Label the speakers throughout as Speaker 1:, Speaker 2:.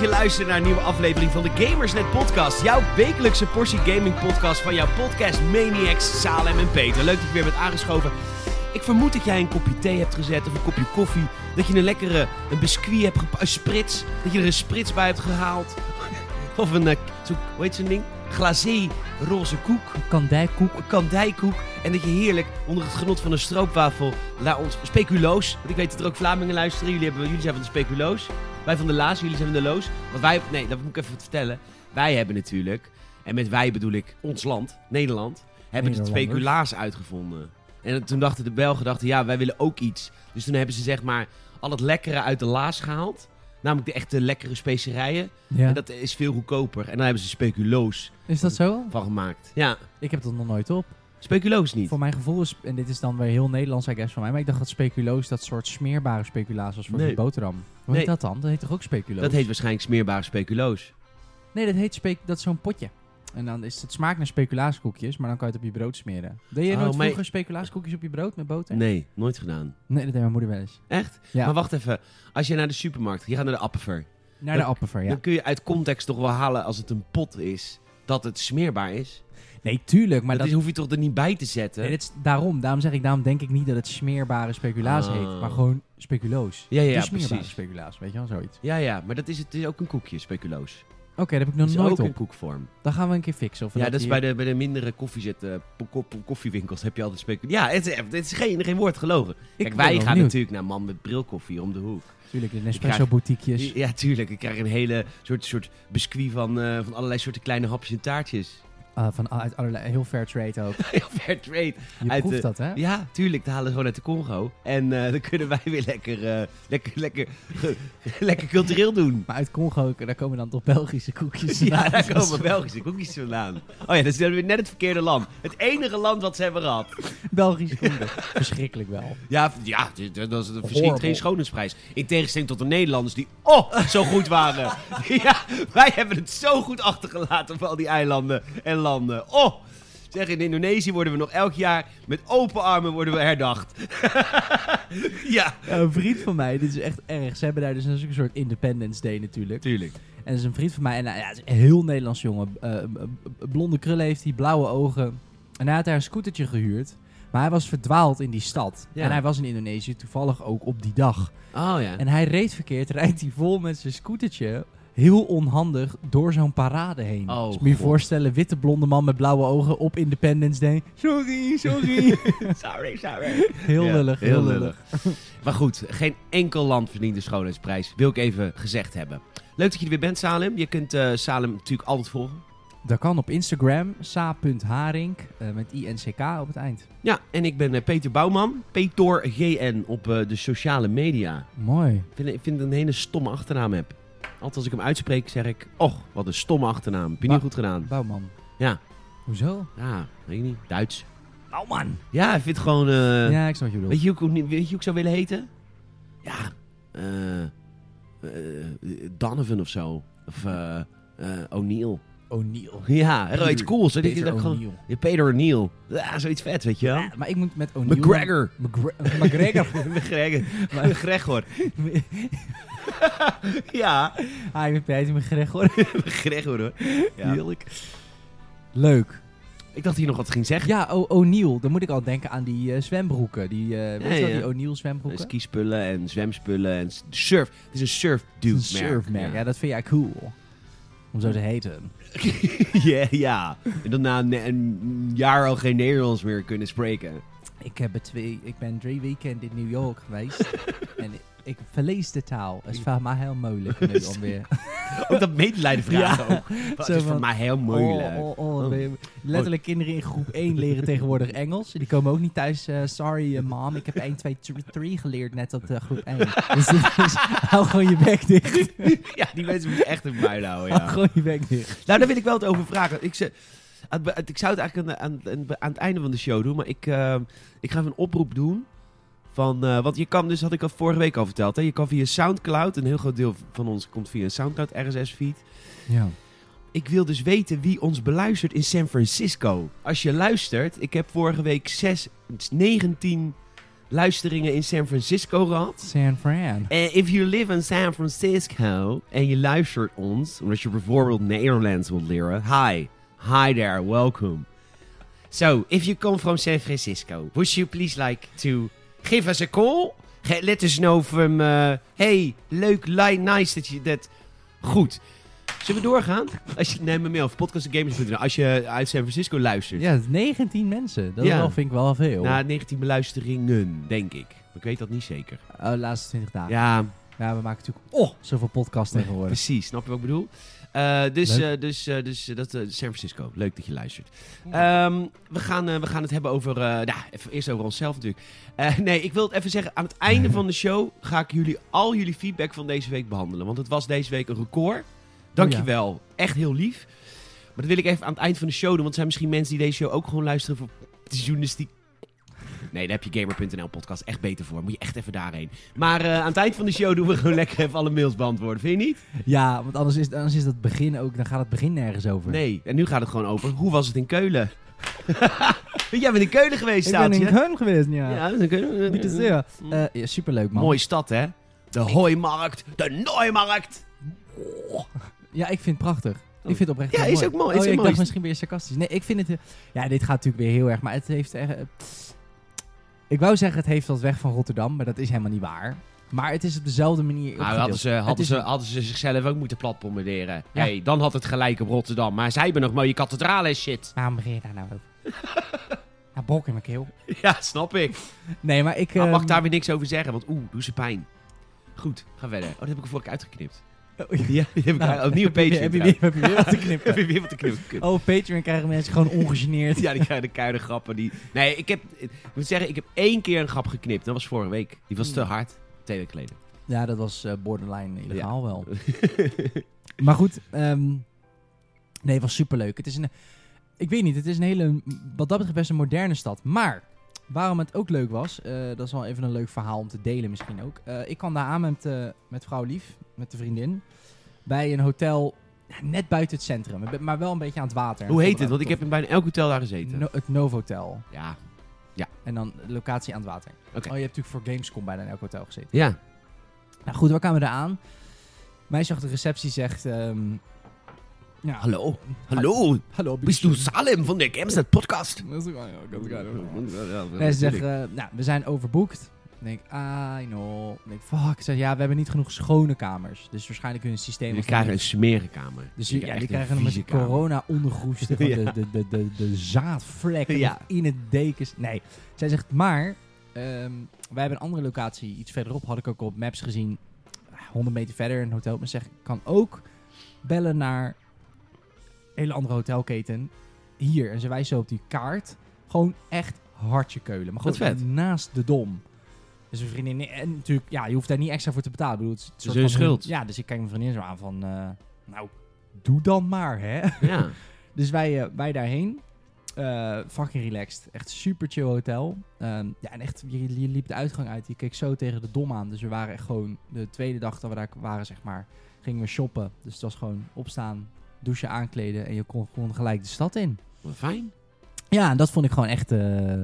Speaker 1: je luistert naar een nieuwe aflevering van de Gamersnet Podcast. Jouw wekelijkse portie gaming podcast van jouw podcast Maniacs, Salem en Peter. Leuk dat je weer bent aangeschoven. Ik vermoed dat jij een kopje thee hebt gezet of een kopje koffie. Dat je een lekkere een biscuit hebt gepa- een sprits. Dat je er een sprits bij hebt gehaald. Of een, eh, zo, hoe heet zo'n ding? Glazé roze koek.
Speaker 2: Kandijkoek.
Speaker 1: Een kandijkoek. En dat je heerlijk onder het genot van een stroopwafel naar ons speculoos. Want ik weet dat er ook Vlamingen luisteren. Jullie, hebben, jullie zijn van de speculoos. Wij van de Laas, jullie zijn van de Loos. Want wij, nee, dat moet ik even vertellen. Wij hebben natuurlijk, en met wij bedoel ik ons land, Nederland, hebben de
Speaker 2: Nederlanders.
Speaker 1: speculaas uitgevonden. En toen dachten de Belgen, dachten, ja, wij willen ook iets. Dus toen hebben ze zeg maar al het lekkere uit de Laas gehaald. Namelijk de echte lekkere specerijen.
Speaker 2: Ja.
Speaker 1: En dat is veel goedkoper. En daar hebben ze speculoos
Speaker 2: Is dat zo?
Speaker 1: van gemaakt. Ja,
Speaker 2: Ik heb dat nog nooit op.
Speaker 1: speculoos niet.
Speaker 2: Voor mijn gevoel is, en dit is dan weer heel Nederlands, I guess, van mij, maar ik dacht dat speculoos dat soort smeerbare speculaas was voor
Speaker 1: Nee.
Speaker 2: die boterham. Hoe
Speaker 1: Nee.
Speaker 2: heet dat dan? Dat heet toch ook speculoos?
Speaker 1: Dat heet waarschijnlijk smeerbare speculoos.
Speaker 2: Nee, dat heet spec... dat is zo'n potje. En dan is het smaak naar speculaaskoekjes, maar dan kan je het op je brood smeren. Deed je
Speaker 1: Oh,
Speaker 2: nooit
Speaker 1: maar-
Speaker 2: vroeger speculaaskoekjes op je brood met boter?
Speaker 1: Nee, nooit gedaan.
Speaker 2: Nee, dat deed mijn moeder wel eens.
Speaker 1: Echt?
Speaker 2: Ja,
Speaker 1: Maar wacht even. Als je naar de supermarkt, je gaat naar de Appenver.
Speaker 2: naar de appenver, ja.
Speaker 1: Dan kun je uit context toch wel halen als het een pot is, dat het smeerbaar is.
Speaker 2: Nee, tuurlijk,
Speaker 1: Maar
Speaker 2: maar
Speaker 1: dat,
Speaker 2: dat...
Speaker 1: is- hoef je toch er niet bij te zetten?
Speaker 2: Nee, dit is daarom, daarom zeg ik, daarom denk ik niet dat het smeerbare speculaas
Speaker 1: Ah.
Speaker 2: heet, maar gewoon speculoos.
Speaker 1: Ja, ja, ja,
Speaker 2: dus smeerbare
Speaker 1: precies.
Speaker 2: speculaas, weet je wel, zoiets.
Speaker 1: Ja, ja, maar dat is, het is ook een koekje, speculoos.
Speaker 2: Oké, dat heb ik
Speaker 1: Dat
Speaker 2: nog
Speaker 1: is
Speaker 2: nooit
Speaker 1: ook
Speaker 2: op.
Speaker 1: een koekvorm.
Speaker 2: Dan gaan we een keer fixen. Of we
Speaker 1: Ja, dat is bij
Speaker 2: hier-
Speaker 1: de, bij de mindere koffiezet, eh, po- ko- po- koffiewinkels heb je altijd speculoos. Ja, het is, het is geen, geen woord gelogen. Kijk, wij
Speaker 2: ben wel
Speaker 1: gaan
Speaker 2: benieuwd.
Speaker 1: natuurlijk naar man met brilkoffie om de hoek.
Speaker 2: Natuurlijk, de
Speaker 1: krijg-
Speaker 2: Nespresso boutiquejes.
Speaker 1: Ja, tuurlijk. Ik krijg een hele soort, soort biscuit van, eh, van allerlei soorten kleine hapjes en taartjes.
Speaker 2: eh, van a- uit allerlei, heel fair trade ook.
Speaker 1: Heel fair trade.
Speaker 2: Je
Speaker 1: Uit
Speaker 2: proeft
Speaker 1: de-
Speaker 2: dat, hè?
Speaker 1: Ja, tuurlijk. Dat halen ze gewoon uit de Congo. En eh, dan kunnen wij weer lekker, eh, lekker, lekker, lekker cultureel doen.
Speaker 2: Maar uit Congo, daar komen dan toch Belgische koekjes.
Speaker 1: Ja,
Speaker 2: vandaan.
Speaker 1: daar komen Belgische koekjes vandaan. Oh ja, dat is dan weer net het verkeerde land. Het enige land wat ze hebben gehad.
Speaker 2: Belgische koekjes. Verschrikkelijk wel.
Speaker 1: Ja, ja dit- dat was het verschiet
Speaker 2: Horrible.
Speaker 1: geen schoonheidsprijs. In tegenstelling tot de Nederlanders die, oh, zo goed waren. ja, wij hebben het zo goed achtergelaten op al die eilanden en landen. Oh, zeg, in Indonesië worden we nog elk jaar met open armen worden we herdacht. ja,
Speaker 2: Ja, een vriend van mij, dit is echt erg. Ze hebben daar dus een soort Independence Day natuurlijk.
Speaker 1: tuurlijk.
Speaker 2: En dat is een vriend van mij, en nou, ja, het is een heel Nederlands jongen. Eh, eh, blonde krullen heeft hij, blauwe ogen. En hij had daar een scootertje gehuurd. Maar hij was verdwaald in die stad.
Speaker 1: Ja.
Speaker 2: En hij was in Indonesië toevallig ook op die dag.
Speaker 1: Oh ja.
Speaker 2: En hij reed verkeerd, rijdt hij vol met zijn scootertje. Heel onhandig door zo'n parade heen.
Speaker 1: Oh,
Speaker 2: dus moet je
Speaker 1: God.
Speaker 2: voorstellen, witte blonde man met blauwe ogen op Independence Day. Sorry, sorry.
Speaker 1: sorry, sorry.
Speaker 2: heel
Speaker 1: Ja,
Speaker 2: lullig, heel, lullig.
Speaker 1: maar goed, geen enkel land verdient de schoonheidsprijs. Wil ik even gezegd hebben. Leuk dat je er weer bent, Salem. Je kunt eh, Salem natuurlijk altijd volgen.
Speaker 2: Dat kan op Instagram, sa.haring, eh met INCK op het eind.
Speaker 1: Ja, en ik ben eh, Peter Bouwman, Peter GN op eh, de sociale media.
Speaker 2: Mooi.
Speaker 1: Ik vind, ik vind dat ik een hele stomme achternaam heb. Altijd als ik hem uitspreek zeg ik, oh, wat een stomme achternaam. Heb je niet
Speaker 2: Maar-
Speaker 1: goed gedaan?
Speaker 2: Bouwman.
Speaker 1: Ja.
Speaker 2: Hoezo?
Speaker 1: Ja, weet ik niet. Duits.
Speaker 2: Bouwman.
Speaker 1: Ja, ik vind het gewoon... eh,
Speaker 2: ja, ik snap wat je bedoelt.
Speaker 1: weet, je hoe, ik ook niet- weet je hoe ik zou willen heten? Ja, eh eh, Donovan of zo. Of eh, eh, O'Neill.
Speaker 2: O'Neill.
Speaker 1: Ja, er wel iets cools. Dat ik- dat
Speaker 2: Peter
Speaker 1: ik gewoon,
Speaker 2: O'Neill.
Speaker 1: ja, Peter O'Neill. Ja, zoiets vet, weet je wel?
Speaker 2: Ja, maar ik moet met O'Neill...
Speaker 1: McGregor.
Speaker 2: McGre- McGregor.
Speaker 1: McGregor. McGregor. Ja,
Speaker 2: Hi, Ah, ik ben Peter McGregor.
Speaker 1: Gregor hoor. Ja.
Speaker 2: Heerlijk. Leuk.
Speaker 1: Ik dacht hier nog wat ging zeggen.
Speaker 2: Ja, O- O'Neill. Dan moet ik al denken aan die eh, zwembroeken. Die, eh, weet
Speaker 1: Ja,
Speaker 2: je wel,
Speaker 1: ja.
Speaker 2: die O'Neill zwembroeken?
Speaker 1: Skispullen en zwemspullen en s- surf. Het is een surf dude
Speaker 2: Een surfmerk. Ja. dat vind jij cool. Om zo te heten.
Speaker 1: ja, ja. En dan na een, een jaar al geen Nederlands meer kunnen spreken.
Speaker 2: Ik, heb er twee, ik ben drie weekenden in New York geweest. en ik verlees de taal. Het is voor mij heel moeilijk nu om weer...
Speaker 1: Ook dat medelijden vragen
Speaker 2: Ja.
Speaker 1: ook. Dat
Speaker 2: Zo
Speaker 1: is voor
Speaker 2: van,
Speaker 1: mij heel moeilijk.
Speaker 2: Oh, oh, oh.
Speaker 1: Oh.
Speaker 2: We- Letterlijk kinderen in groep 1 leren tegenwoordig Engels. Die komen ook niet thuis. eh, sorry eh, mom, ik heb 1, 2, 3 geleerd net op eh, groep 1. dus, dus hou gewoon je bek dicht.
Speaker 1: Ja, die mensen moeten echt een buil houden,
Speaker 2: Hou
Speaker 1: Oh, ja.
Speaker 2: gewoon je bek dicht.
Speaker 1: Nou, daar wil ik wel het over vragen. Ik, ze, aan het be- ik zou het eigenlijk aan, aan, aan- aan het einde van de show doen, maar ik, eh, ik ga even een oproep doen. Van, eh, want je kan dus, had ik al vorige week al verteld, hè, je kan via Soundcloud, een heel groot deel van ons komt via een Soundcloud RSS-feed.
Speaker 2: Ja.
Speaker 1: Ik wil dus weten wie ons beluistert in San Francisco. Als je luistert, ik heb vorige week 6, 19 luisteringen in San Francisco gehad.
Speaker 2: San Fran.
Speaker 1: Eh, if you live in San Francisco en je luistert ons, omdat je bijvoorbeeld Nederlands wilt leren. Hi, hi there, welcome. So, if you come from San Francisco, would you please like to give us a call? Ge- Let us know from, eh, hey, leuk, li- nice dat je dat... Goed. Zullen we doorgaan? Als je, nee, maar mail, podcastgamers.nl. Als je uit San Francisco luistert.
Speaker 2: Ja, 19 mensen. Dat
Speaker 1: Dus- Ja. Nou,
Speaker 2: wel vind ik wel veel.
Speaker 1: Na 19 beluisteringen, denk ik. Maar Ik weet dat niet zeker.
Speaker 2: Oh, de laatste 20 dagen. Ja.
Speaker 1: Ja,
Speaker 2: we maken natuurlijk oh, zoveel podcasts tegenwoordig.
Speaker 1: Precies, snap je wat ik bedoel? Eh, dus
Speaker 2: Leuk.
Speaker 1: eh, dus, eh, dus eh, dat, eh, San Francisco, leuk dat je luistert.
Speaker 2: Ja.
Speaker 1: Ehm, we, gaan, eh, we gaan het hebben over, eh, nou, even eerst over onszelf natuurlijk. Eh, nee, ik wil het even zeggen, aan het einde van de show ga ik jullie, al jullie feedback van deze week behandelen. Want het was deze week een record. Dankjewel, echt heel lief. Maar dat wil ik even aan het eind van de show doen, want er zijn misschien mensen die deze show ook gewoon luisteren voor de journalistiek. Nee, daar heb je Gamer.nl podcast echt beter voor. Moet je echt even daarheen. Maar eh, aan het eind van de show doen we gewoon lekker even alle mails beantwoorden. Vind je niet?
Speaker 2: Ja, want anders is, anders is dat begin ook, dan gaat het begin nergens over.
Speaker 1: Nee, en nu gaat het gewoon over hoe was het in Keulen? Jij bent in Keulen geweest,
Speaker 2: ik ben
Speaker 1: Staaltje.
Speaker 2: in Köln geweest, ja.
Speaker 1: Ja, Mm. dat is in Keulen.
Speaker 2: Niet te zeer. Eh, ja, superleuk, man.
Speaker 1: Mooie stad, hè? De Hooimarkt, de Nooimarkt. Nou,
Speaker 2: Ja, ik vind het prachtig. Ik
Speaker 1: Oh.
Speaker 2: vind het oprecht
Speaker 1: Ja,
Speaker 2: heel
Speaker 1: is
Speaker 2: mooi.
Speaker 1: ook mooi,
Speaker 2: Oh,
Speaker 1: is
Speaker 2: ja,
Speaker 1: ook
Speaker 2: ik
Speaker 1: mooi.
Speaker 2: dacht misschien weer sarcastisch. Nee, ik vind het... eh, Ja, dit gaat natuurlijk weer heel erg, maar het heeft echt... eh, Ik wou zeggen, het heeft wat weg van Rotterdam, maar dat is helemaal niet waar. Maar het is op dezelfde manier
Speaker 1: Nou, hadden
Speaker 2: opgedeeld.
Speaker 1: ze,
Speaker 2: Het
Speaker 1: hadden,
Speaker 2: is
Speaker 1: ze,
Speaker 2: een-
Speaker 1: hadden ze zichzelf ook moeten platbombarderen.
Speaker 2: Ja.
Speaker 1: hey, dan had het gelijk op Rotterdam. Maar zij hebben nog mooie kathedralen en shit.
Speaker 2: Waarom begin je daar nou over? nou, bok in mijn keel.
Speaker 1: Ja, snap ik.
Speaker 2: Nee, maar ik...
Speaker 1: Maar mag
Speaker 2: ehm,
Speaker 1: Ah, daar weer niks over zeggen, want oeh, doe ze pijn. Goed, ga verder. Oh, dat heb ik er vorige keer uitgeknipt.
Speaker 2: Oh, ja.
Speaker 1: Ja, die heb ik
Speaker 2: Nou,
Speaker 1: opnieuw op
Speaker 2: heb je-
Speaker 1: Patreon.
Speaker 2: Heb je weer- heb je weer wat te
Speaker 1: trouwens. Heb
Speaker 2: knippen?
Speaker 1: je weer wat te knippen?
Speaker 2: Oh, op Patreon krijgen mensen gewoon ongegeneerd.
Speaker 1: Ja, die krijgen de keiharde grappen. Die... Nee, ik heb... Ik moet zeggen, ik heb één keer een grap geknipt. Dat was vorige week. Die was te hard. Twee weken geleden.
Speaker 2: Hmm. Ja, dat was eh, borderline illegaal wel. maar goed, ehm, nee, het was superleuk. Het is een, ik weet niet, het is een hele, wat dat betreft best een moderne stad. Maar, waarom het ook leuk was, eh, dat is wel even een leuk verhaal om te delen misschien ook. Eh, ik kwam daar aan met, eh, met vrouw Lief, met de vriendin, bij een hotel ja, net buiten het centrum. Maar wel een beetje aan het water.
Speaker 1: Hoe heet het? Want ik heb in bijna elk hotel daar gezeten.
Speaker 2: No- het Novotel.
Speaker 1: Ja.
Speaker 2: En dan locatie aan het water.
Speaker 1: Oké.
Speaker 2: Oh, je hebt natuurlijk voor Gamescom bijna in elk hotel gezeten.
Speaker 1: Ja.
Speaker 2: Nou goed, waar kwamen we eraan? Meisje achter de receptie zegt... ehm, ja,
Speaker 1: Hallo. Hallo.
Speaker 2: Hallo,
Speaker 1: Bist du Salem van de Gamesnet podcast?
Speaker 2: Nee, ze zegt, eh, nou, we zijn overboekt. Dan denk ik, I know. Dan denk ik, fuck. Ze zegt, ja, we hebben niet genoeg schone kamers. Dus waarschijnlijk hun systeem...
Speaker 1: Die
Speaker 2: was
Speaker 1: krijgen
Speaker 2: niet-
Speaker 1: een smerige kamer.
Speaker 2: dus die, ja,
Speaker 1: krijgen
Speaker 2: die
Speaker 1: echt
Speaker 2: krijgen hem
Speaker 1: vieze
Speaker 2: met
Speaker 1: kamer.
Speaker 2: corona ondergroesten.
Speaker 1: Ja.
Speaker 2: de, de, de, de, de zaadvlekken
Speaker 1: Ja.
Speaker 2: in het dekens. Nee, zij zegt, maar ehm, wij hebben een andere locatie iets verderop. Had ik ook op maps gezien, eh, 100 meter verder, een hotel. Maar ze zegt, kan ook bellen naar een hele andere hotelketen hier. En ze wijst zo op die kaart. Gewoon echt hartje keulen. Maar
Speaker 1: Wat
Speaker 2: gewoon
Speaker 1: vet.
Speaker 2: naast de dom. Dus mijn vriendin... En natuurlijk, ja, je hoeft daar niet extra voor te betalen. Ik bedoel, het is een soort
Speaker 1: hun
Speaker 2: van-
Speaker 1: schuld.
Speaker 2: Ja, dus ik kijk mijn vriendin zo aan van... eh, nou, doe dan maar, hè.
Speaker 1: Ja.
Speaker 2: Dus wij, eh, wij daarheen. Eh, fucking relaxed. Echt super chill hotel. Ehm, ja, en echt, je, je liep de uitgang uit. Je keek zo tegen de dom aan. Dus we waren echt gewoon... De tweede dag dat we daar waren, zeg maar, gingen we shoppen. Dus het was gewoon opstaan, douchen, aankleden. En je kon gewoon gelijk de stad in.
Speaker 1: Wat fijn.
Speaker 2: Ja, en dat vond ik gewoon echt eh,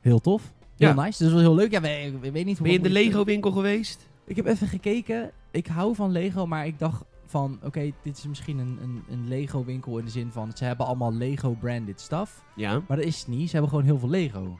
Speaker 2: heel tof. Heel
Speaker 1: Ja.
Speaker 2: nice. Dus dat was heel leuk. Ja, we, we- we weet niet hoe...
Speaker 1: Ben je in de Lego winkel geweest?
Speaker 2: Ik heb even gekeken. Ik hou van Lego, maar ik dacht van... Oké, dit is misschien een, een, een Lego winkel in de zin van... Ze hebben allemaal Lego-branded stuff.
Speaker 1: Ja.
Speaker 2: Maar dat is het niet. Ze hebben gewoon heel veel Lego.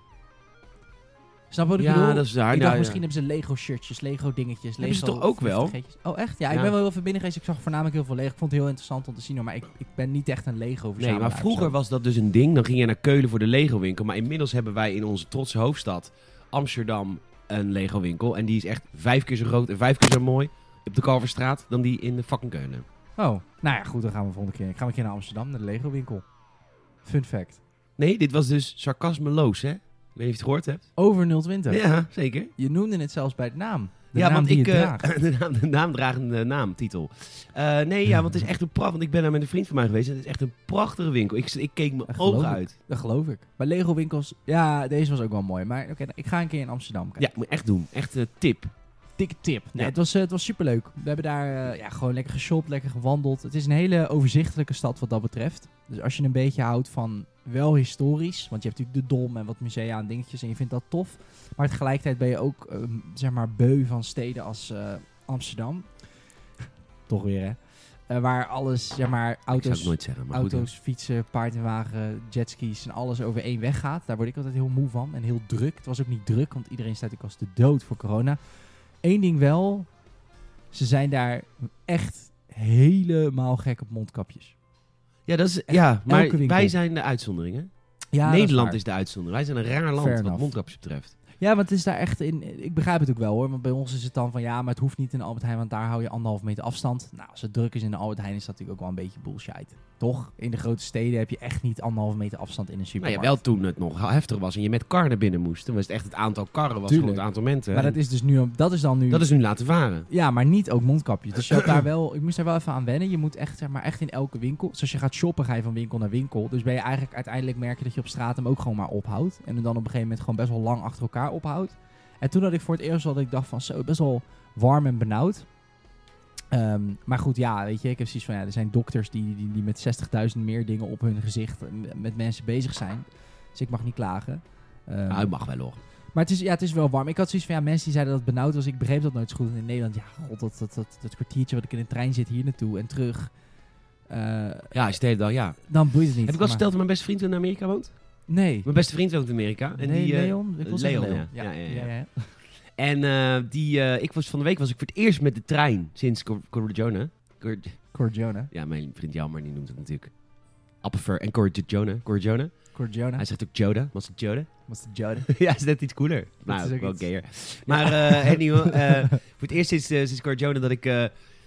Speaker 2: Snap je wat ik bedoel?
Speaker 1: Ja, dat is daar.
Speaker 2: ik dacht,
Speaker 1: Nou, ja.
Speaker 2: misschien hebben ze Lego shirtjes, Lego dingetjes, Lego...
Speaker 1: Hebben ze toch ook wel?
Speaker 2: vliegtuigjes. Oh, echt? Ja, ik
Speaker 1: Ja.
Speaker 2: ben wel heel veel binnen geweest. Ik zag voornamelijk heel veel Lego. Ik vond het heel interessant om te zien, hoor, maar ik, ik ben niet echt een lego
Speaker 1: Nee,
Speaker 2: verzamelaar
Speaker 1: maar vroeger was dat dus een ding. Dan ging je naar Keulen voor de Lego-winkel. Maar inmiddels hebben wij in onze trotse hoofdstad Amsterdam een Lego-winkel. En die is echt vijf keer zo groot en vijf keer zo mooi op de Kalverstraat dan die in de fucking Keulen.
Speaker 2: Oh, nou ja, goed, dan gaan we volgende keer. Ik ga een keer naar Amsterdam, naar de Lego winkel. Fun fact.
Speaker 1: Nee, dit was dus sarcasmeloos, hè? Ik weet niet of je het gehoord hebt.
Speaker 2: Over 020.
Speaker 1: Ja, zeker.
Speaker 2: Je noemde het zelfs bij de naam. De
Speaker 1: ja,
Speaker 2: naam
Speaker 1: want
Speaker 2: die
Speaker 1: ik.
Speaker 2: je
Speaker 1: eh,
Speaker 2: draagt.
Speaker 1: de, naam, de naamdragende naam, titel. Eh, nee, ja, want het is echt een pracht. Want ik ben daar met een vriend van mij geweest. En het is echt een prachtige winkel. Ik, ik keek mijn
Speaker 2: Dat geloof
Speaker 1: ogen
Speaker 2: ik.
Speaker 1: uit.
Speaker 2: Dat geloof ik. Bij Lego winkels, ja, deze was ook wel mooi. Maar oké, nou, ik ga een keer in Amsterdam kijken.
Speaker 1: Ja, moet je echt doen. Echt eh, tip.
Speaker 2: dikke tip. Nee,
Speaker 1: Ja.
Speaker 2: het, was, eh, het was superleuk. We hebben daar eh, ja, gewoon lekker geshopt, lekker gewandeld. Het is een hele overzichtelijke stad wat dat betreft. Dus als je een beetje houdt van wel historisch. Want je hebt natuurlijk de Dom en wat musea en dingetjes en je vindt dat tof. Maar tegelijkertijd ben je ook, ehm, zeg maar, beu van steden als eh, Amsterdam. Toch weer, hè? Eh, waar alles, zeg maar,
Speaker 1: Ik zou
Speaker 2: auto's,
Speaker 1: het nooit zeggen, maar goed.
Speaker 2: auto's fietsen, paard en wagen, jetskis en alles over één weg gaat. Daar word ik altijd heel moe van en heel druk. Het was ook niet druk, want iedereen staat natuurlijk als de dood voor corona. Eén ding wel, ze zijn daar echt helemaal gek op mondkapjes.
Speaker 1: Ja, dat is, ja maar
Speaker 2: elke winkel.
Speaker 1: wij zijn de uitzonderingen.
Speaker 2: Ja, dat is
Speaker 1: Nederland
Speaker 2: waar.
Speaker 1: is, de uitzondering. Wij zijn een raar
Speaker 2: Fair
Speaker 1: land wat
Speaker 2: enough.
Speaker 1: mondkapjes betreft.
Speaker 2: Ja, want het is daar echt in. Ik begrijp het ook wel hoor. Want bij ons is het dan van ja, maar het hoeft niet in de Albert Heijn, want daar hou je anderhalf meter afstand. Nou, als het druk is in de Albert Heijn, is dat natuurlijk ook wel een beetje bullshit. Toch? In de grote steden heb je echt niet anderhalf meter afstand in een
Speaker 1: Nou ja,
Speaker 2: supermarkt.
Speaker 1: wel toen het nog heftig was en je met kar naar binnen moest. Toen was het echt het aantal karren, was gewoon
Speaker 2: Tuurlijk.
Speaker 1: het aantal mensen.
Speaker 2: Maar dat is dus nu. Dat is dan nu.
Speaker 1: eh, dat is nu laten varen.
Speaker 2: Ja, maar niet ook mondkapjes. Dus je had daar wel, ik moest daar wel even aan wennen. Je moet echt, zeg maar, echt in elke winkel. Dus als je gaat shoppen, ga je van winkel naar winkel. Dus ben je eigenlijk uiteindelijk merk je dat je op straat hem ook gewoon maar ophoudt. En hem dan op een gegeven moment gewoon best wel lang achter elkaar ophoudt. En toen had ik voor het eerst al dat ik dacht van zo, best wel warm en benauwd. Ehm, maar goed, ja, weet je, ik heb zoiets van, ja, er zijn dokters die, die, die met 60.000 meer dingen op hun gezicht eh, m- met mensen bezig zijn. Dus ik mag niet klagen. Ehm,
Speaker 1: Nou, het mag wel hoor.
Speaker 2: maar het is, ja, het is wel warm. Ik had zoiets van, ja, mensen die zeiden dat het benauwd was. Ik begreep dat nooit zo goed. En in Nederland, ja, god, dat, dat, dat, dat kwartiertje wat ik in de trein zit hier naartoe en terug. eh,
Speaker 1: Ja, als je het al, ja.
Speaker 2: dan boeit het niet.
Speaker 1: Heb ik wel
Speaker 2: Maar-
Speaker 1: verteld dat mijn beste vriend in Amerika woont?
Speaker 2: Nee.
Speaker 1: Mijn beste vriend woont in Amerika. En
Speaker 2: nee,
Speaker 1: die, eh,
Speaker 2: Leon? Ik wil zeggen
Speaker 1: Leon,
Speaker 2: Leon.
Speaker 1: ja. Ja, ja, ja.
Speaker 2: ja, ja.
Speaker 1: En eh, die, eh, ik was, van de week was ik voor het eerst met de trein sinds Cor- Corona. Cor-
Speaker 2: Cordiona.
Speaker 1: ja, mijn vriend Jelmer die noemt het natuurlijk. Appenver en Corona. Corona.
Speaker 2: Cordiona.
Speaker 1: Hij zegt ook Joda. Was het Joda?
Speaker 2: Was de Jode.
Speaker 1: ja, is net iets cooler. Nou,
Speaker 2: is ook
Speaker 1: wel
Speaker 2: iets.
Speaker 1: gayer. Maar eh anyhow, eh, voor het eerst sinds, eh, sinds Corona dat ik, eh,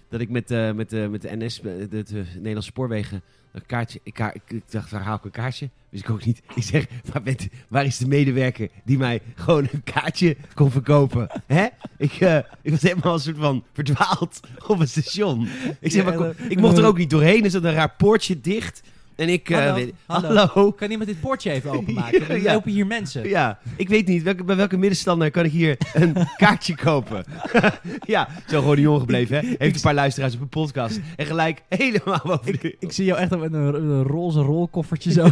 Speaker 1: dat ik met, eh, met, eh, met de NS, eh, de, de Nederlandse Spoorwegen, een kaartje, ik, ka- ik, ik dacht, waar haal ik een kaartje? Wist ik ook niet. Ik zeg, waar, bent, waar is de medewerker die mij gewoon een kaartje kon verkopen? Hè? Ik, eh, ik was helemaal een soort van verdwaald op het station. Ik, zeg, maar, kom- ik mocht er ook niet doorheen, er zat een raar poortje dicht. En ik... eh,
Speaker 2: Hallo,
Speaker 1: weet-
Speaker 2: hallo.
Speaker 1: hallo.
Speaker 2: Oh, Kan iemand dit poortje even openmaken? Er
Speaker 1: Ja.
Speaker 2: lopen hier mensen.
Speaker 1: Ja, ik weet niet. Welke, bij welke middenstander kan ik hier een kaartje kopen? ja, zo gewoon de jongen gebleven, hè? Heeft een paar luisteraars op een podcast. En gelijk helemaal over de...
Speaker 2: Ik zie jou echt met een, een roze rolkoffertje zo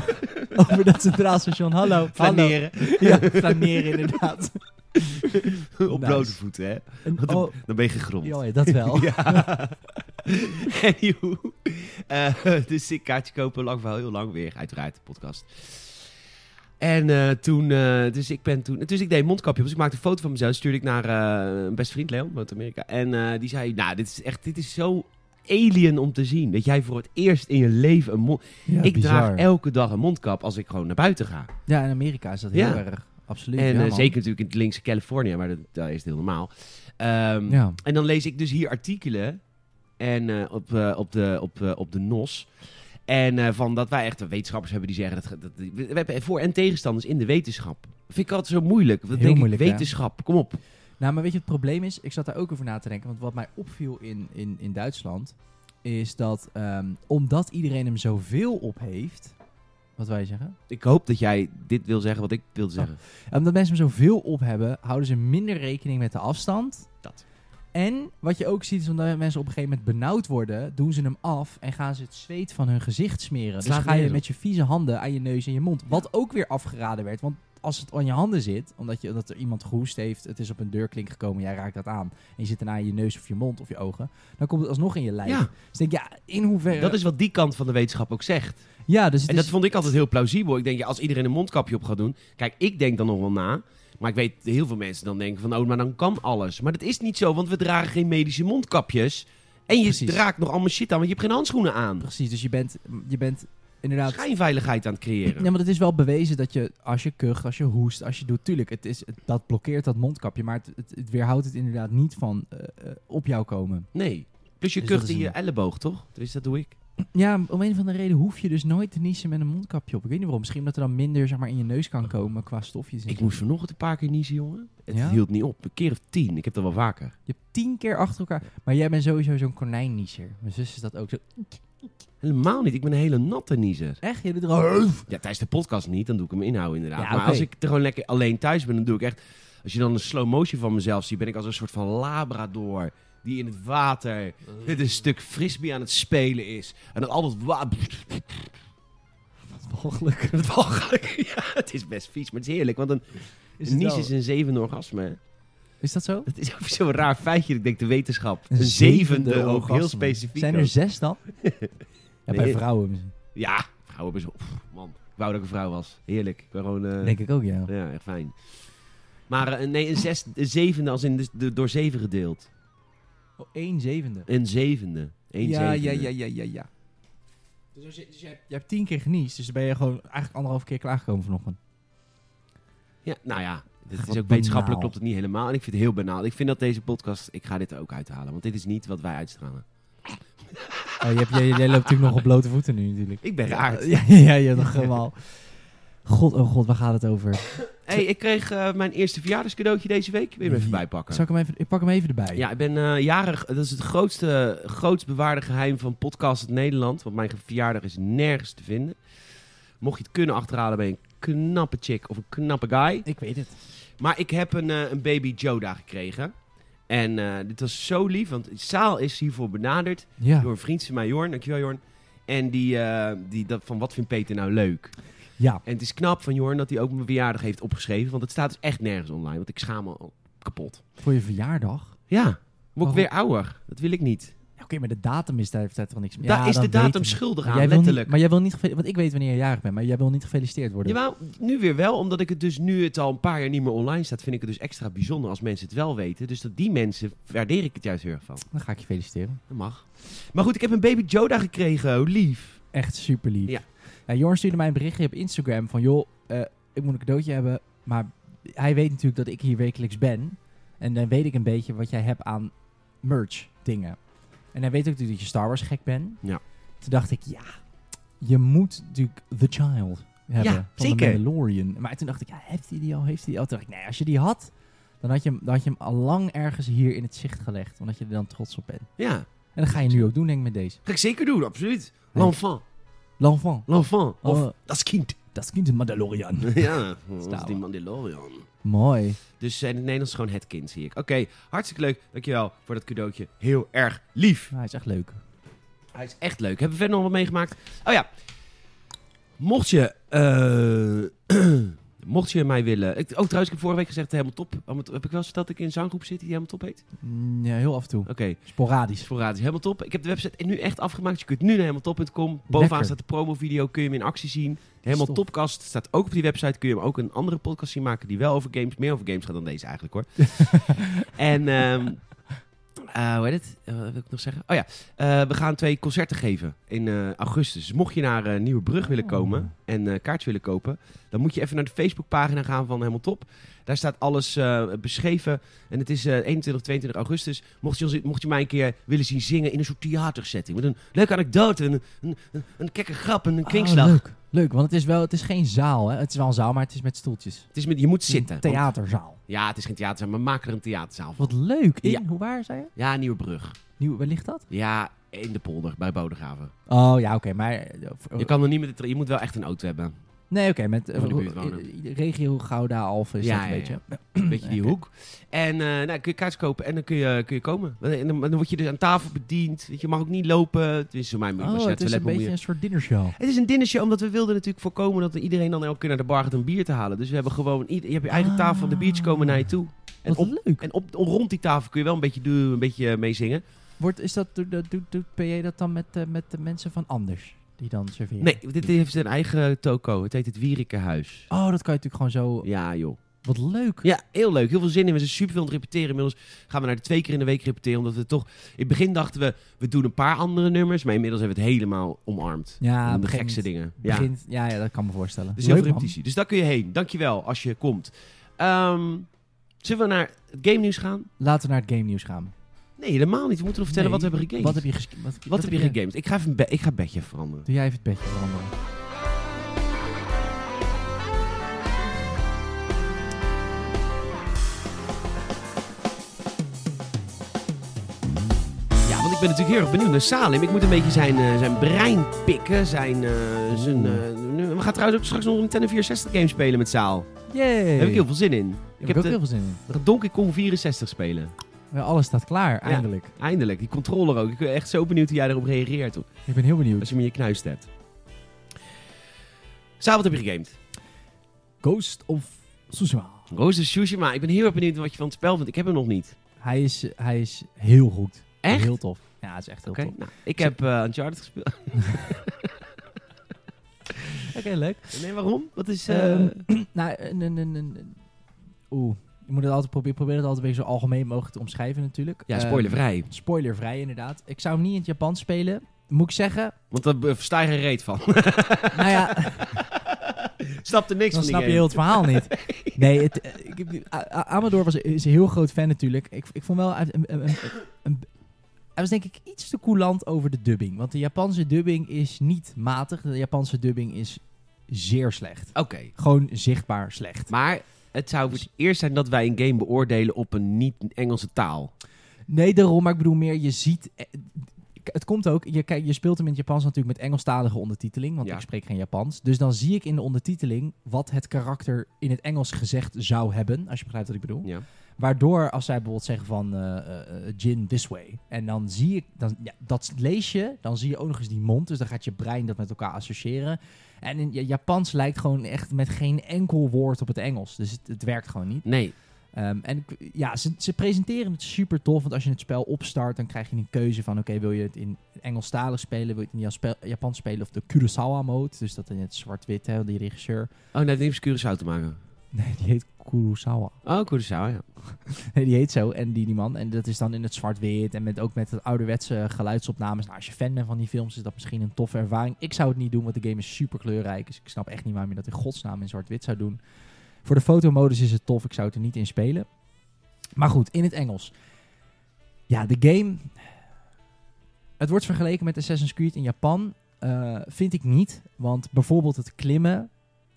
Speaker 2: over dat centraal station. Hallo. hallo.
Speaker 1: flaneren.
Speaker 2: Ja, flaneren inderdaad.
Speaker 1: op
Speaker 2: Nice.
Speaker 1: blote voeten, hè?
Speaker 2: En,
Speaker 1: Want dan-
Speaker 2: oh,
Speaker 1: Dan ben je gegrond.
Speaker 2: joh, ja, dat wel.
Speaker 1: Ja. Anywho. Eh, dus ik kaartje kopen, lang verhaal, heel lang weer. Uiteraard, de podcast. En eh, toen, eh, dus ik ben toen, dus ik deed een mondkapje op. Dus ik maakte een foto van mezelf, stuurde ik naar eh, een best vriend, Leon, uit Amerika. En eh, die zei, nou, dit is echt, dit is zo alien om te zien. Dat jij voor het eerst in je leven een mond...
Speaker 2: Ja,
Speaker 1: ik
Speaker 2: bizar.
Speaker 1: draag elke dag een mondkap als ik gewoon naar buiten ga.
Speaker 2: Ja, in Amerika is dat heel
Speaker 1: Ja.
Speaker 2: erg. Absoluut.
Speaker 1: en
Speaker 2: ja,
Speaker 1: eh,
Speaker 2: man.
Speaker 1: zeker natuurlijk in het linkse Californië, maar dat, daar is het heel normaal. Ehm,
Speaker 2: Ja.
Speaker 1: en dan lees ik dus hier artikelen en, eh, op, eh, op, de, op, eh, op de NOS. En eh, van dat wij echt wetenschappers hebben die zeggen... Dat, ge- dat, we hebben voor- en tegenstanders in de wetenschap. Vind ik altijd zo moeilijk. Dat
Speaker 2: Heel
Speaker 1: denk
Speaker 2: moeilijk,
Speaker 1: ik,
Speaker 2: hè?
Speaker 1: wetenschap, kom op.
Speaker 2: Nou, maar weet je, het probleem is, ik zat daar ook over na te denken. Want wat mij opviel in, in, in Duitsland, is dat ehm, omdat iedereen hem zoveel op heeft. Wat wij zeggen?
Speaker 1: Ik hoop dat jij dit wil zeggen wat ik wilde zeggen.
Speaker 2: Omdat mensen hem zoveel op hebben, houden ze minder rekening met de afstand.
Speaker 1: Dat.
Speaker 2: En wat je ook ziet, is omdat mensen op een gegeven moment benauwd worden, doen ze hem af en gaan ze het zweet van hun gezicht smeren. Dus
Speaker 1: slaat
Speaker 2: ga je
Speaker 1: nergens op.
Speaker 2: met je vieze handen aan je neus en je mond. Wat ook weer afgeraden werd, want als het aan je handen zit, omdat, je, omdat er iemand gehoest heeft, het is op een deurklink gekomen, jij raakt dat aan. En je zit daarna in je neus of je mond of je ogen, dan komt het alsnog in je lijf.
Speaker 1: Ja,
Speaker 2: Dus ik denk, ja, in hoeverre...
Speaker 1: dat is wat die kant van de wetenschap ook zegt.
Speaker 2: ja, dus het
Speaker 1: En
Speaker 2: is...
Speaker 1: dat vond ik altijd heel plausibel. Ik denk, ja, als iedereen een mondkapje op gaat doen... Kijk, ik denk dan nog wel na. Maar ik weet, heel veel mensen dan denken van... Oh, maar dan kan alles. Maar dat is niet zo, want we dragen geen medische mondkapjes. En je
Speaker 2: Precies.
Speaker 1: draagt nog allemaal shit aan, want je hebt geen handschoenen aan.
Speaker 2: Precies, dus je bent, je bent inderdaad...
Speaker 1: schijnveiligheid aan het creëren.
Speaker 2: Ja, maar het is wel bewezen dat je, als je kucht, als je hoest, als je doet, tuurlijk, het is, het- dat blokkeert dat mondkapje, maar het, het, het weerhoudt het inderdaad niet van eh, eh, op jou komen.
Speaker 1: Nee. Plus je
Speaker 2: Dus
Speaker 1: kucht
Speaker 2: dat is
Speaker 1: in je
Speaker 2: een-
Speaker 1: elleboog, toch? Dus dat doe ik.
Speaker 2: Ja, om een of andere reden hoef je dus nooit te niezen met een mondkapje op. Ik weet niet waarom, misschien omdat er dan minder zeg maar, in je neus kan komen qua stofjes. en
Speaker 1: Ik
Speaker 2: zo.
Speaker 1: moest vanochtend een paar keer niezen, jongen. Het
Speaker 2: Ja?
Speaker 1: hield niet op. Een keer of tien. Ik heb dat wel vaker.
Speaker 2: Je hebt tien keer achter elkaar, maar jij bent sowieso zo'n konijnniezer. Mijn zus is dat ook zo.
Speaker 1: Helemaal niet. Ik ben een hele natte niezer.
Speaker 2: Echt? Je doet er al-
Speaker 1: Ja, tijdens de podcast niet. Dan doe ik hem inhouden, inderdaad.
Speaker 2: Ja,
Speaker 1: maar
Speaker 2: oké.
Speaker 1: als ik er gewoon lekker alleen thuis ben, dan doe ik echt... Als je dan een slow motion van mezelf ziet, ben ik als een soort van labrador... Die in het water
Speaker 2: Oh.
Speaker 1: met een stuk frisbee aan het spelen is. En dan altijd... wa-
Speaker 2: walgelijk.
Speaker 1: Het walgelijk. Ja, het is best vies, maar het is heerlijk. Want een
Speaker 2: Is
Speaker 1: een
Speaker 2: het
Speaker 1: nies
Speaker 2: wel-
Speaker 1: is een zevende orgasme. hè?
Speaker 2: Is dat zo?
Speaker 1: Dat is ook zo'n raar feitje, ik denk de wetenschap.
Speaker 2: Een
Speaker 1: Een zevende,
Speaker 2: zevende
Speaker 1: ook, heel
Speaker 2: orgasme.
Speaker 1: specifiek.
Speaker 2: Zijn
Speaker 1: ook.
Speaker 2: er zes dan? Ja, bij
Speaker 1: Nee.
Speaker 2: vrouwen misschien.
Speaker 1: Ja, vrouwen hebben zo... Pff, man, ik wou dat ik een vrouw was. Heerlijk. Ik ben gewoon... eh,
Speaker 2: Denk ik ook, ja.
Speaker 1: Ja, echt fijn. Maar eh, nee, een, zes, een zevende als in de, de- door zeven gedeeld.
Speaker 2: Oh, één zevende.
Speaker 1: Een zevende. Een
Speaker 2: ja,
Speaker 1: zevende.
Speaker 2: ja, ja, ja, ja, ja. Dus, als je, dus je, hebt, je hebt tien keer geniest, dus dan ben je gewoon eigenlijk anderhalf keer klaargekomen vanochtend.
Speaker 1: Ja, nou ja, dit
Speaker 2: Wat
Speaker 1: is ook wetenschappelijk
Speaker 2: banaal.
Speaker 1: klopt het niet helemaal. En ik vind het heel banaal. Ik vind dat deze podcast, ik ga dit er ook uithalen. Want dit is niet wat wij uitstralen.
Speaker 2: Oh, je, hebt, jij, jij loopt natuurlijk nog op blote voeten nu natuurlijk.
Speaker 1: Ik ben raar.
Speaker 2: Ja, ja, ja, ja nog helemaal. God, oh god, waar gaat het over?
Speaker 1: hey, ik kreeg eh, mijn eerste verjaardagscadeautje deze week. Wil je hem even
Speaker 2: Ja.
Speaker 1: bijpakken?
Speaker 2: Zal ik hem even, ik pak hem even erbij.
Speaker 1: Ja, ik ben eh, jarig. Dat is het grootste, grootst bewaarde geheim van podcast in Nederland. Want mijn verjaardag is nergens te vinden. Mocht je het kunnen achterhalen, ben je een knappe chick of een knappe guy.
Speaker 2: Ik weet het.
Speaker 1: Maar ik heb een, eh, een baby Joda gekregen. En eh, dit was zo lief, want Saal is hiervoor benaderd
Speaker 2: Ja,
Speaker 1: door een vriend van mij, Jorn. Dankjewel, Jorn. En die, eh, die dat, van wat vindt Peter nou leuk?
Speaker 2: ja.
Speaker 1: En het is knap van Jorn dat hij ook mijn verjaardag heeft opgeschreven. Want het staat dus echt nergens online, want ik schaam me al kapot.
Speaker 2: voor je verjaardag.
Speaker 1: Ja, word
Speaker 2: Waarom?
Speaker 1: ik weer ouder. Dat wil ik niet.
Speaker 2: Ja, Oké, maar de datum is daar, heeft daar toch niks mee.
Speaker 1: Daar
Speaker 2: Ja,
Speaker 1: is
Speaker 2: dan
Speaker 1: de
Speaker 2: weten
Speaker 1: datum
Speaker 2: we.
Speaker 1: schuldig
Speaker 2: Maar
Speaker 1: aan,
Speaker 2: jij wil
Speaker 1: letterlijk.
Speaker 2: Niet, maar jij wil niet, geve- want ik weet wanneer je jarig bent, maar jij wil niet gefeliciteerd worden.
Speaker 1: Jawel, nu weer wel, omdat ik het dus nu het al een paar jaar niet meer online staat, vind ik het dus extra bijzonder als mensen het wel weten. Dus dat die mensen waardeer ik het juist heel erg van.
Speaker 2: Dan ga ik je feliciteren.
Speaker 1: Dat mag. Maar goed, ik heb een baby Joda gekregen, hoe lief.
Speaker 2: Echt super lief.
Speaker 1: Ja.
Speaker 2: Ja, Jorn stuurde mij een berichtje op Instagram van... joh, eh, ik moet een cadeautje hebben. Maar hij weet natuurlijk dat ik hier wekelijks ben. En dan weet ik een beetje wat jij hebt aan merch dingen. En hij weet ook natuurlijk dat je Star Wars gek bent.
Speaker 1: Ja.
Speaker 2: Toen dacht ik, ja, je moet natuurlijk The Child hebben.
Speaker 1: Ja,
Speaker 2: van
Speaker 1: zeker.
Speaker 2: The Mandalorian. Maar toen dacht ik, ja, heeft hij die al? Heeft hij die al? Toen dacht ik, nee, als je die had... Dan had, je hem, dan had je hem al lang ergens hier in het zicht gelegd. Omdat je er dan trots op bent.
Speaker 1: Ja,
Speaker 2: En dat ga je nu ook doen, denk ik, met deze.
Speaker 1: ga ik zeker doen, absoluut.
Speaker 2: Ja.
Speaker 1: L'enfant,
Speaker 2: L'enfant.
Speaker 1: l'enfant, of
Speaker 2: Oh.
Speaker 1: das kind.
Speaker 2: Dat kind de Mandalorian.
Speaker 1: ja, dat is
Speaker 2: Star
Speaker 1: die
Speaker 2: Wars.
Speaker 1: Mandalorian.
Speaker 2: Mooi.
Speaker 1: Dus eh, in het Nederlands gewoon het kind, zie ik. Oké, hartstikke leuk. Dankjewel voor dat cadeautje. Heel erg lief.
Speaker 2: Ja, hij is echt leuk.
Speaker 1: Hij is echt leuk. Hebben we verder nog wat meegemaakt? Oh ja. Mocht je... eh, mocht je mij willen... Ik, oh, trouwens, ik heb vorige week gezegd helemaal top. Helemaal top. Heb ik wel eens verteld dat ik in een zanggroep zit die helemaal top heet?
Speaker 2: Mm, Ja, heel af en toe.
Speaker 1: Oké.
Speaker 2: Sporadisch.
Speaker 1: Sporadisch. Helemaal top. Ik heb de website nu echt afgemaakt. dus Je kunt nu naar hemeltop.com. Bovenaan
Speaker 2: Lekker.
Speaker 1: staat de promovideo. Kun je hem in actie zien. Helemaal
Speaker 2: Stop.
Speaker 1: topkast staat ook op die website. Kun je hem ook een andere podcast zien maken die wel over games, meer over games gaat dan deze eigenlijk hoor. en ehm, eh, hoe heet het? Eh, wat wil ik nog zeggen? Oh ja, eh, we gaan twee concerten geven in eh, augustus. Dus mocht je naar eh, Nieuwebrug willen
Speaker 2: Oh.
Speaker 1: komen en eh kaartjes willen kopen, dan moet je even naar de Facebookpagina gaan van Helemaal Top. Daar staat alles eh, beschreven. En het is eh, 21, 22 augustus. Mocht je, ons, mocht je mij een keer willen zien zingen in een soort theatersetting. Met een leuke anekdote, een, een, een, een kekke grap en een kwinkslag.
Speaker 2: Oh, leuk. Leuk, want het is, wel, het is geen zaal. Hè? Het is wel een zaal, maar het is met stoeltjes.
Speaker 1: Het is met, je moet
Speaker 2: Het is een
Speaker 1: zitten. Want-
Speaker 2: theaterzaal.
Speaker 1: ja, het is geen theaterzaal, maar maak er een theaterzaal van.
Speaker 2: Wat leuk. In,
Speaker 1: Ja.
Speaker 2: hoe waar zei je?
Speaker 1: Ja, Nieuwebrug.
Speaker 2: Nieuw, waar ligt dat?
Speaker 1: Ja, in de polder, bij Bodegraven.
Speaker 2: Oh ja, oké. maar... eh, voor-
Speaker 1: Je kan er niet met de tra- je moet wel echt een auto hebben.
Speaker 2: Nee, oké. met eh,
Speaker 1: Voor de buurt
Speaker 2: eh,
Speaker 1: wonen.
Speaker 2: eh, regio Gouda, Alphen is
Speaker 1: Ja,
Speaker 2: dat
Speaker 1: ja, ja.
Speaker 2: een beetje.
Speaker 1: Een beetje die
Speaker 2: Oké.
Speaker 1: hoek. En eh, nou, kun je kaartjes kopen en dan kun je, kun je komen. En dan, dan word je dus aan tafel bediend. Weet je, je mag ook niet lopen. Het is voor mij
Speaker 2: Oh, het is een beetje een soort dinnershow.
Speaker 1: Het is een dinnershow, omdat we wilden natuurlijk voorkomen dat iedereen dan elke keer naar de bar gaat om bier te halen. Dus we hebben gewoon, ieder- je hebt je eigen
Speaker 2: Ah.
Speaker 1: tafel, de biertjes komen naar je toe. En,
Speaker 2: Wat
Speaker 1: op,
Speaker 2: leuk.
Speaker 1: en op, rond die tafel kun je wel een beetje, doen, een beetje eh, meezingen.
Speaker 2: Wordt, is dat, doet, doet, doet, doet PJ dat dan met, eh, met de mensen van anders? Die dan serveren?
Speaker 1: Nee, dit heeft zijn eigen toko. Het heet het Wierikenhuis.
Speaker 2: Oh, dat kan je natuurlijk gewoon zo...
Speaker 1: Ja, joh.
Speaker 2: Wat leuk.
Speaker 1: Ja, heel leuk. Heel veel zin in. We zijn super veel aan het repeteren. Inmiddels gaan we naar de twee keer in de week repeteren. Omdat we toch... In het begin dachten we, we doen een paar andere nummers. Maar inmiddels hebben we het helemaal omarmd.
Speaker 2: Ja, op een
Speaker 1: de
Speaker 2: gegeven
Speaker 1: gekste
Speaker 2: moment-
Speaker 1: dingen. Ja.
Speaker 2: Begint, ja. Ja, dat kan me voorstellen.
Speaker 1: Dus heel veel
Speaker 2: Leuk, man.
Speaker 1: repetitie. Dus daar kun je heen. Dankjewel als je komt. Ehm, zullen we naar het game nieuws gaan?
Speaker 2: Laten we naar het game nieuws gaan.
Speaker 1: Nee, helemaal niet. We moeten nog vertellen
Speaker 2: Nee.
Speaker 1: wat we hebben gegamed.
Speaker 2: Wat heb je gespeeld? Wat,
Speaker 1: Wat heb je gegamed? Ik ga even een be- ik ga het bedje veranderen.
Speaker 2: Doe jij even het bedje veranderen.
Speaker 1: Ja, want ik ben natuurlijk heel erg benieuwd naar Salim. Ik moet een beetje zijn, eh, zijn brein pikken. Zijn, eh, zijn, eh, nu- we gaan trouwens ook straks nog een Nintendo 64 game spelen met Saal.
Speaker 2: Yay!
Speaker 1: Daar heb ik heel veel zin in.
Speaker 2: ik
Speaker 1: heb
Speaker 2: heb ook
Speaker 1: de-
Speaker 2: heel veel zin in.
Speaker 1: We gaan Donkey Kong 64 spelen.
Speaker 2: Ja, alles staat klaar, eindelijk.
Speaker 1: Eindelijk. Die controller ook. Ik ben echt zo benieuwd hoe jij erop reageert. hoor.
Speaker 2: Ik ben heel
Speaker 1: Als
Speaker 2: benieuwd.
Speaker 1: je hem in je knuist hebt. Samen heb je gegamed.
Speaker 2: Ghost of Tsushima.
Speaker 1: Ghost of Tsushima. Ik ben heel erg benieuwd wat je van het spel vindt. Ik heb hem nog niet.
Speaker 2: Hij is, hij is heel goed.
Speaker 1: Echt?
Speaker 2: Heel tof. Ja, het is echt heel
Speaker 1: Oké.
Speaker 2: tof.
Speaker 1: Nou, ik heb eh Uncharted gespeeld.
Speaker 2: Oké, leuk.
Speaker 1: Nee, waarom? Wat is... eh,
Speaker 2: Ehm, nou, een, een, een, een- oeh. Je moet het altijd proberen, probeer het altijd een beetje zo algemeen mogelijk te omschrijven natuurlijk.
Speaker 1: ja,
Speaker 2: Ehm,
Speaker 1: spoilervrij.
Speaker 2: spoilervrij inderdaad. Ik zou hem niet in het Japan spelen. Moet ik zeggen,
Speaker 1: Want daar eh, versta je geen reet van.
Speaker 2: nou ja,
Speaker 1: Snap er niks
Speaker 2: dan
Speaker 1: van
Speaker 2: snap je
Speaker 1: die
Speaker 2: heel
Speaker 1: game.
Speaker 2: het verhaal niet. Nee, het, eh, ik, heb- A- A- Amador was, is een heel groot fan natuurlijk. Ik, ik vond wel... hij heeft een- een- een- een- hij was denk ik iets te coulant over de dubbing. Want de Japanse dubbing is niet matig. De Japanse dubbing is zeer slecht.
Speaker 1: Oké.
Speaker 2: Gewoon zichtbaar slecht.
Speaker 1: Maar het zou voor het eerst zijn dat wij een game beoordelen op een niet-Engelse taal.
Speaker 2: Nee, daarom. Maar ik bedoel meer, je ziet... eh, k- Het komt ook, je, kijk, je speelt hem in het Japans natuurlijk met Engelstalige ondertiteling, want
Speaker 1: Ja.
Speaker 2: ik spreek geen Japans. Dus dan zie ik in de ondertiteling wat het karakter in het Engels gezegd zou hebben, als je begrijpt wat ik bedoel.
Speaker 1: Ja.
Speaker 2: Waardoor als zij bijvoorbeeld zeggen van eh, eh, eh, gin this way. En dan zie ik, dan, ja, dat lees je, dan zie je ook nog eens die mond. Dus dan gaat je brein dat met elkaar associëren. En in Ja- Japans lijkt gewoon echt met geen enkel woord op het Engels. Dus het, het werkt gewoon niet.
Speaker 1: Nee.
Speaker 2: Ehm, en ik- ja, ze, ze presenteren het super tof. Want als je het spel opstart, dan krijg je een keuze van... oké, wil je het in Engelstalig spelen? Wil je het in Jaspe- Japans spelen? Of de Kurosawa-mode, dus dat in het zwart-wit, hè, die regisseur.
Speaker 1: Oh, nee, het heeft niks met Curaçao te maken.
Speaker 2: Nee, die heet Kurosawa.
Speaker 1: Oh, Curaçao, ja.
Speaker 2: Nee, die heet zo. En die, die man. En dat is dan in het zwart-wit. En met, ook met het ouderwetse geluidsopnames. Nou, als je fan bent van die films, is dat misschien een toffe ervaring. Ik zou het niet doen, want de game is super kleurrijk. Dus ik snap echt niet waarom je dat in godsnaam in zwart-wit zou doen. Voor de fotomodus is het tof. Ik zou het er niet in spelen. Maar goed, in het Engels. Ja, de game. Het wordt vergeleken met Assassin's Creed in Japan. Eh, vind ik niet. Want bijvoorbeeld het klimmen.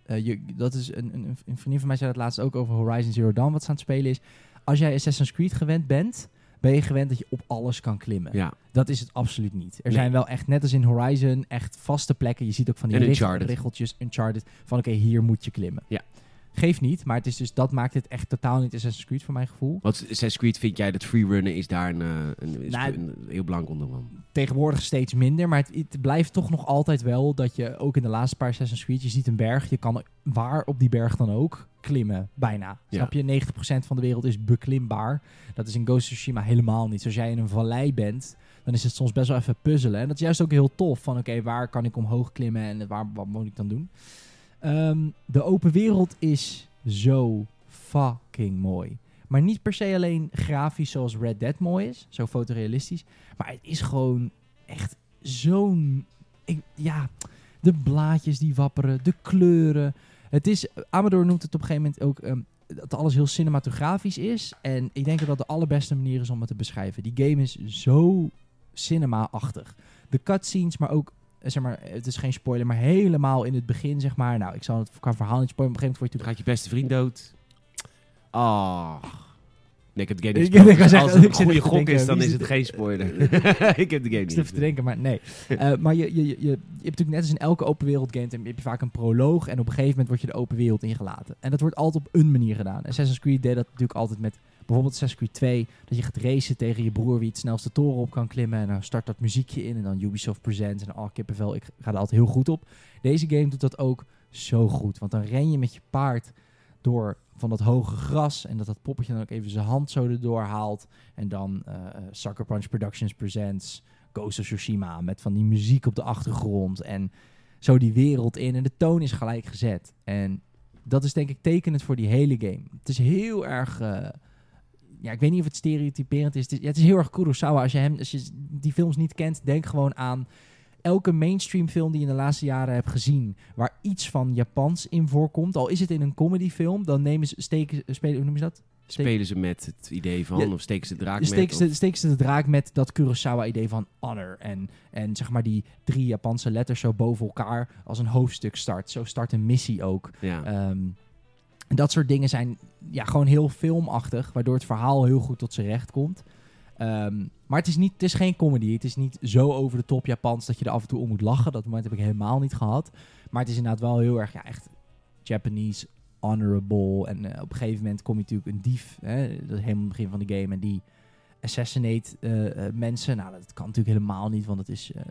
Speaker 2: eh, je, dat is een, een, een vriendin van mij zei dat laatst ook over Horizon Zero Dawn. Wat ze aan het spelen is als jij Assassin's Creed gewend bent, ben je gewend dat je op alles kan klimmen.
Speaker 1: Ja.
Speaker 2: Dat is het absoluut niet. Er
Speaker 1: Nee.
Speaker 2: zijn wel echt, net als in Horizon, echt vaste plekken. Je ziet ook van die
Speaker 1: En
Speaker 2: richt-
Speaker 1: Uncharted.
Speaker 2: richeltjes, Uncharted, van oké, hier moet je klimmen.
Speaker 1: Ja.
Speaker 2: Geeft niet, maar het is dus, dat maakt het echt totaal niet Assassin's Creed voor mijn gevoel.
Speaker 1: Want Assassin's Creed vind jij dat freerunnen is daar een, eh, een, is
Speaker 2: Nou,
Speaker 1: een heel belangrijk onderman.
Speaker 2: Tegenwoordig steeds minder, maar het, het blijft toch nog altijd wel dat je ook in de laatste paar Assassin's Creed, je ziet een berg, je kan waar op die berg dan ook klimmen, bijna.
Speaker 1: Ja.
Speaker 2: Snap je? 90% van de wereld is beklimbaar. Dat is in Ghost of Tsushima helemaal niet. Dus als jij in een vallei bent, dan is het soms best wel even puzzelen. En dat is juist ook heel tof. Van oké, waar kan ik omhoog klimmen en waar, wat moet ik dan doen? Ehm, de open wereld is zo fucking mooi. Maar niet per se alleen grafisch zoals Red Dead mooi is. Zo fotorealistisch. Maar het is gewoon echt zo'n... Ik, ja, de blaadjes die wapperen. De kleuren. Het is... Amador noemt het op een gegeven moment ook... ehm, dat alles heel cinematografisch is. En ik denk dat dat de allerbeste manier is om het te beschrijven. Die game is zo cinema-achtig. De cutscenes, maar ook, eh, zeg maar, het is geen spoiler, maar helemaal in het begin, zeg maar. Nou, ik zal het qua verhaal niet spoilen, maar op een gegeven
Speaker 1: Dan
Speaker 2: moment
Speaker 1: gaat je beste vriend dood. Ah. Nee, ik heb de game
Speaker 2: Ik-
Speaker 1: niet gespeeld.
Speaker 2: ik
Speaker 1: Dus
Speaker 2: wou zeggen,
Speaker 1: als
Speaker 2: ik
Speaker 1: het een
Speaker 2: zit
Speaker 1: goede
Speaker 2: even te
Speaker 1: gok
Speaker 2: denken,
Speaker 1: is, dan
Speaker 2: wie
Speaker 1: is
Speaker 2: zit-
Speaker 1: het geen spoiler. ik heb de game
Speaker 2: word je...
Speaker 1: niet
Speaker 2: Ik zit te
Speaker 1: gespeeld.
Speaker 2: denken, maar nee. Eh, maar je, je, je, je hebt natuurlijk net als in elke open wereld game, heb je vaak een proloog en op een gegeven moment word je de open wereld ingelaten. En dat wordt altijd op een manier gedaan. Assassin's Creed deed dat natuurlijk altijd met bijvoorbeeld Assassin's Creed 2, dat je gaat racen tegen je broer wie het snelste toren op kan klimmen en dan start dat muziekje in en dan Ubisoft Presents en oh kippenvel, ik ga er altijd heel goed op. Deze game doet dat ook zo goed, want dan ren je met je paard door van dat hoge gras en dat dat poppetje dan ook even zijn hand zo erdoor haalt en dan eh Sucker Punch Productions Presents Ghost of Tsushima. Met van die muziek op de achtergrond. En zo die wereld in. En de toon is gelijk gezet. En dat is denk ik tekenend voor die hele game. Het is heel erg... eh, ja, ik weet niet of het stereotyperend is. Het is, ja, het is heel erg Kurosawa. Als je, hem, als je die films niet kent, denk gewoon aan... Elke mainstream film die je in de laatste jaren hebt gezien... waar iets van Japans in voorkomt... al is het in een comedyfilm... dan nemen ze, steken, ze- spelen, hoe noem je dat?
Speaker 1: Spelen ze met het idee van,
Speaker 2: Ja,
Speaker 1: of steken ze de draak met?
Speaker 2: Steek ze, steek ze de draak met dat Kurosawa-idee van honor. En, en zeg maar die drie Japanse letters zo boven elkaar als een hoofdstuk start. Zo start een missie ook.
Speaker 1: of- ja.
Speaker 2: Ehm, dat soort dingen zijn ja, gewoon heel filmachtig, waardoor het verhaal heel goed tot zijn recht komt. Ehm, maar het is, niet, het is geen comedy. Het is niet zo over de top Japans dat je er af en toe om moet lachen. Dat moment heb ik helemaal niet gehad. Maar het is inderdaad wel heel erg ja, echt Japanese honorable. En eh, op een gegeven moment kom je natuurlijk een dief. Hè, dat is helemaal het begin van de game. En die assassinate eh, eh, mensen. Nou, dat kan natuurlijk helemaal niet, want dat is eh,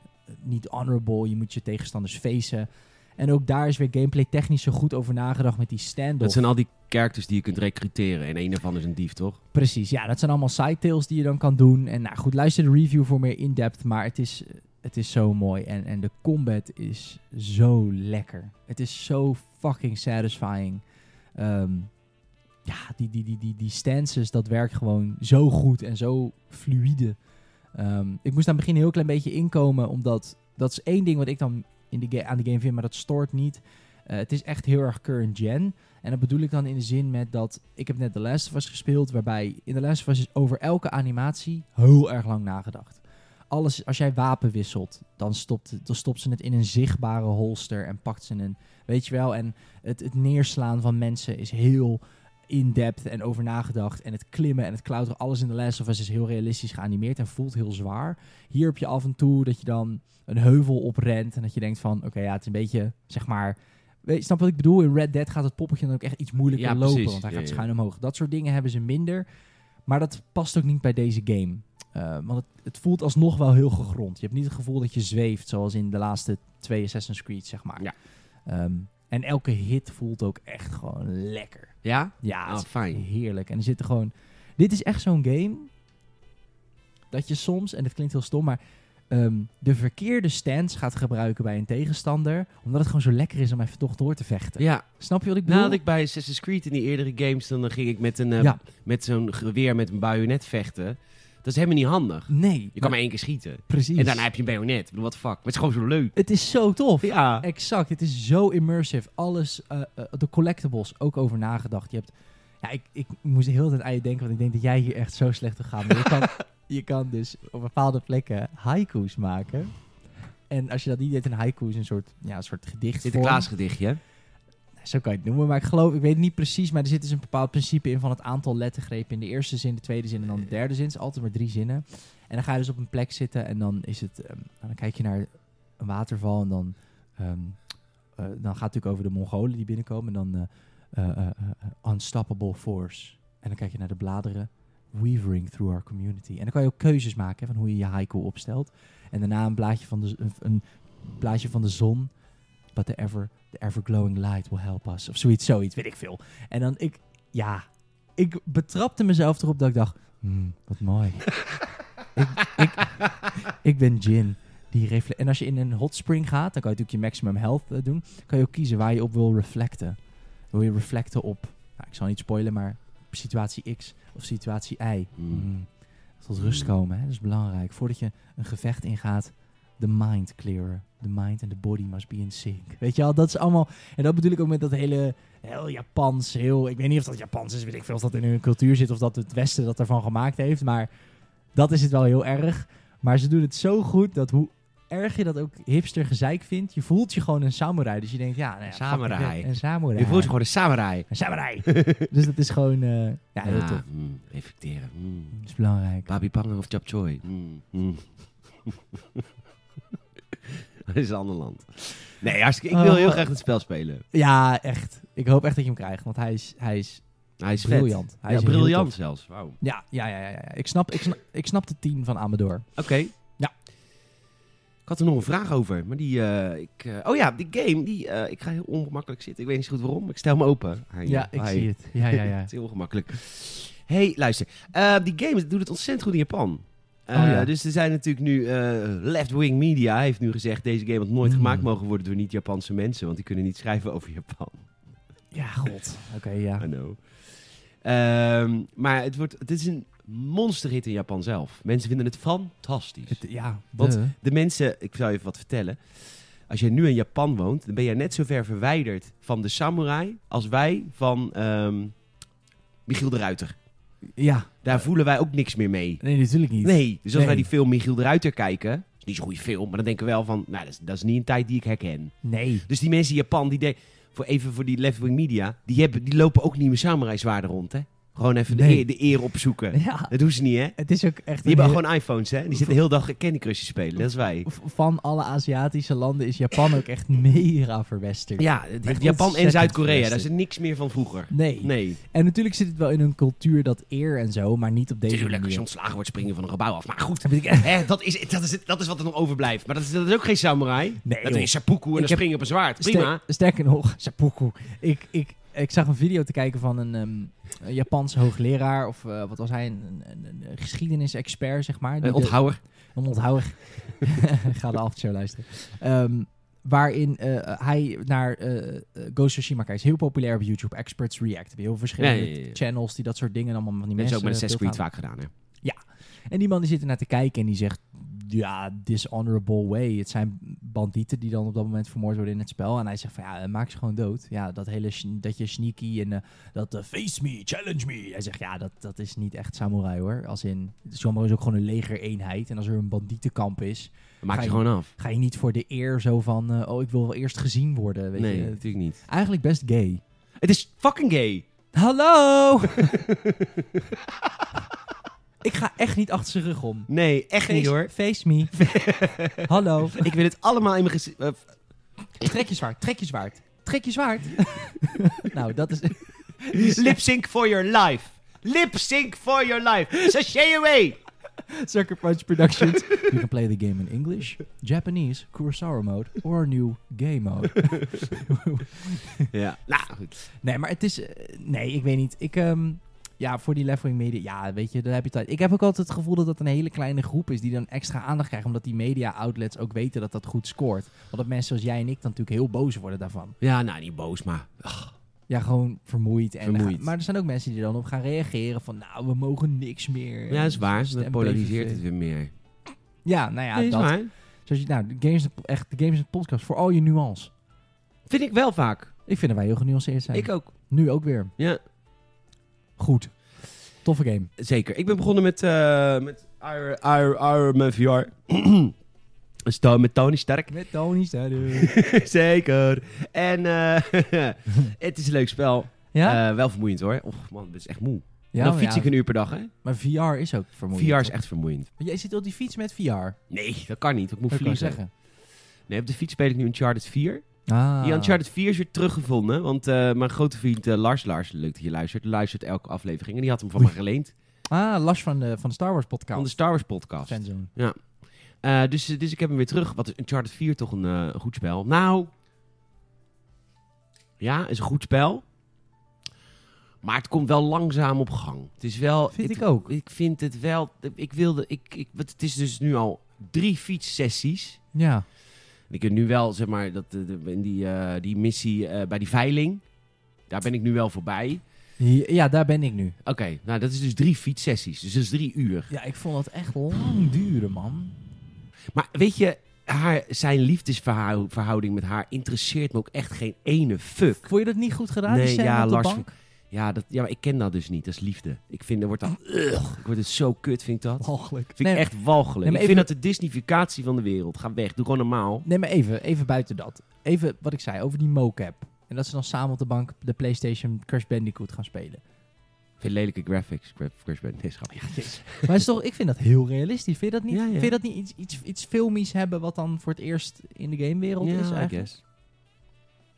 Speaker 2: niet honorable. Je moet je tegenstanders facen. En ook daar is weer gameplay technisch zo goed over nagedacht met die
Speaker 1: Dat
Speaker 2: stand-off.
Speaker 1: zijn al die characters die je kunt recruteren. En een daarvan is een dief, toch?
Speaker 2: Precies, ja, dat zijn allemaal side tales die je dan kan doen. En nou goed, luister de review voor meer in-depth, maar het is, het is zo mooi. En, en de combat is zo lekker. Het is zo fucking satisfying. Ehm, ja, die, die, die, die, die stances, dat werkt gewoon zo goed en zo fluide. Ehm, ik moest aan het begin een heel klein beetje inkomen, omdat dat is één ding wat ik dan in de ga- aan de game vind, maar dat stoort niet. Eh, het is echt heel erg current gen. En dat bedoel ik dan in de zin met dat ik heb net The Last of Us gespeeld, waarbij in The Last of Us is over elke animatie heel erg lang nagedacht. Alles, als jij wapen wisselt, dan stopt, dan stopt ze het in een zichtbare holster en pakt ze een, weet je wel. En het, het neerslaan van mensen is heel in-depth en over nagedacht. En het klimmen en het klauteren, alles in The Last of Us is heel realistisch geanimeerd en voelt heel zwaar. Hier heb je af en toe dat je dan een heuvel oprent en dat je denkt van, oké ja, het is een beetje, zeg maar, Weet, je, snap wat ik bedoel? In Red Dead gaat het poppetje dan ook echt iets moeilijker
Speaker 1: Ja,
Speaker 2: lopen.
Speaker 1: precies.
Speaker 2: Want hij
Speaker 1: Ja,
Speaker 2: gaat
Speaker 1: ja.
Speaker 2: schuin omhoog. Dat soort dingen hebben ze minder. Maar dat past ook niet bij deze game. Eh, want het, het voelt alsnog wel heel gegrond. Je hebt niet het gevoel dat je zweeft, zoals in de laatste twee Assassin's Creed, zeg maar.
Speaker 1: Ja.
Speaker 2: Ehm, en elke hit voelt ook echt gewoon lekker.
Speaker 1: Ja?
Speaker 2: Ja,
Speaker 1: Ah,
Speaker 2: het is
Speaker 1: fijn.
Speaker 2: heerlijk. En er zitten gewoon... Dit is echt zo'n game dat je soms, en het klinkt heel stom, maar ehm, de verkeerde stance gaat gebruiken bij een tegenstander. Omdat het gewoon zo lekker is om even toch door te vechten.
Speaker 1: Ja,
Speaker 2: Snap je wat ik bedoel?
Speaker 1: nadat ik bij Assassin's Creed in die eerdere games, dan eh, ging ik met, een, eh,
Speaker 2: Ja.
Speaker 1: met zo'n geweer met een bajonet vechten. Dat is helemaal niet handig.
Speaker 2: Nee.
Speaker 1: Je kan
Speaker 2: maar-
Speaker 1: maar één keer schieten.
Speaker 2: Precies.
Speaker 1: En daarna heb je een bajonet. Ik bedoel, What the fuck? Maar het is gewoon zo leuk.
Speaker 2: Het is zo tof.
Speaker 1: Ja.
Speaker 2: Exact, het is zo immersive. Alles, eh, eh, de collectibles, ook over nagedacht. Je hebt, ja, ik, ik moest heel de tijd aan je denken, want ik denk dat jij hier echt zo slecht op gaat. Maar je kan, je kan dus op bepaalde plekken haiku's maken. En als je dat niet deed, een haiku is een soort, ja, een soort gedicht.
Speaker 1: Sinterklaas gedichtje. hè?
Speaker 2: Zo kan je het noemen, maar ik geloof, ik weet het niet precies, maar er zit dus een bepaald principe in van het aantal lettergrepen in de eerste zin, de tweede zin en dan de derde zin. Het is altijd maar drie zinnen. En dan ga je dus op een plek zitten en dan is het, ehm, dan kijk je naar een waterval en dan, ehm, eh, dan gaat het natuurlijk over de Mongolen die binnenkomen en dan eh, eh, eh, eh, Unstoppable Force. En dan kijk je naar de bladeren, Weavering Through Our Community. En dan kan je ook keuzes maken hè, van hoe je je haiku opstelt. En daarna een blaadje van de, een, een blaadje van de zon, but the ever the ever-glowing light will help us. Of zoiets, zoiets, weet ik veel. En dan ik, ja, ik betrapte mezelf erop dat ik dacht, hmm, wat mooi. ik, ik, ik ben Jin. Die refle- en als je in een hot spring gaat, dan kan je natuurlijk je maximum health eh, doen. Kan je ook kiezen waar je op wil reflecten. Wil je reflecten op, nou, ik zal niet spoilen, maar situatie X of situatie Y.
Speaker 1: Mm.
Speaker 2: Hmm. Tot rust komen, hè? dat is belangrijk. Voordat je een gevecht ingaat, the mind clearer. The mind and the body must be in sync. Weet je al, dat is allemaal... En dat bedoel ik ook met dat hele heel Japans, heel... Ik weet niet of dat Japans is, weet ik veel of dat in hun cultuur zit... of dat het Westen dat ervan gemaakt heeft, maar dat is het wel heel erg. Maar ze doen het zo goed dat hoe erg je dat ook hipster gezeik vindt... je voelt je gewoon een samurai. Dus je denkt, ja... Nou ja,
Speaker 1: Samurai.
Speaker 2: fuck it, Een samurai.
Speaker 1: Je voelt je gewoon een samurai.
Speaker 2: Een samurai. dus dat is gewoon... eh, ja, heel tof.
Speaker 1: mm, reflecteren. Mm.
Speaker 2: Dat is belangrijk.
Speaker 1: Babi Panga of Chap Choi. Mm, mm. dat is een ander land. Nee, hartstikke, ik wil heel
Speaker 2: Oh.
Speaker 1: graag het spel spelen.
Speaker 2: Ja, echt. Ik hoop echt dat je hem krijgt, want hij is, hij is
Speaker 1: Hij is vet.
Speaker 2: briljant. Hij
Speaker 1: ja,
Speaker 2: is heel
Speaker 1: briljant
Speaker 2: tof.
Speaker 1: zelfs. Wauw.
Speaker 2: Ja, ja, ja, ja, ja. Ik snap, ik snap, ik snap de 10 van Amador.
Speaker 1: Oké.
Speaker 2: Ja.
Speaker 1: Ik had er nog een vraag over, maar die... eh, ik, eh, oh ja, die game, die, eh, ik ga heel ongemakkelijk zitten. Ik weet niet zo goed waarom, maar ik stel me open. eh, Hi.
Speaker 2: Ja, ik
Speaker 1: Hi.
Speaker 2: zie het. Ja, ja, ja.
Speaker 1: het is heel ongemakkelijk. hey, luister. Eh, die games doen het ontzettend goed in Japan. Eh,
Speaker 2: Oh, ja.
Speaker 1: Dus er zijn natuurlijk nu... eh, Left-wing media heeft nu gezegd... deze game had nooit
Speaker 2: Mm.
Speaker 1: gemaakt mogen worden door niet-Japanse mensen... want die kunnen niet schrijven over Japan.
Speaker 2: Ja, god. Oké, ja.
Speaker 1: I know. Ehm, maar het, wordt, het is een monsterhit in Japan zelf. Mensen vinden het fantastisch.
Speaker 2: Het- ja,
Speaker 1: Want-
Speaker 2: de-
Speaker 1: De mensen, ik zou je even wat vertellen. Als jij nu in Japan woont, dan ben jij net zo ver verwijderd van de samurai als wij van ehm, Michiel de Ruiter.
Speaker 2: Ja,
Speaker 1: Daar voelen wij ook niks meer mee.
Speaker 2: nee, natuurlijk niet.
Speaker 1: Nee, dus als
Speaker 2: Nee.
Speaker 1: wij die film Michiel de Ruiter kijken, is niet zo'n goede film, maar dan denken we wel van, nou, dat is, dat is niet een tijd die ik herken.
Speaker 2: Nee.
Speaker 1: Dus die mensen in Japan, die de- voor even voor die left-wing media, die, hebben, die lopen ook niet meer samurai zwaarden rond, hè? Gewoon even de,
Speaker 2: Nee.
Speaker 1: eer, de eer opzoeken.
Speaker 2: Ja,
Speaker 1: Dat doen ze niet, hè?
Speaker 2: het is ook echt...
Speaker 1: Die
Speaker 2: een
Speaker 1: hebben
Speaker 2: heel-
Speaker 1: gewoon iPhones, hè? Die zitten heel dag Candy Crush te spelen. Dat is wij.
Speaker 2: v- Van alle Aziatische landen is Japan ook echt mega verwesterd.
Speaker 1: Ja, het-
Speaker 2: Echt
Speaker 1: Japan en
Speaker 2: ontzettend
Speaker 1: Zuid-Korea. Daar
Speaker 2: verwesterd.
Speaker 1: is niks meer van vroeger.
Speaker 2: Nee.
Speaker 1: Nee.
Speaker 2: En natuurlijk zit het wel in een cultuur dat eer en zo, maar niet op deze
Speaker 1: Tuurlijk, als je
Speaker 2: manier.
Speaker 1: ontslagen wordt springen van een gebouw af. Maar goed, hè, dat, is, dat, is, dat is wat er nog overblijft. Maar dat is, dat is ook geen samurai.
Speaker 2: Nee,
Speaker 1: dat
Speaker 2: joh.
Speaker 1: is seppuku en
Speaker 2: Ik
Speaker 1: dan
Speaker 2: heb-
Speaker 1: springen op een zwaard.
Speaker 2: Ste-
Speaker 1: Prima.
Speaker 2: sterker nog, seppuku. Ik, ik, ik zag een video te kijken van een ehm, een Japanse hoogleraar, of eh, wat was hij, een, een, een- een geschiedenisexpert, zeg maar. die
Speaker 1: Een
Speaker 2: de-
Speaker 1: onthouwer.
Speaker 2: Een onthouwer. Ga de aftershow luisteren. Ehm, waarin eh, hij naar eh eh, Go Tsushima kijkt. Is heel populair op YouTube. Experts React. Heb je Heel veel verschillende
Speaker 1: Ja, ja, ja, ja.
Speaker 2: channels die dat soort dingen allemaal van die
Speaker 1: Dat is
Speaker 2: mensen...
Speaker 1: ook met de
Speaker 2: eh,
Speaker 1: 6 Creed
Speaker 2: beeldhouden.
Speaker 1: vaak gedaan, hè?
Speaker 2: En die man die zit ernaar te kijken en die zegt... Ja, dishonorable way. Het zijn bandieten die dan op dat moment vermoord worden in het spel. En hij zegt van ja, eh, maak ze gewoon dood. Ja, dat hele sn- dat je sneaky en eh, dat eh, face me, challenge me. Hij zegt ja, dat, dat is niet echt samurai hoor. Als in, samurai is ook gewoon een legereenheid. En als er een bandietenkamp is,
Speaker 1: Dat maak
Speaker 2: Ga
Speaker 1: je
Speaker 2: je-
Speaker 1: gewoon af.
Speaker 2: ga je niet voor de eer zo van, eh, oh, ik wil wel eerst gezien worden, weet
Speaker 1: nee,
Speaker 2: je.
Speaker 1: natuurlijk niet.
Speaker 2: Eigenlijk best gay.
Speaker 1: Het is fucking gay.
Speaker 2: Hallo! ik ga echt niet achter zijn rug om.
Speaker 1: Nee, echt
Speaker 2: Face,
Speaker 1: niet hoor.
Speaker 2: face me. Hallo.
Speaker 1: Ik wil het allemaal in mijn gezicht. eh,
Speaker 2: Trek je zwaard, trek je zwaard. Trek je zwaard. nou, dat is...
Speaker 1: lip sync for your life. Lip sync for your life. Sashay away.
Speaker 2: Sucker Punch Productions. You can play the game in English, Japanese, Kurosawa mode, or new game mode.
Speaker 1: Ja, nou goed.
Speaker 2: Nee, maar het is... eh, nee, ik weet niet. Ik... ehm, ja, voor die leveling media, ja, weet je, daar heb je tijd. Ik heb ook altijd het gevoel dat dat een hele kleine groep is die dan extra aandacht krijgt. Omdat die media outlets ook weten dat dat goed scoort. Want dat mensen zoals jij en ik dan natuurlijk heel boos worden daarvan.
Speaker 1: Ja, nou niet boos, maar.
Speaker 2: Ja, gewoon vermoeid. En
Speaker 1: Vermoeid.
Speaker 2: maar er zijn ook mensen die er dan op gaan reageren van, nou, we mogen niks meer.
Speaker 1: Ja, dat is waar.
Speaker 2: Stem
Speaker 1: Dat polariseert
Speaker 2: PVV.
Speaker 1: het weer meer.
Speaker 2: Ja, nou ja,
Speaker 1: Nee, is
Speaker 2: dat.
Speaker 1: waar.
Speaker 2: Zoals je, nou, de games, echt, de games en podcast voor al je nuance.
Speaker 1: Vind ik wel vaak.
Speaker 2: Ik vind dat wij heel genuanceerd zijn.
Speaker 1: Ik ook.
Speaker 2: Nu ook weer.
Speaker 1: Ja,
Speaker 2: Goed. Toffe game.
Speaker 1: zeker. Ik ben begonnen met, eh met Iron, Iron, Iron Man VR. Sto- Dus met Tony Sterk.
Speaker 2: Met Tony Stadu.
Speaker 1: zeker. En eh, het is een leuk spel.
Speaker 2: ja?
Speaker 1: Eh, wel vermoeiend hoor. Och man, dat is echt moe.
Speaker 2: ja,
Speaker 1: dan
Speaker 2: maar
Speaker 1: fiets
Speaker 2: ja.
Speaker 1: ik een uur per dag hè.
Speaker 2: Maar VR is ook vermoeiend.
Speaker 1: VR is echt vermoeiend.
Speaker 2: Maar Jij zit op die fiets met VR. Dat
Speaker 1: Nee, dat kan niet. want Ik moet
Speaker 2: kan
Speaker 1: vliegen.
Speaker 2: je zeggen.
Speaker 1: Nee, op de fiets speel ik nu Uncharted 4.
Speaker 2: Ah.
Speaker 1: Die Uncharted 4 is weer teruggevonden. Want eh, mijn grote vriend eh, Lars, Lars, leuk dat je luistert, luistert elke aflevering. En die had hem van me geleend.
Speaker 2: Ah, Lars van de, van de Star Wars
Speaker 1: Van de
Speaker 2: podcast.
Speaker 1: Star Wars podcast.
Speaker 2: Fanzone.
Speaker 1: Eh, dus, dus ik heb hem weer terug. Wat is Uncharted 4 toch een eh, goed spel? Nou, ja, is een goed spel. Maar het komt wel langzaam op gang. Het is wel.
Speaker 2: Vind
Speaker 1: het-
Speaker 2: ik ook.
Speaker 1: Ik vind het wel. Ik wilde. Ik, ik, want het is dus nu al drie fietssessies.
Speaker 2: Ja.
Speaker 1: En ik heb nu wel, zeg maar, dat, eh, de- in die, eh, die missie eh, bij die veiling. Daar ben ik nu wel voorbij.
Speaker 2: Ja, daar ben ik nu.
Speaker 1: Oké, nou dat is dus drie fietssessies. Dus dat is drie uur.
Speaker 2: Ja, ik vond dat echt lang duren, man.
Speaker 1: Maar weet je, haar, zijn liefdesverhouding met haar interesseert me ook echt geen ene fuck.
Speaker 2: Vond je dat niet goed gedaan,
Speaker 1: Nee,
Speaker 2: die scène
Speaker 1: ja,
Speaker 2: op de
Speaker 1: Lars
Speaker 2: bank?
Speaker 1: Ja, dat, ja, maar ik ken dat dus niet. Dat is liefde. Ik vind, er wordt dat... Ugh, ik word het zo kut, vind ik dat.
Speaker 2: Walgelijk.
Speaker 1: Vind
Speaker 2: Oh, Nee,
Speaker 1: ik echt walgelijk.
Speaker 2: Nee, maar
Speaker 1: ik vind dat
Speaker 2: even-
Speaker 1: de Disneyficatie van de wereld. Ga weg, doe gewoon normaal.
Speaker 2: Nee, maar even, even buiten dat. Even wat ik zei over die mocap. En dat ze dan samen op de bank de PlayStation Crash Bandicoot gaan spelen.
Speaker 1: Ik vind lelijke graphics. Gra- Crash Band. Nee, grapje.
Speaker 2: Maar is toch, ik vind dat heel realistisch. Vind je dat niet,
Speaker 1: Ja, ja.
Speaker 2: Vind je dat niet iets, iets, iets filmisch hebben wat dan voor het eerst in de gamewereld is
Speaker 1: Ja, I
Speaker 2: eigenlijk?
Speaker 1: guess.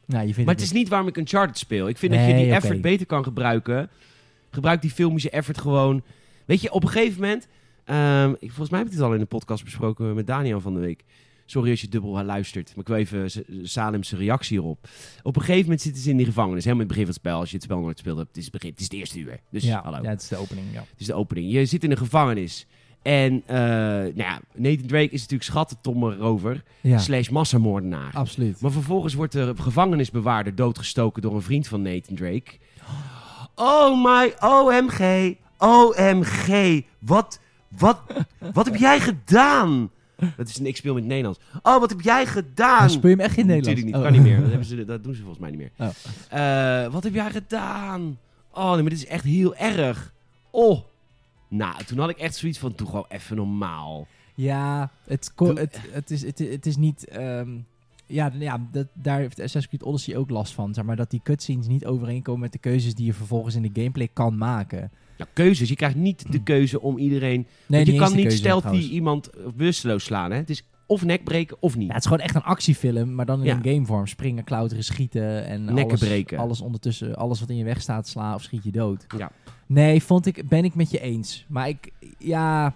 Speaker 2: Nou, je vindt
Speaker 1: Maar het is niet waarom ik Uncharted speel. Ik vind dat je
Speaker 2: Nee,
Speaker 1: die
Speaker 2: oké.
Speaker 1: effort beter kan gebruiken. Gebruik die filmische effort gewoon. Weet je, op een gegeven moment... ehm, ik, volgens mij heb ik dit al in de podcast besproken met Daniel van de week. Sorry als je dubbel luistert. Maar ik wil even S- Salem's reactie hierop. Op een gegeven moment zitten ze in die gevangenis. Helemaal in het begin van het spel. Als je het spel nooit speelt hebt. Het is het, begin, het, is het eerste uur. Dus
Speaker 2: ja,
Speaker 1: hallo.
Speaker 2: ja, het is de opening, ja.
Speaker 1: Het is de opening. Je zit in een gevangenis. En eh, nou ja, Nathan Drake is natuurlijk schattentommer rover.
Speaker 2: Ja,
Speaker 1: Slash massamoordenaar.
Speaker 2: absoluut.
Speaker 1: Maar vervolgens wordt de gevangenisbewaarder doodgestoken door een vriend van Nathan Drake. Oh my, OMG, OMG, wat, wat, wat heb jij gedaan? Dat is, ik speel met Nederlands. Oh, wat heb jij gedaan?
Speaker 2: Dan Ah, speel je hem echt in Nederland.
Speaker 1: Natuurlijk niet,
Speaker 2: Oh.
Speaker 1: kan niet meer. Dat, hebben ze, dat doen ze volgens mij niet meer.
Speaker 2: Oh.
Speaker 1: Eh, wat heb jij gedaan? Oh, nee, maar dit is echt heel erg. Oh. Nou, toen had ik echt zoiets van, doe gewoon even normaal.
Speaker 2: Ja, het, ko-
Speaker 1: Doe-
Speaker 2: het, het, is, het, het is niet... ehm, Ja, d- ja dat, daar heeft Assassin's Creed Odyssey ook last van. Zeg maar dat die cutscenes niet overeenkomen met de keuzes die je vervolgens in de gameplay kan maken.
Speaker 1: Ja, Nou, keuzes. Je krijgt niet de keuze om iedereen...
Speaker 2: Nee,
Speaker 1: want je
Speaker 2: eens
Speaker 1: kan
Speaker 2: de
Speaker 1: niet
Speaker 2: keuze,
Speaker 1: stealthy
Speaker 2: trouwens.
Speaker 1: iemand eh, bewusteloos slaan. Hè? Het is of nek breken of niet.
Speaker 2: Ja, het is gewoon echt een actiefilm, maar dan in
Speaker 1: Ja.
Speaker 2: een gamevorm. Springen, klauteren, schieten en
Speaker 1: Nekken
Speaker 2: alles,
Speaker 1: breken.
Speaker 2: alles ondertussen, alles wat in je weg staat, sla of schiet je dood.
Speaker 1: Ja.
Speaker 2: Nee, vond ik, ben ik met je eens. Maar ik, ja,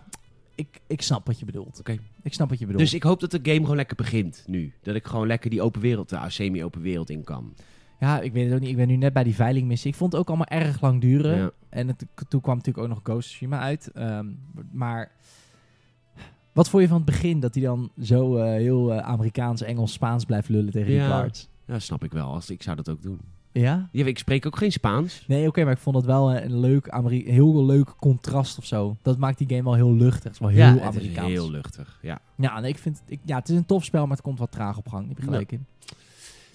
Speaker 2: ik, ik snap wat je bedoelt.
Speaker 1: Oké.
Speaker 2: Ik snap wat je bedoelt.
Speaker 1: Dus ik hoop dat de game gewoon lekker begint nu. Dat ik gewoon lekker die open wereld, de semi-open wereld in kan.
Speaker 2: Ja, ik weet het ook niet. Ik ben nu net bij die veiling missie. Ik vond het ook allemaal erg lang duren.
Speaker 1: Ja.
Speaker 2: En het, toen kwam natuurlijk ook nog Ghost of Tsushima uit. Ehm, maar wat vond je van het begin dat hij dan zo eh, heel eh, Amerikaans, Engels, Spaans blijft lullen tegen die
Speaker 1: Ja.
Speaker 2: guards?
Speaker 1: Ja, dat snap ik wel. Als, ik zou dat ook doen.
Speaker 2: Ja?
Speaker 1: Ja, ik spreek ook geen Spaans.
Speaker 2: Nee, oké, maar ik vond dat wel eh, een, een leuk, Ameri- heel leuk contrast of zo. Dat maakt die game wel heel luchtig. Het is wel heel
Speaker 1: ja, het is
Speaker 2: Amerikaans.
Speaker 1: heel luchtig. Ja.
Speaker 2: Ja, nee, ik vind, het- ik, ja, het is een tof spel, maar het komt wat traag op gang. Heb je gelijk in.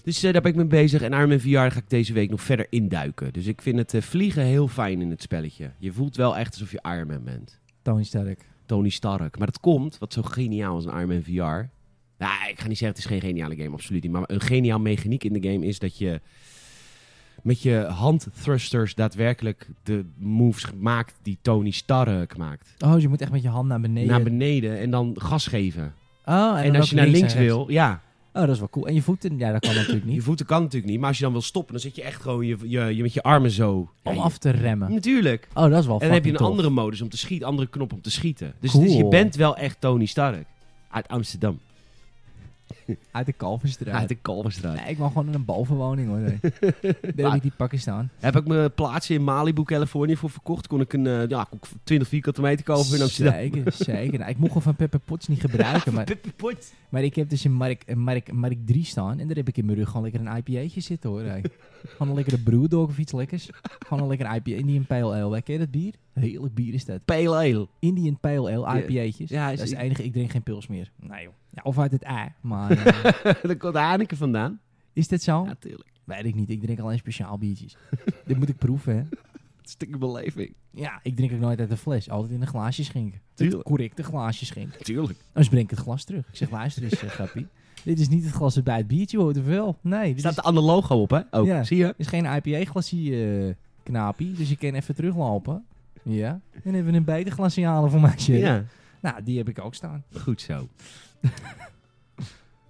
Speaker 1: Dus eh, daar ben ik mee bezig. En Arm VR ga ik deze week nog verder induiken. Dus ik vind het eh, vliegen heel fijn in het spelletje. Je voelt wel echt alsof je Iron Man bent.
Speaker 2: Tony Sterk.
Speaker 1: Tony Stark. Maar dat komt, wat zo geniaal is aan Iron Man VR. Nou, ik ga niet zeggen, het is geen geniale game, absoluut niet. Maar een geniaal mechaniek in de game is dat je met je handthrusters daadwerkelijk de moves maakt die Tony Stark maakt.
Speaker 2: Oh, je moet echt met je hand naar beneden.
Speaker 1: Naar beneden en dan gas geven.
Speaker 2: oh,
Speaker 1: En,
Speaker 2: dan ook
Speaker 1: als je naar
Speaker 2: en
Speaker 1: links
Speaker 2: rechts.
Speaker 1: wil, ja.
Speaker 2: Oh, dat is wel cool. En je voeten, ja, dat kan natuurlijk
Speaker 1: Je
Speaker 2: niet.
Speaker 1: voeten kan natuurlijk niet, maar als je dan wil stoppen, dan zit je echt gewoon je, je, je met je armen zo.
Speaker 2: Om
Speaker 1: Ja,
Speaker 2: af te
Speaker 1: je-
Speaker 2: remmen.
Speaker 1: Natuurlijk.
Speaker 2: Oh, dat is wel
Speaker 1: En dan heb je een
Speaker 2: fucking tof.
Speaker 1: andere modus om te schieten, andere knop om te schieten. Dus,
Speaker 2: Cool.
Speaker 1: dus je bent wel echt Tony Stark. Uit Amsterdam.
Speaker 2: Uit de kalverstraat.
Speaker 1: Uit de Kalverstraat.
Speaker 2: Nee, ik wil gewoon in een balverwoning hoor. Nee. Daar heb
Speaker 1: Maar-
Speaker 2: ik die Pakistan.
Speaker 1: Heb ik mijn plaatsje in Malibu, Californië voor verkocht. Kon ik een eh, ja, kon ik 20 vierkante meter kopen in Amsterdam.
Speaker 2: Zeker, zeker. Nou, ik mocht gewoon van Pepper Potts niet gebruiken. Maar,
Speaker 1: Pippi Potts.
Speaker 2: maar ik heb dus een Mark, een Mark, Mark 3 staan. En daar heb ik in mijn rug gewoon lekker een IPA'tje zitten hoor. hey. Gewoon een lekkere brewdog of iets lekkers. Gewoon een lekker IPA. Indian Pale Ale. hè. Ken je dat bier? Heerlijk bier is dat.
Speaker 1: Pale Ale.
Speaker 2: Indian Pale Ale IPA'tjes.
Speaker 1: Ja, is-
Speaker 2: dat is het enige. Ik drink geen pils meer. Nee joh. Ja, of uit het ei. Maar eh,
Speaker 1: Daar komt Heineken vandaan.
Speaker 2: is dit zo?
Speaker 1: Natuurlijk.
Speaker 2: Weet ik niet. Ik drink alleen speciaal biertjes. Dit moet ik proeven, hè?
Speaker 1: Stikke beleving.
Speaker 2: Ja, ik drink ook nooit uit een fles. Altijd in een glaasje schenken.
Speaker 1: Tuurlijk.
Speaker 2: Het correcte glaasje schenken.
Speaker 1: Tuurlijk.
Speaker 2: Dan breng ik het glas terug. Ik zeg, luister eens, eh, grappie. Dit is niet het glas dat bij het biertje hoort, of wel? Nee,
Speaker 1: Er
Speaker 2: dit
Speaker 1: staat
Speaker 2: is,
Speaker 1: de andere logo op, hè? Ook.
Speaker 2: Ja.
Speaker 1: Zie je?
Speaker 2: is geen IPA-glasie, eh, knapie. Dus je kan even teruglopen. Ja. En even een beter glasie halen voor mij, shit.
Speaker 1: Ja.
Speaker 2: Nou, die heb ik ook staan.
Speaker 1: Goed zo.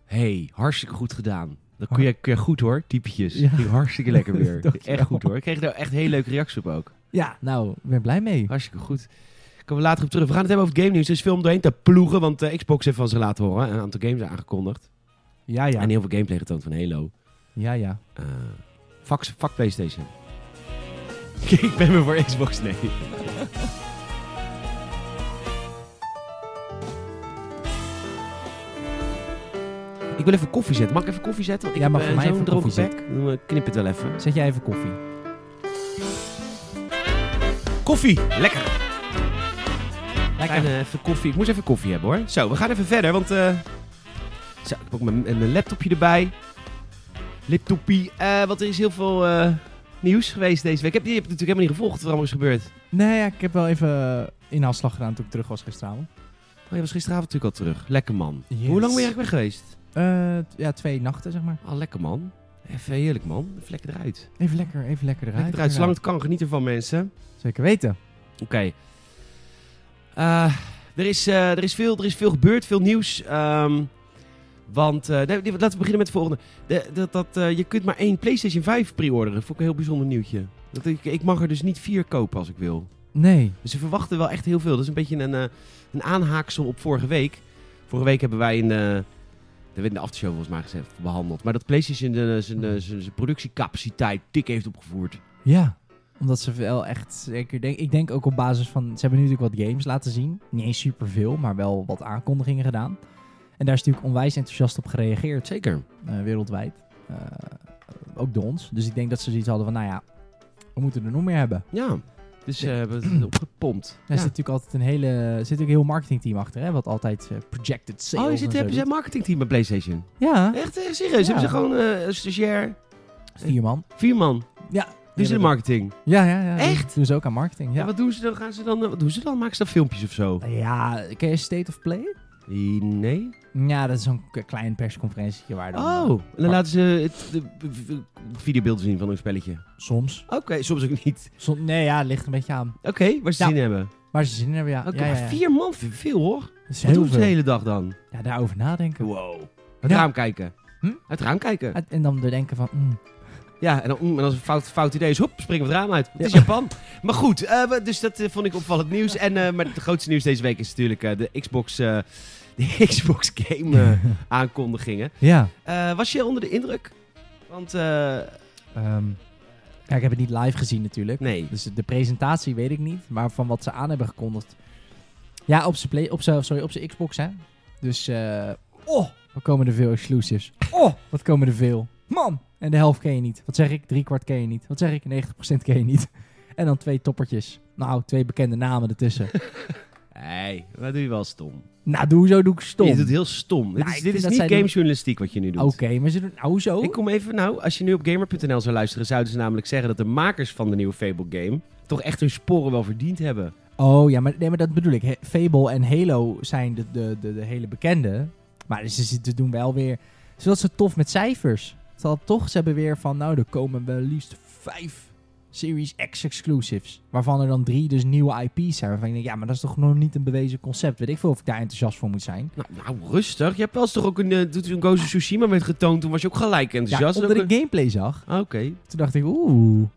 Speaker 1: hey, hartstikke goed gedaan. Dat kun je, kun je goed hoor, typetjes.
Speaker 2: Ja.
Speaker 1: Ging hartstikke lekker weer.
Speaker 2: Dankjewel.
Speaker 1: echt goed hoor. Ik kreeg daar echt hele leuke reacties op ook.
Speaker 2: Ja, nou, ik ben blij mee.
Speaker 1: Hartstikke goed. Komen we later op terug. We gaan het hebben over game nieuws. Er is film doorheen te ploegen, want eh, Xbox heeft van ze laten horen. Een aantal games aangekondigd.
Speaker 2: Ja, ja.
Speaker 1: En heel veel gameplay getoond van Halo.
Speaker 2: Ja, ja.
Speaker 1: Eh fuck, fuck PlayStation. Ik ben weer voor Xbox, nee. Ik wil even koffie zetten. Mag ik even koffie zetten? Want ik heb,
Speaker 2: Ja, mag voor
Speaker 1: eh,
Speaker 2: mij
Speaker 1: zo'n
Speaker 2: even
Speaker 1: droge
Speaker 2: koffie
Speaker 1: bek. Dan, eh, Knip het wel even.
Speaker 2: Zet jij even koffie.
Speaker 1: Koffie! Lekker!
Speaker 2: Lekker.
Speaker 1: Fijn, eh, even koffie. Ik moest even koffie hebben hoor. Zo, we gaan even verder, want... eh, Zo, ik heb ook mijn, mijn laptopje erbij. Laptopie. Eh want er is heel veel eh, nieuws geweest deze week. Heb, je hebt natuurlijk helemaal niet gevolgd wat er allemaal is gebeurd.
Speaker 2: Nee, ja, ik heb wel even inhaalslag gedaan toen ik terug was gisteravond.
Speaker 1: Oh, je was gisteravond natuurlijk al terug. Lekker man.
Speaker 2: Yes.
Speaker 1: Hoe lang ben je eigenlijk weg geweest?
Speaker 2: Eh, t- ja, twee nachten, zeg maar.
Speaker 1: Ah, lekker man. Even heerlijk man. Even lekker eruit.
Speaker 2: Even lekker, even lekker eruit.
Speaker 1: Lekker eruit. Zolang het kan, geniet ervan mensen.
Speaker 2: Zeker weten.
Speaker 1: Oké. Eh, er, is, eh, er, is veel- er is veel gebeurd, veel nieuws. Ehm, want, eh, nee, laten we beginnen met het volgende. De- dat, dat, eh, je kunt maar één PlayStation 5 pre-orderen. Vond ik een heel bijzonder nieuwtje. Dat ik, ik mag er dus niet vier kopen als ik wil.
Speaker 2: Nee.
Speaker 1: Dus ze verwachten wel echt heel veel. Dat is een beetje een, eh, een aanhaaksel op vorige week. Vorige week hebben wij in de, dat werd in de aftershow volgens mij gezegd, behandeld. Maar dat PlayStation eh, zijn, eh, zijn, zijn productiecapaciteit dik heeft opgevoerd.
Speaker 2: Ja. Omdat ze wel echt zeker... Denk, ik denk ook op basis van... Ze hebben nu natuurlijk wat games laten zien. Niet eens superveel, maar wel wat aankondigingen gedaan. En daar is natuurlijk onwijs enthousiast op gereageerd.
Speaker 1: Zeker.
Speaker 2: eh, wereldwijd. Eh, ook door ons. Dus ik denk dat ze zoiets hadden van... Nou ja, we moeten er nog meer hebben.
Speaker 1: Ja. Dus ze hebben het opgepompt.
Speaker 2: Daar zit natuurlijk altijd een hele... Er zit natuurlijk een heel marketingteam achter, hè. Wat altijd eh, projected sales
Speaker 1: Oh, je
Speaker 2: en
Speaker 1: zit,
Speaker 2: zo
Speaker 1: hebben ze een marketingteam bij PlayStation?
Speaker 2: doet. Ja,
Speaker 1: Echt, eh, serieus?
Speaker 2: Ja.
Speaker 1: Hebben ze gewoon eh, een stagiair?
Speaker 2: vier man.
Speaker 1: Vier man.
Speaker 2: Ja.
Speaker 1: Doen
Speaker 2: Ja,
Speaker 1: ze de
Speaker 2: dat-
Speaker 1: marketing?
Speaker 2: Ja, ja, ja.
Speaker 1: Echt?
Speaker 2: Doen ze ook aan marketing,
Speaker 1: Ja.
Speaker 2: ja.
Speaker 1: Wat doen ze dan? Gaan ze dan eh, wat doen ze dan? Maken ze dan filmpjes of zo?
Speaker 2: Ja, ken je State of Play?
Speaker 1: Eh, Nee?
Speaker 2: Ja, dat is zo'n k- klein persconferentietje waar dan...
Speaker 1: Oh,
Speaker 2: eh,
Speaker 1: en dan laten ze het, de v- v- videobeelden zien van hun spelletje.
Speaker 2: soms.
Speaker 1: Oké, soms ook niet.
Speaker 2: Som- nee, ja, het ligt een beetje aan.
Speaker 1: Oké, waar ze
Speaker 2: Ja.
Speaker 1: zin in hebben.
Speaker 2: Waar ze zin in hebben, ja.
Speaker 1: Oké,
Speaker 2: ja, ja,
Speaker 1: maar
Speaker 2: ja.
Speaker 1: Vier man, vind ik veel hoor.
Speaker 2: Dat is
Speaker 1: Wat
Speaker 2: heel
Speaker 1: doen ze de
Speaker 2: veel.
Speaker 1: hele dag dan?
Speaker 2: Ja, daarover nadenken.
Speaker 1: Wow. Het
Speaker 2: Ja.
Speaker 1: raam kijken.
Speaker 2: Hm?
Speaker 1: Het raam kijken.
Speaker 2: En dan bedenken van... mm,
Speaker 1: Ja, en, dan, mm, en als een fout, fout idee is, hop, springen we het raam uit. Het
Speaker 2: Ja.
Speaker 1: is Japan. Maar goed, eh, we- dus dat eh, vond ik opvallend nieuws. En, eh, maar het grootste nieuws deze week is natuurlijk eh, de Xbox, eh, de Xbox Game eh, aankondigingen.
Speaker 2: ja.
Speaker 1: Eh, was je onder de indruk? Want, eh,
Speaker 2: Ehm, ja, ik heb het niet live gezien natuurlijk.
Speaker 1: nee.
Speaker 2: Dus de presentatie weet ik niet. Maar van wat ze aan hebben gekondigd. Ja, op zijn play- op zijn- sorry, op zijn Xbox, hè. Dus, eh, oh, wat komen er veel exclusives. Oh, wat komen er veel. Man, en de helft ken je niet. Wat zeg ik? Drie kwart ken je niet. Wat zeg ik? 90% ken je niet. En dan twee toppertjes. Nou, twee bekende namen ertussen.
Speaker 1: Nee, dat doe je wel stom.
Speaker 2: nou, doe zo, doe ik stom.
Speaker 1: Je doet het heel stom. dit
Speaker 2: Nou,
Speaker 1: is, dit
Speaker 2: ik vind
Speaker 1: is
Speaker 2: dat
Speaker 1: niet
Speaker 2: zij doen-
Speaker 1: gamejournalistiek wat je nu doet.
Speaker 2: Oké, maar ze doen... Nou, zo?
Speaker 1: Ik kom even, nou, als je nu op gamer.nl zou luisteren, zouden ze namelijk zeggen dat de makers van de nieuwe Fable game toch echt hun sporen wel verdiend hebben.
Speaker 2: Oh ja, maar, nee, maar dat bedoel ik. He- Fable en Halo zijn de, de, de, de hele bekende. Maar ze, ze doen wel weer. Zodat ze tof met cijfers. Terwijl toch, ze hebben weer van. Nou, er komen wel liefst vijf Series X exclusives. Waarvan er dan drie dus nieuwe IP's zijn. Waarvan ik denk, ja, maar dat is toch nog niet een bewezen concept. Weet ik veel of ik daar enthousiast voor moet zijn.
Speaker 1: Nou, nou, rustig. Je hebt wel eens toch ook een, eh, toen Ghost of Tsushima werd getoond, toen was je ook gelijk
Speaker 2: Ja,
Speaker 1: enthousiast.
Speaker 2: omdat
Speaker 1: Ook een-
Speaker 2: ik gameplay zag,
Speaker 1: Ah, Oké.
Speaker 2: toen dacht ik, oeh.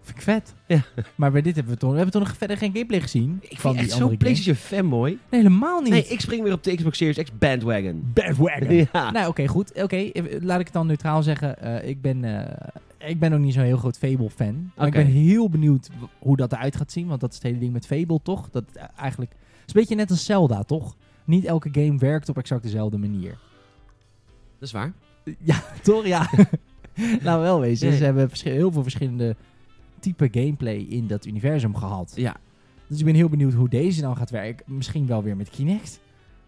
Speaker 2: Vind ik vet.
Speaker 1: Ja.
Speaker 2: Maar bij dit hebben we toch, we hebben toch nog verder geen gameplay gezien.
Speaker 1: Ik vind
Speaker 2: van die
Speaker 1: je echt
Speaker 2: andere
Speaker 1: zo'n PlayStation fanboy.
Speaker 2: game. Nee, helemaal niet.
Speaker 1: Nee, ik spring weer op de Xbox Series X bandwagon.
Speaker 2: Bandwagon.
Speaker 1: Ja.
Speaker 2: Nou, oké, goed. Oké, eh, laat ik het dan neutraal zeggen. Eh, ik, ben, eh, ik ben ook niet zo'n heel groot Fable-fan. Maar
Speaker 1: Oké.
Speaker 2: ik ben heel benieuwd w- hoe dat eruit gaat zien. Want dat is het hele ding met Fable, toch? Dat eh, eigenlijk... Het is een beetje net als Zelda, toch? Niet elke game werkt op exact dezelfde manier.
Speaker 1: Dat is waar.
Speaker 2: Ja, toch? Ja. nou, wel wezen.
Speaker 1: Nee.
Speaker 2: Ze hebben verschi- heel veel verschillende type gameplay in dat universum gehad.
Speaker 1: Ja.
Speaker 2: Dus ik ben heel benieuwd hoe deze dan gaat werken. Misschien wel weer met Kinect.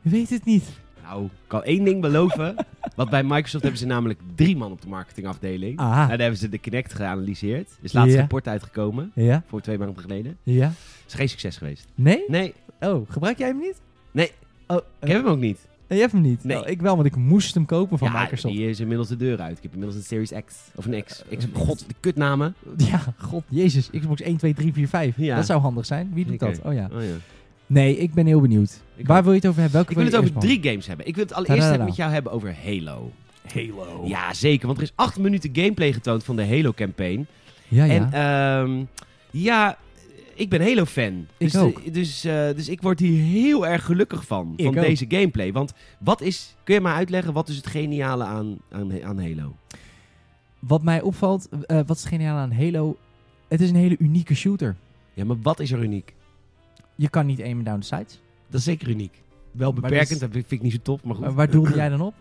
Speaker 2: Je weet het niet.
Speaker 1: Nou, ik kan één ding beloven. Want bij Microsoft hebben ze namelijk drie man op de marketingafdeling.
Speaker 2: Ah.
Speaker 1: En daar hebben ze de Kinect geanalyseerd. Er is laatst
Speaker 2: Ja.
Speaker 1: rapport uitgekomen.
Speaker 2: Ja?
Speaker 1: Voor twee maanden geleden.
Speaker 2: Ja?
Speaker 1: Is geen succes geweest.
Speaker 2: Nee?
Speaker 1: Nee,
Speaker 2: Oh, gebruik jij hem niet?
Speaker 1: Nee.
Speaker 2: Oh,
Speaker 1: ik
Speaker 2: eh,
Speaker 1: heb hem ook niet.
Speaker 2: je hebt hem niet?
Speaker 1: Nee.
Speaker 2: Oh, ik wel, want ik moest hem kopen van
Speaker 1: ja,
Speaker 2: Microsoft.
Speaker 1: die is inmiddels de deur uit. Ik heb inmiddels een Series X. Of een X.
Speaker 2: Eh,
Speaker 1: X-
Speaker 2: eh,
Speaker 1: God, de kutnamen.
Speaker 2: Ja, god, jezus. Xbox 1, 2, 3, 4, 5.
Speaker 1: Ja.
Speaker 2: Dat zou handig zijn. Wie doet
Speaker 1: Oké.
Speaker 2: dat? Oh ja.
Speaker 1: Oh, ja.
Speaker 2: Nee, ik ben heel benieuwd.
Speaker 1: Ik
Speaker 2: Waar
Speaker 1: ook.
Speaker 2: wil je het over hebben? Welke
Speaker 1: Ik wil het
Speaker 2: je
Speaker 1: over
Speaker 2: eerst
Speaker 1: drie games hebben. Ik wil het allereerst
Speaker 2: Tadadada.
Speaker 1: hebben met jou hebben over Halo.
Speaker 2: behandelen? Halo. Ja,
Speaker 1: Ja, zeker. Want er is acht minuten gameplay getoond van de Halo-campaign.
Speaker 2: ja.
Speaker 1: En ehm, ja, ik ben Halo-fan.
Speaker 2: Ik
Speaker 1: dus, de-
Speaker 2: ook.
Speaker 1: Dus, eh, dus ik word hier heel erg gelukkig van.
Speaker 2: Ik
Speaker 1: van
Speaker 2: ook.
Speaker 1: deze gameplay. Want wat is... Kun je mij uitleggen wat is het geniale aan, aan, aan Halo?
Speaker 2: Wat mij opvalt, eh, wat is geniaal aan Halo? Het is een hele unieke shooter.
Speaker 1: Ja, maar wat is er uniek?
Speaker 2: Je kan niet aim down the sights.
Speaker 1: Dat is zeker uniek. Wel
Speaker 2: Maar
Speaker 1: beperkend,
Speaker 2: dat
Speaker 1: dat,
Speaker 2: is-
Speaker 1: vind ik niet zo top, maar goed.
Speaker 2: Maar Eh, waar doelde jij dan op?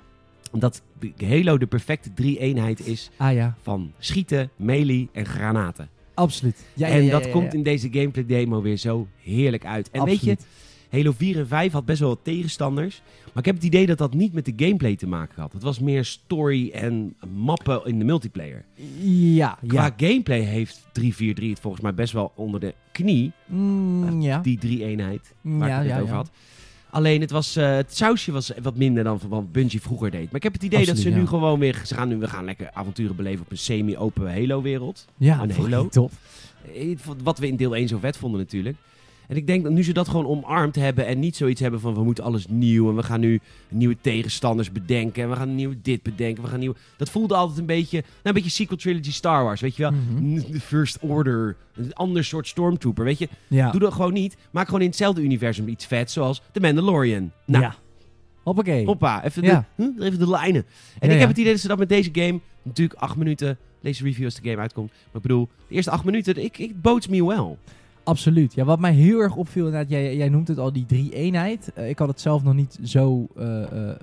Speaker 1: Omdat Halo de perfecte drie-eenheid is
Speaker 2: Ah ja,
Speaker 1: van schieten, melee en granaten.
Speaker 2: absoluut. Ja, ja,
Speaker 1: en
Speaker 2: ja,
Speaker 1: dat
Speaker 2: ja, ja,
Speaker 1: komt
Speaker 2: ja.
Speaker 1: in deze gameplay demo weer zo heerlijk uit. En weet
Speaker 2: Absoluut.
Speaker 1: je, Halo 4 en 5 had best wel wat tegenstanders. Maar ik heb het idee dat dat niet met de gameplay te maken had. Het was meer story en mappen in de multiplayer.
Speaker 2: Ja, ja.
Speaker 1: Qua gameplay heeft 343 het volgens mij best wel onder de knie.
Speaker 2: Mm, ja.
Speaker 1: Die drie-eenheid waar
Speaker 2: ja,
Speaker 1: ik het net
Speaker 2: ja,
Speaker 1: over
Speaker 2: ja.
Speaker 1: had. Alleen het, was, eh, het sausje was wat minder dan wat Bungie vroeger deed. Maar ik heb het idee dat ze
Speaker 2: Absoluut,
Speaker 1: nu
Speaker 2: ja.
Speaker 1: gewoon weer... Ze gaan nu, we gaan lekker avonturen beleven op een semi-open Halo-wereld.
Speaker 2: Ja,
Speaker 1: Een
Speaker 2: fucking
Speaker 1: Halo.
Speaker 2: Top.
Speaker 1: Eh, Wat we in deel 1 zo vet vonden natuurlijk. En ik denk dat nu ze dat gewoon omarmd hebben en niet zoiets hebben van... we moeten alles nieuw en we gaan nu nieuwe tegenstanders bedenken... en we gaan nieuw dit bedenken, we gaan nieuw... Dat voelde altijd een beetje... Nou, een beetje sequel trilogy Star Wars, weet je wel?
Speaker 2: Mhm.
Speaker 1: De First Order, een ander soort stormtrooper, weet je?
Speaker 2: Ja.
Speaker 1: Doe dat gewoon niet. Maak gewoon in hetzelfde universum iets vets, zoals The Mandalorian. Nou,
Speaker 2: ja. Hoppakee.
Speaker 1: hoppa, even,
Speaker 2: Ja.
Speaker 1: de, huh, even de lijnen. En
Speaker 2: Ja,
Speaker 1: ik
Speaker 2: ja.
Speaker 1: heb het idee dat ze dat met deze game... Natuurlijk acht minuten, deze review als de game uitkomt. Maar ik bedoel, de eerste acht minuten, ik, ik boots me wel.
Speaker 2: Absoluut. Ja, wat mij heel erg opviel, inderdaad, jij, jij noemt het al, die drie-eenheid. Eh, ik had het zelf nog niet zo eh, eh, eh,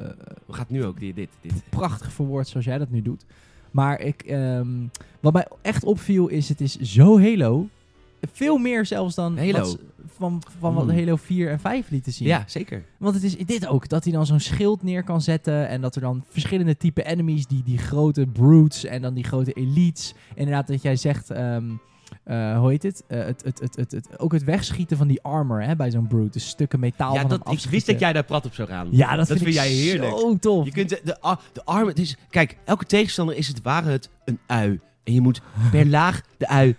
Speaker 1: We gaat nu ook dit, dit, dit.
Speaker 2: prachtig verwoord zoals jij dat nu doet. Maar ik, ehm, wat mij echt opviel is, het is zo Halo. Veel meer zelfs dan
Speaker 1: Halo.
Speaker 2: wat ze- van, van wat
Speaker 1: Mm.
Speaker 2: Halo 4 en 5 lieten zien.
Speaker 1: Ja, zeker.
Speaker 2: Want het is dit ook, dat hij dan zo'n schild neer kan zetten. En dat er dan verschillende type enemies, die, die grote brutes en dan die grote elites. Inderdaad, dat jij zegt, ehm, eh, hoe heet het? Eh, het, het, het, het, het- Ook het wegschieten van die armor hè, bij zo'n brute. Dus stukken metaal
Speaker 1: Ja,
Speaker 2: van
Speaker 1: dat,
Speaker 2: hem
Speaker 1: ik wist
Speaker 2: afschieten.
Speaker 1: dat jij daar prat op zou gaan.
Speaker 2: Ja, dat,
Speaker 1: Dat
Speaker 2: vind,
Speaker 1: vind
Speaker 2: ik
Speaker 1: jij heerlijk.
Speaker 2: zo tof.
Speaker 1: Je kunt de, de, a- de armen. Het is, kijk, elke tegenstander is het ware het een ui. En je moet per laag de ui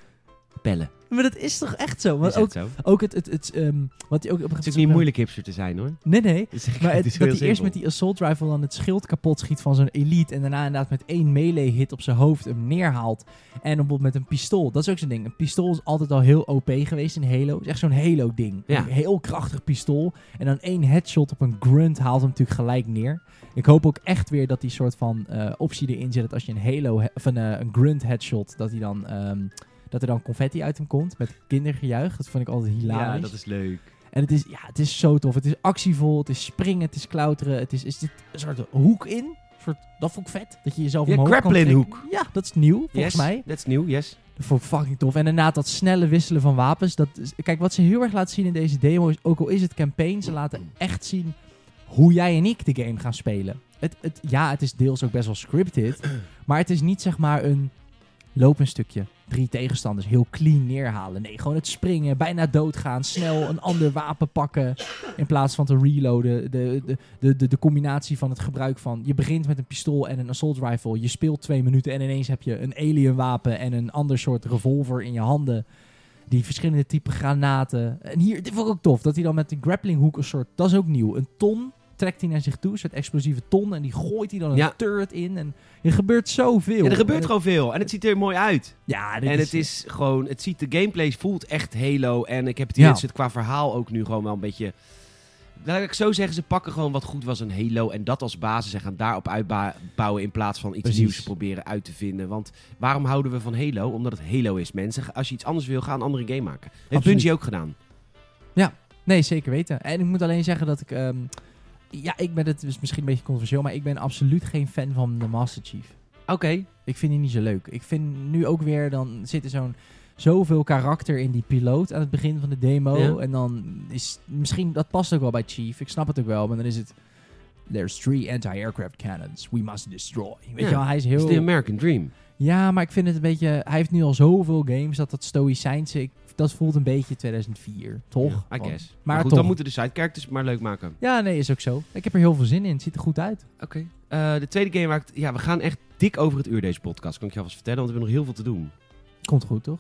Speaker 1: pellen.
Speaker 2: Maar dat is toch echt zo?
Speaker 1: Is
Speaker 2: Want
Speaker 1: dat
Speaker 2: ook,
Speaker 1: zo? Het
Speaker 2: ook het... het, het ehm, wat hij ook op een gegeven
Speaker 1: is ook niet moeilijk hipster te zijn hoor.
Speaker 2: Nee, nee.
Speaker 1: Het is-
Speaker 2: Maar
Speaker 1: het
Speaker 2: het,
Speaker 1: is
Speaker 2: dat
Speaker 1: heel
Speaker 2: hij eerst
Speaker 1: simpel.
Speaker 2: met die assault rifle dan het schild kapot schiet van zo'n elite. En daarna inderdaad met één melee hit op zijn hoofd hem neerhaalt. En bijvoorbeeld met een pistool. Dat is ook zo'n ding. Een pistool is altijd al heel OP geweest in Halo. Het is echt zo'n Halo ding.
Speaker 1: Ja.
Speaker 2: Een heel krachtig pistool. En dan één headshot op een grunt haalt hem natuurlijk gelijk neer. Ik hoop ook echt weer dat die soort van eh, optie erin zit. Dat als je een Halo he- of een, eh, een grunt headshot, dat hij dan... ehm, dat er dan confetti uit hem komt met kindergejuich. Dat vond ik altijd hilarisch.
Speaker 1: Ja, dat is leuk.
Speaker 2: En het is, ja, het is zo tof. Het is actievol, het is springen, het is klauteren. Het is, is dit een soort hoek in. Een soort, dat vond ik vet. Dat je jezelf
Speaker 1: Ja,
Speaker 2: omhoog kan
Speaker 1: grappling
Speaker 2: trekken. Ja, dat is nieuw, volgens
Speaker 1: yes,
Speaker 2: mij.
Speaker 1: Dat is nieuw, yes.
Speaker 2: Dat vond ik fucking tof. En inderdaad, dat snelle wisselen van wapens. Dat is- kijk, wat ze heel erg laten zien in deze demo is, ook al is het campaign, ze laten echt zien hoe jij en ik de game gaan spelen. Het, het, ja, het is deels ook best wel scripted, maar het is niet zeg maar een loop een stukje. Drie tegenstanders heel clean neerhalen. Nee, gewoon het springen, bijna doodgaan, snel een ander wapen pakken in plaats van te reloaden. De, de, de, de, de combinatie van het gebruik van... Je begint met een pistool en een assault rifle. Je speelt twee minuten en ineens heb je een alien wapen... en een ander soort revolver in je handen. Die verschillende typen granaten. En hier, dit vond ik ook tof. Dat hij dan met een grappling hook een soort... Dat is ook nieuw. Een ton trekt hij naar zich toe. Een soort explosieve ton. En die gooit hij dan een
Speaker 1: Ja.
Speaker 2: turret in. En er gebeurt zoveel.
Speaker 1: Ja, er gebeurt
Speaker 2: En het-
Speaker 1: gewoon veel. En het ziet er mooi uit.
Speaker 2: Ja, dit
Speaker 1: En
Speaker 2: is,
Speaker 1: het is gewoon, het ziet, de gameplay voelt echt Halo. En ik heb het
Speaker 2: Ja.
Speaker 1: idee dat ze het qua verhaal ook nu gewoon wel een beetje... Laat ik zo zeggen, ze pakken gewoon wat goed was aan Halo en dat als basis en gaan daarop uitbouwen in plaats van iets
Speaker 2: Precies.
Speaker 1: nieuws proberen uit te vinden. Want waarom houden we van Halo? Omdat het Halo is, mensen. Als je iets anders wil, ga een andere game maken. Heeft
Speaker 2: Absoluut.
Speaker 1: Bungie ook gedaan.
Speaker 2: Nee, zeker weten. En ik moet alleen zeggen dat ik... ehm, ja, ik ben het is misschien een beetje controversieel, maar ik ben absoluut geen fan van de Master Chief.
Speaker 1: Oké.
Speaker 2: Ik vind die niet zo leuk. Ik vind nu ook weer, dan zit er zo'n zoveel karakter in die piloot aan het begin van de demo.
Speaker 1: Ja.
Speaker 2: En dan is misschien, dat past ook wel bij Chief. Ik snap het ook wel, maar dan is het. There's three anti-aircraft cannons we must destroy. Weet
Speaker 1: Ja,
Speaker 2: je wel, hij is
Speaker 1: Het is
Speaker 2: heel.
Speaker 1: de American Dream.
Speaker 2: Ja, maar ik vind het een beetje. Hij heeft nu al zoveel games dat dat stoïcijnse. Ik, dat voelt een beetje 2004, toch?
Speaker 1: I
Speaker 2: Want-
Speaker 1: guess. Maar,
Speaker 2: maar
Speaker 1: goed,
Speaker 2: toch.
Speaker 1: dan moeten de side characters het maar leuk maken.
Speaker 2: Ja, nee, is ook zo. Ik heb er heel veel zin in. Het ziet er goed uit.
Speaker 1: Oké. Eh, de tweede game waar ik... Ja, we gaan echt dik over het uur deze podcast. Kan ik je alvast vertellen, want we hebben nog heel veel te doen.
Speaker 2: Komt goed, toch?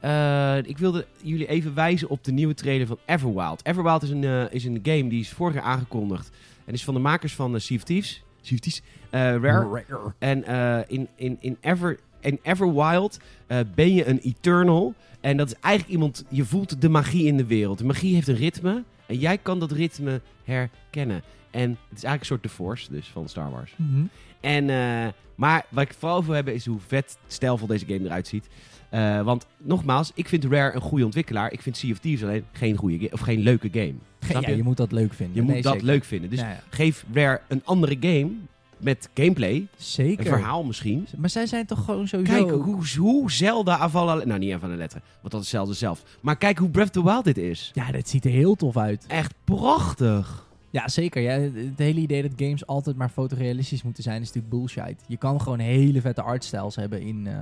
Speaker 1: Eh, ik wilde jullie even wijzen op de nieuwe trailer van Everwild. Everwild is een, eh, is een game die is vorig jaar aangekondigd. En is van de makers van eh Sea of Thieves. Sea of Thieves. Eh, Rare. En eh, in, in, in, Ever, in Everwild eh, ben je een Eternal. En dat is eigenlijk iemand... Je voelt de magie in de wereld. De magie heeft een ritme. En jij kan dat ritme herkennen. En het is eigenlijk een soort The Force dus, van Star Wars.
Speaker 2: Mhm.
Speaker 1: En, eh, maar wat ik vooral voor hebben is hoe vet stijlvol deze game eruit ziet. Eh, want nogmaals, ik vind Rare een goede ontwikkelaar. Ik vind Sea of Thieves alleen geen, goede ga- of geen leuke game. Snap
Speaker 2: Ja,
Speaker 1: je?
Speaker 2: je moet dat leuk vinden.
Speaker 1: Je
Speaker 2: Nee,
Speaker 1: moet dat
Speaker 2: zeker.
Speaker 1: leuk vinden. Dus
Speaker 2: Ja, ja.
Speaker 1: geef Rare een andere game met gameplay,
Speaker 2: Zeker.
Speaker 1: een verhaal misschien.
Speaker 2: Maar zij zijn toch gewoon sowieso...
Speaker 1: Kijk hoe, hoe Zelda Avala... Nou, niet Avala Letter, want dat is Zelda zelf. Maar kijk hoe Breath of the Wild dit is.
Speaker 2: Ja, dat ziet er heel tof uit.
Speaker 1: Echt prachtig.
Speaker 2: Ja, zeker. Ja, het hele idee dat games altijd maar fotorealistisch moeten zijn is natuurlijk bullshit. Je kan gewoon hele vette artstyles hebben in... eh,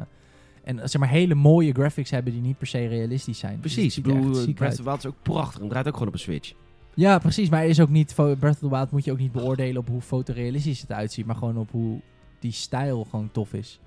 Speaker 2: en zeg maar hele mooie graphics hebben die niet per se realistisch zijn. Dus het
Speaker 1: Precies. Ik
Speaker 2: ziet er
Speaker 1: bedoel, eh,
Speaker 2: echt ziek
Speaker 1: Breath of
Speaker 2: uit.
Speaker 1: the Wild is ook prachtig. En draait ook gewoon op een Switch.
Speaker 2: Ja, precies. Maar is ook niet, fo- Breath of the Wild moet je ook niet beoordelen op hoe fotorealistisch het uitziet. Maar gewoon op hoe die stijl gewoon tof is.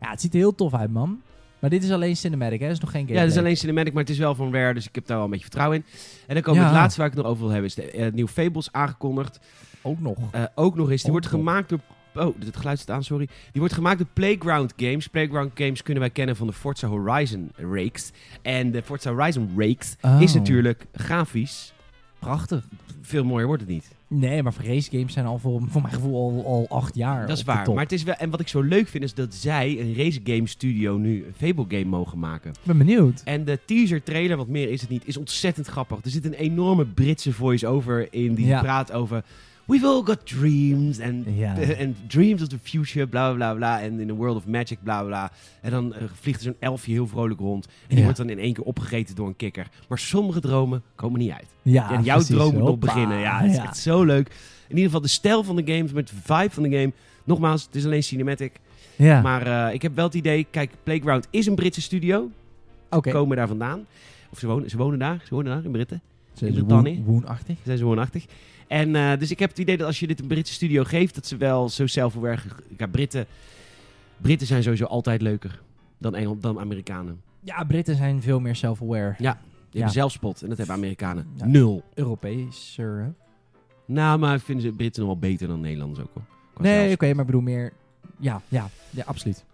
Speaker 2: Ja, het ziet er heel tof uit, man. Maar dit is alleen cinematic, hè? Dat is nog geen game.
Speaker 1: Ja, het is alleen cinematic, maar het is wel van Rare, dus ik heb daar wel een beetje vertrouwen in. En dan komen we
Speaker 2: Ja.
Speaker 1: het laatste waar ik het nog over wil hebben, is de, eh, het nieuwe Fables aangekondigd.
Speaker 2: Ook nog.
Speaker 1: Eh, ook nog eens, die
Speaker 2: Oh,
Speaker 1: wordt
Speaker 2: top.
Speaker 1: gemaakt door... Oh, het geluid staat aan, sorry. Die wordt gemaakt door Playground Games. Playground Games kunnen wij kennen van de Forza Horizon reeks. En de Forza Horizon reeks
Speaker 2: Oh.
Speaker 1: is natuurlijk grafisch.
Speaker 2: Prachtig.
Speaker 1: Veel mooier wordt het niet.
Speaker 2: Nee, maar race games zijn al voor, voor mijn gevoel al, al acht jaar.
Speaker 1: dat is
Speaker 2: op de
Speaker 1: waar.
Speaker 2: top.
Speaker 1: Maar het is wel, en wat ik zo leuk vind, is dat zij, een race game studio, nu een Fable game mogen maken.
Speaker 2: Ik ben benieuwd.
Speaker 1: En de teaser trailer, wat meer is het niet, is ontzettend grappig. Er zit een enorme Britse voice-over in die
Speaker 2: Ja.
Speaker 1: praat over... We've all got dreams and,
Speaker 2: Ja.
Speaker 1: and dreams of the future, bla bla bla. En in the world of magic, bla bla. En dan eh, vliegt er zo'n elfje heel vrolijk rond. En die
Speaker 2: Ja.
Speaker 1: wordt dan in één keer opgegeten door een kikker. Maar sommige dromen komen niet uit.
Speaker 2: Ja,
Speaker 1: en jouw
Speaker 2: Ah, precies.
Speaker 1: droom moet nog
Speaker 2: Hoppa.
Speaker 1: beginnen. Ja, het is echt zo leuk. In ieder geval de stijl van de game, met de vibe van de game. Nogmaals, het is alleen cinematic.
Speaker 2: Ja,
Speaker 1: Maar eh, ik heb wel het idee, kijk, Playground is een Britse studio.
Speaker 2: oké.
Speaker 1: Komen daar vandaan. Of ze wonen, ze wonen daar, ze wonen daar in Britten.
Speaker 2: Ze is
Speaker 1: Britannië.
Speaker 2: woen- woenachtig.
Speaker 1: Zijn ze woonachtig. En eh, dus ik heb het idee dat als je dit een Britse studio geeft, dat ze wel zo self-aware... ge- Ja, Britten, Britten zijn sowieso altijd leuker dan, Engel, dan Amerikanen.
Speaker 2: Ja, Britten zijn veel meer self-aware.
Speaker 1: Die hebben zelfspot en dat hebben Amerikanen.
Speaker 2: Ja.
Speaker 1: Nul.
Speaker 2: Europeeser. hè?
Speaker 1: Nou, maar vinden ze Britten nog wel beter dan Nederlanders ook hoor. Qua
Speaker 2: Nee, oké,
Speaker 1: zelfspot.
Speaker 2: maar ik bedoel meer... Ja, ja, ja, absoluut. zin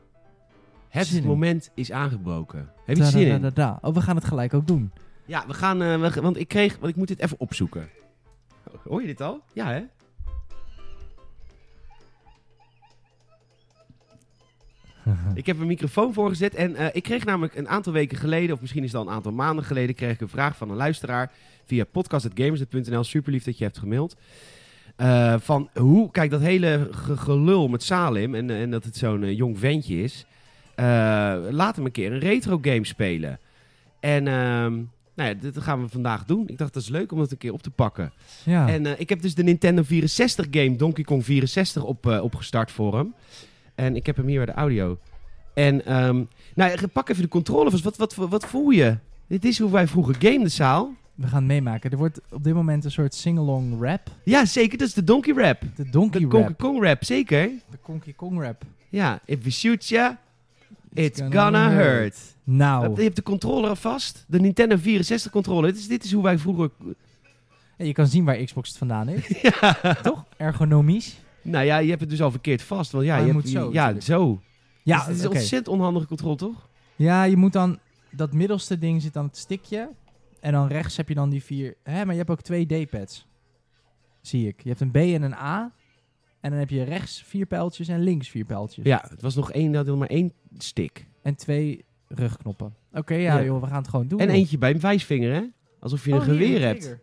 Speaker 1: Het
Speaker 2: in.
Speaker 1: moment is aangebroken. Heb je er zin in?
Speaker 2: Da-da-da-da-da. Oh, we gaan het gelijk ook doen.
Speaker 1: Ja, we gaan... eh, we gaan- want ik kreeg... Want ik moet dit even opzoeken. Hoor je dit al? Ja, hè? Ik heb een microfoon voorgezet en eh, ik kreeg namelijk een aantal weken geleden, of misschien is het al een aantal maanden geleden, kreeg ik een vraag van een luisteraar via podcast.gamers.nl. Super lief dat je hebt gemaild. Eh, van hoe, kijk, dat hele ge- gelul met Salim en, en dat het zo'n eh, jong ventje is. eh, laat hem een keer een retro game spelen. En ehm, nou ja, dit gaan we vandaag doen. Ik dacht dat is leuk om dat een keer op te pakken.
Speaker 2: Ja.
Speaker 1: En eh, ik heb dus de Nintendo 64 game Donkey Kong 64 op, eh, opgestart voor hem. En ik heb hem hier bij de audio. En ehm, nou, ja, pak even de controle vast. Wat, wat, wat voel je? Dit is hoe wij vroeger gameden, Saal.
Speaker 2: We gaan het meemaken. Er wordt op dit moment een soort sing-along rap.
Speaker 1: Ja, zeker. Dat is de Donkey Rap.
Speaker 2: De
Speaker 1: De
Speaker 2: Donkey
Speaker 1: Donkey
Speaker 2: Rap.
Speaker 1: Kong Rap, zeker.
Speaker 2: De Donkey Kong rap.
Speaker 1: Ja, if we shoot ya, it's gonna hurt.
Speaker 2: Nou,
Speaker 1: Je hebt de controller al vast. De Nintendo 64 controller. Dit is, dit is hoe wij vroeger...
Speaker 2: en je kan zien waar Xbox het vandaan heeft. Toch? Ergonomisch.
Speaker 1: Nou ja, je hebt het dus al verkeerd vast. Want ja,
Speaker 2: Oh,
Speaker 1: je
Speaker 2: je
Speaker 1: hebt,
Speaker 2: moet zo,
Speaker 1: Ja,
Speaker 2: natuurlijk.
Speaker 1: zo.
Speaker 2: Ja,
Speaker 1: Dus het is
Speaker 2: oké.
Speaker 1: ontzettend onhandige controle, toch?
Speaker 2: ja, je moet dan... Dat middelste ding zit aan het stikje. En dan rechts heb je dan die vier... Hè, maar je hebt ook twee D-pads. Zie ik. Je hebt een B en een A. En dan heb je rechts vier pijltjes en links vier pijltjes.
Speaker 1: Ja, het was nog één, dat had maar één stick.
Speaker 2: En twee rugknoppen. Oké, ja,
Speaker 1: Ja.
Speaker 2: joh, we gaan het gewoon doen.
Speaker 1: En
Speaker 2: joh.
Speaker 1: eentje bij een wijsvinger, hè? Alsof je een
Speaker 2: Oh, hier,
Speaker 1: geweer
Speaker 2: een
Speaker 1: hebt.
Speaker 2: trigger.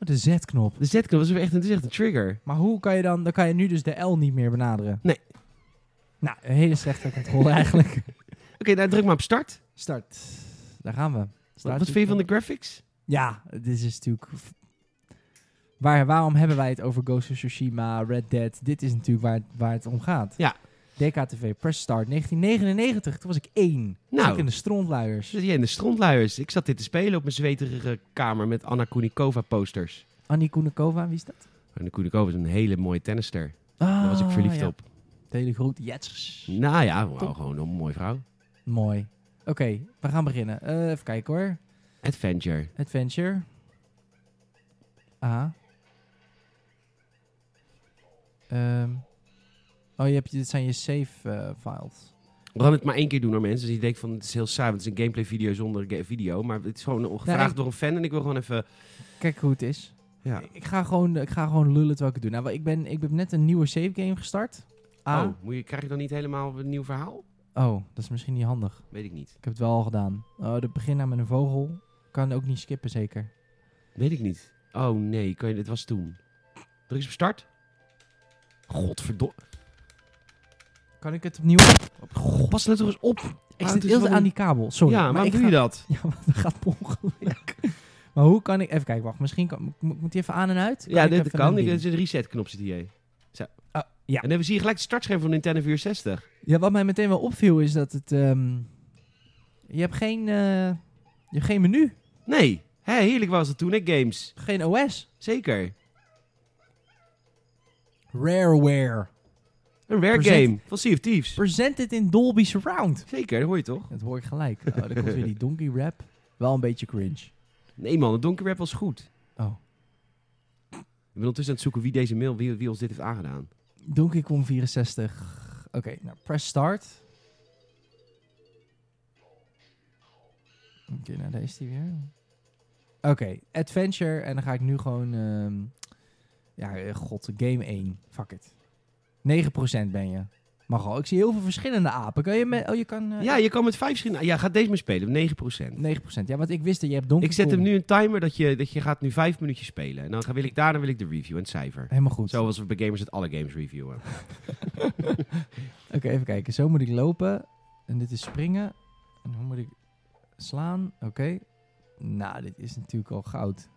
Speaker 2: Oh, de Z-knop.
Speaker 1: De zetknop was echt, een- het is echt een trigger.
Speaker 2: Maar hoe kan je dan... Dan kan je nu dus de L niet meer benaderen.
Speaker 1: Nee.
Speaker 2: Nou, een hele slechte controle eigenlijk.
Speaker 1: Oké, nou druk maar op start.
Speaker 2: Start. Daar gaan we.
Speaker 1: Wat,
Speaker 2: Start.
Speaker 1: wat vind je van de graphics?
Speaker 2: Ja, dit is natuurlijk... Waar, waarom hebben wij het over Ghost of Tsushima, Red Dead? Dit is natuurlijk waar, waar het om gaat.
Speaker 1: Ja.
Speaker 2: DKTV, Press Start, 1999. Toen was ik één.
Speaker 1: Nou.
Speaker 2: Zat Ik in de strontluiers.
Speaker 1: Zit jij in de strontluiers? Ik zat dit te spelen op mijn zweterige kamer met Anna Kunikova posters.
Speaker 2: Annie Koenikova, wie is dat?
Speaker 1: Anna Kunikova is een hele mooie tennister.
Speaker 2: Ah,
Speaker 1: Daar was ik verliefd
Speaker 2: ja.
Speaker 1: op.
Speaker 2: De hele grote jets.
Speaker 1: Nou ja, wauw,
Speaker 2: Top.
Speaker 1: gewoon een mooie vrouw.
Speaker 2: Mooi. Oké, we gaan beginnen. Eh, even kijken hoor.
Speaker 1: Adventure.
Speaker 2: Adventure. Aha. Ehm. oh, je hebt, dit zijn je save eh, files.
Speaker 1: We gaan het maar één keer doen hoor mensen. Dus je denkt van het is heel saai, want het is een gameplay video zonder ga- video. Maar het is gewoon gevraagd
Speaker 2: ik-
Speaker 1: door een fan en ik wil gewoon even...
Speaker 2: Kijk hoe het is.
Speaker 1: Ja.
Speaker 2: Ik- Ik, ga gewoon, ik ga gewoon lullen terwijl ik het doe. Nou, ik ben, ik ben net een nieuwe save game gestart. Ah.
Speaker 1: Oh, moet je, krijg je dan niet helemaal een nieuw verhaal?
Speaker 2: Oh. dat is misschien niet handig.
Speaker 1: Weet ik niet.
Speaker 2: Ik heb het wel al gedaan. Oh, de begin aan met een vogel. Kan ook niet skippen, zeker.
Speaker 1: Weet ik niet. Oh nee, kan je, het was toen. Druk eens op start. Godverdomme.
Speaker 2: Kan ik het opnieuw...
Speaker 1: God, pas let toch eens op.
Speaker 2: Ik
Speaker 1: Ah,
Speaker 2: zit
Speaker 1: het is
Speaker 2: heel de
Speaker 1: wel
Speaker 2: aan
Speaker 1: een-
Speaker 2: die kabel. Sorry.
Speaker 1: ja, maar waarom
Speaker 2: ik
Speaker 1: doe
Speaker 2: ga-
Speaker 1: je dat?
Speaker 2: Ja, maar dat gaat per ongeluk. maar hoe kan ik... Even kijken, wacht. Misschien kan... mo- Moet die even aan en uit?
Speaker 1: Ja,
Speaker 2: ik
Speaker 1: dit
Speaker 2: even
Speaker 1: kan.
Speaker 2: een
Speaker 1: Ik,
Speaker 2: ding?
Speaker 1: er is een reset knop zit hier. Zo.
Speaker 2: Ah,
Speaker 1: ja.
Speaker 2: ja.
Speaker 1: En dan zie je gelijk het startscherm van Nintendo 64.
Speaker 2: Ja, wat mij meteen wel opviel is dat het... ehm, je hebt geen... eh, je hebt geen menu.
Speaker 1: Nee. Hé, heerlijk was dat toen, hè, games.
Speaker 2: Geen OS.
Speaker 1: Zeker.
Speaker 2: Rareware.
Speaker 1: Een rare
Speaker 2: Present-
Speaker 1: game van Sea of Thieves.
Speaker 2: Presented in Dolby Surround.
Speaker 1: Zeker, dat hoor je toch?
Speaker 2: Dat hoor ik gelijk. Oh, dan komt weer die donkey rap. Wel een beetje cringe.
Speaker 1: Nee man, de Donkey Rap was goed.
Speaker 2: Oh.
Speaker 1: Ik ben ondertussen aan het zoeken wie deze mail, wie, wie ons dit heeft aangedaan.
Speaker 2: Donkey Kong 64. Oké, nou, press start. Oké, nou, daar is die weer. Oké, adventure. En dan ga ik nu gewoon... ehm, ja, eh, god, game 1. Fuck it. 9% ben je. Mag al. Ik zie heel veel verschillende apen. Kan je met... Oh, je kan... eh,
Speaker 1: Ja, je kan met vijf schieten. Ja, ga deze maar spelen, 9%.
Speaker 2: 9%. Ja, want ik wist dat je hebt Donkey
Speaker 1: Ik zet hem
Speaker 2: Kong.
Speaker 1: nu een timer dat je, dat je gaat nu vijf minuutjes spelen. En dan ga, wil ik daarna wil ik de review en het cijfer.
Speaker 2: Helemaal goed.
Speaker 1: Zoals we bij gamers het alle games reviewen.
Speaker 2: Oké, even kijken. Zo moet ik lopen. En dit is springen. En hoe moet ik slaan? Oké. Nou, dit is natuurlijk al goud.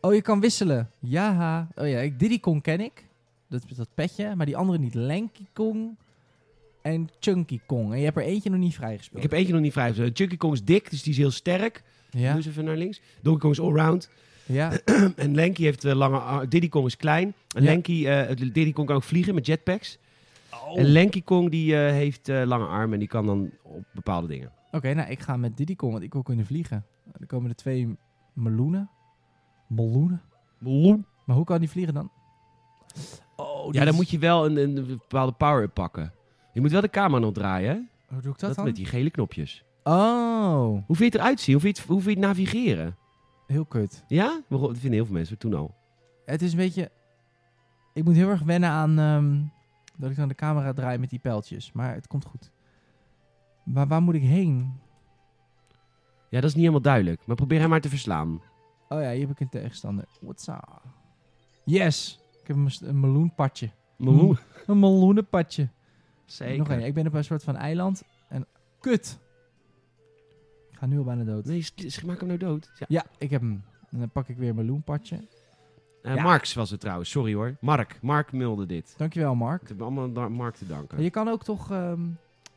Speaker 2: Oh, je kan wisselen. Ja. Oh ja, ik- Diddy Kong ken ik. dat, dat petje. Maar die andere niet. Lanky Kong en Chunky Kong. En je hebt er eentje nog niet
Speaker 1: Ik
Speaker 2: vrijgespeeld.
Speaker 1: heb eentje nog niet vrij. gezet. Chunky Kong is dik, dus die is heel sterk.
Speaker 2: Ja,
Speaker 1: Doe eens even naar links. Donkey Kong is allround.
Speaker 2: ja.
Speaker 1: En Lanky heeft eh, lange ar- Diddy Kong is klein. En
Speaker 2: Ja.
Speaker 1: Lanky, eh, Diddy Kong kan ook vliegen met jetpacks.
Speaker 2: Oh.
Speaker 1: En Lanky Kong die eh, heeft eh, lange armen en die kan dan op bepaalde dingen.
Speaker 2: Oké, nou ik ga met Diddy Kong, want ik wil kunnen vliegen. Er komen er twee meloenen. Meloenen? Maar hoe kan die vliegen dan? Oh,
Speaker 1: ja, dan moet je wel een, een bepaalde power-up pakken. Je moet wel de camera nog draaien, hè?
Speaker 2: Hoe doe ik dat, dan?
Speaker 1: met die gele knopjes.
Speaker 2: Oh,
Speaker 1: Hoe vind je het eruit zien? Hoe vind je het, hoe vind je het navigeren?
Speaker 2: heel kut.
Speaker 1: Ja? Waarom- Dat vinden heel veel mensen toen al.
Speaker 2: Het is een beetje... Ik moet heel erg wennen aan ehm, dat ik dan de camera draai met die pijltjes. Maar het komt goed. Maar waar moet ik heen?
Speaker 1: Ja, dat is niet helemaal duidelijk. Maar probeer hem maar te verslaan.
Speaker 2: Oh ja, hier heb ik een tegenstander. What's up? Yes! Ik heb een, mes- een meloenpadje.
Speaker 1: Moe.
Speaker 2: Een meloenenpadje.
Speaker 1: Zeker.
Speaker 2: Nog één. Ik ben op een soort van eiland. En kut. Ik ga nu al bijna dood.
Speaker 1: Nee, s- s- maak hem nou dood. Ja.
Speaker 2: Ja, ik heb hem. En dan pak ik weer een meloenpadje.
Speaker 1: Eh,
Speaker 2: Ja.
Speaker 1: Marx was het trouwens, sorry hoor. Mark, Mark Mulde dit.
Speaker 2: Dankjewel, Mark.
Speaker 1: Het hebben allemaal aan Mark te danken.
Speaker 2: Maar je kan ook toch... ehm,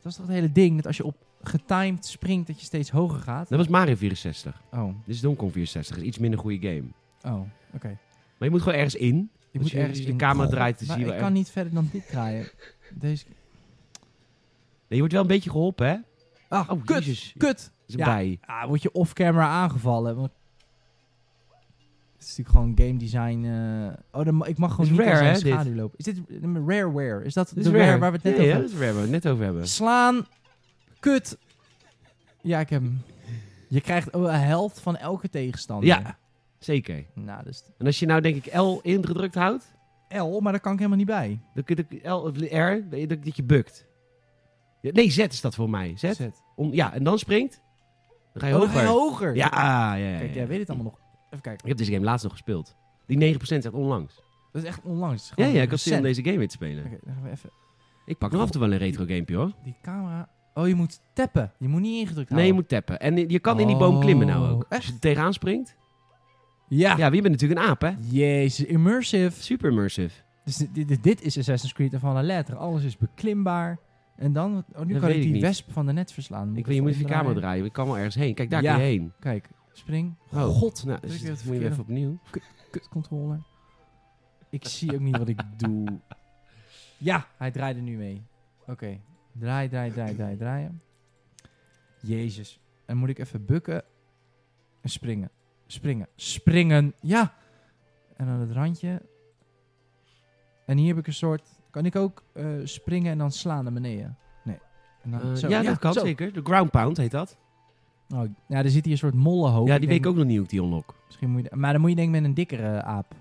Speaker 2: dat is toch het hele ding. Dat als je op getimed springt, dat je steeds hoger gaat.
Speaker 1: Dat was Mario 64.
Speaker 2: Oh,
Speaker 1: Dit is Donkey Kong 64. is iets minder goede game.
Speaker 2: oh, oké.
Speaker 1: Maar je moet gewoon ergens in.
Speaker 2: Je
Speaker 1: je de camera draait, dan
Speaker 2: maar
Speaker 1: zie je
Speaker 2: ik
Speaker 1: wel
Speaker 2: kan niet verder dan dit draaien. Deze...
Speaker 1: Nee, je wordt wel een beetje geholpen, hè?
Speaker 2: Ah,
Speaker 1: Oh,
Speaker 2: kut,
Speaker 1: jezus.
Speaker 2: kut.
Speaker 1: Dat is een
Speaker 2: Ja.
Speaker 1: bij.
Speaker 2: Ah, word je off-camera aangevallen. Want... Het is natuurlijk gewoon game design. eh, Oh, dan, ma- ik mag gewoon
Speaker 1: Is
Speaker 2: niet
Speaker 1: rare,
Speaker 2: als
Speaker 1: hè,
Speaker 2: een
Speaker 1: dit?
Speaker 2: schaduw lopen. Is dit eh, rareware? Is dat
Speaker 1: Dit
Speaker 2: de
Speaker 1: is
Speaker 2: rare, waar we het net
Speaker 1: Ja,
Speaker 2: over
Speaker 1: ja,
Speaker 2: hebben?
Speaker 1: dat is rare waar we het net over hebben.
Speaker 2: Slaan. Kut. Ja, ik heb hem. Je krijgt oh, een helft van elke tegenstander.
Speaker 1: Ja. Zeker.
Speaker 2: Nou, dus
Speaker 1: En als je nou denk ik L ingedrukt houdt,
Speaker 2: L, maar daar kan ik helemaal niet bij.
Speaker 1: dan kun je L of R, dat- dat je bukt. Ja, nee, Z is dat voor mij. Z.
Speaker 2: Zet.
Speaker 1: Om, ja, en dan springt. Dan ga je
Speaker 2: Oh, dan
Speaker 1: hoger.
Speaker 2: ga je hoger.
Speaker 1: Ja, ah, ja, ja, ja.
Speaker 2: Kijk, jij weet het allemaal nog. Even kijken.
Speaker 1: Ik heb deze game laatst nog gespeeld. Die 9% zegt onlangs.
Speaker 2: Dat is echt onlangs. Het is
Speaker 1: Ja,
Speaker 2: gewoon
Speaker 1: ja, ik had zin om
Speaker 2: recent.
Speaker 1: deze game weer te spelen.
Speaker 2: Oké, Nou. dan gaan we even.
Speaker 1: Ik pak nog af en toe wel een retro gamepje hoor.
Speaker 2: Die camera. Oh, je moet tappen. Je moet niet ingedrukt
Speaker 1: Nee, je
Speaker 2: houden.
Speaker 1: moet tappen. En je kan in die boom klimmen nou ook.
Speaker 2: Oh,
Speaker 1: Als je er tegenaan springt.
Speaker 2: Ja.
Speaker 1: Ja, wie bent natuurlijk een aap hè?
Speaker 2: Jezus, immersive.
Speaker 1: Super immersive.
Speaker 2: Dus dit, dit, dit is Assassin's Creed van la letter. Alles is beklimbaar. En dan, oh, nu
Speaker 1: Dat weet
Speaker 2: kan ik
Speaker 1: ik
Speaker 2: die
Speaker 1: niet.
Speaker 2: wesp van de net verslaan.
Speaker 1: Ik weet, je moet even je
Speaker 2: omdraaien.
Speaker 1: camera draaien. Ik kan wel ergens heen. Kijk, daar
Speaker 2: Ja.
Speaker 1: kan je heen.
Speaker 2: Kijk, spring.
Speaker 1: Oh,
Speaker 2: God,
Speaker 1: Nou,
Speaker 2: druk
Speaker 1: dus
Speaker 2: weer het
Speaker 1: dat moet je
Speaker 2: verkeerde.
Speaker 1: even opnieuw.
Speaker 2: kutcontroller. Ik zie ook niet wat ik doe. Ja, hij draaide nu mee. Oké, draai, draai, draai, draai, draaien. Jezus. En moet ik even bukken en springen. Springen, springen, ja. En aan het randje. En hier heb ik een soort... Kan ik ook eh, springen en dan slaan naar beneden? Nee. En dan,
Speaker 1: Eh,
Speaker 2: zo,
Speaker 1: ja, dat kan
Speaker 2: zo.
Speaker 1: zeker. De ground pound heet dat.
Speaker 2: Oh, ja, er zit hier een soort mollenhoop.
Speaker 1: ja, die weet
Speaker 2: denk-
Speaker 1: ik ook nog niet hoe ik die unlock.
Speaker 2: Misschien moet je, maar dan moet je denk ik met een dikkere aap.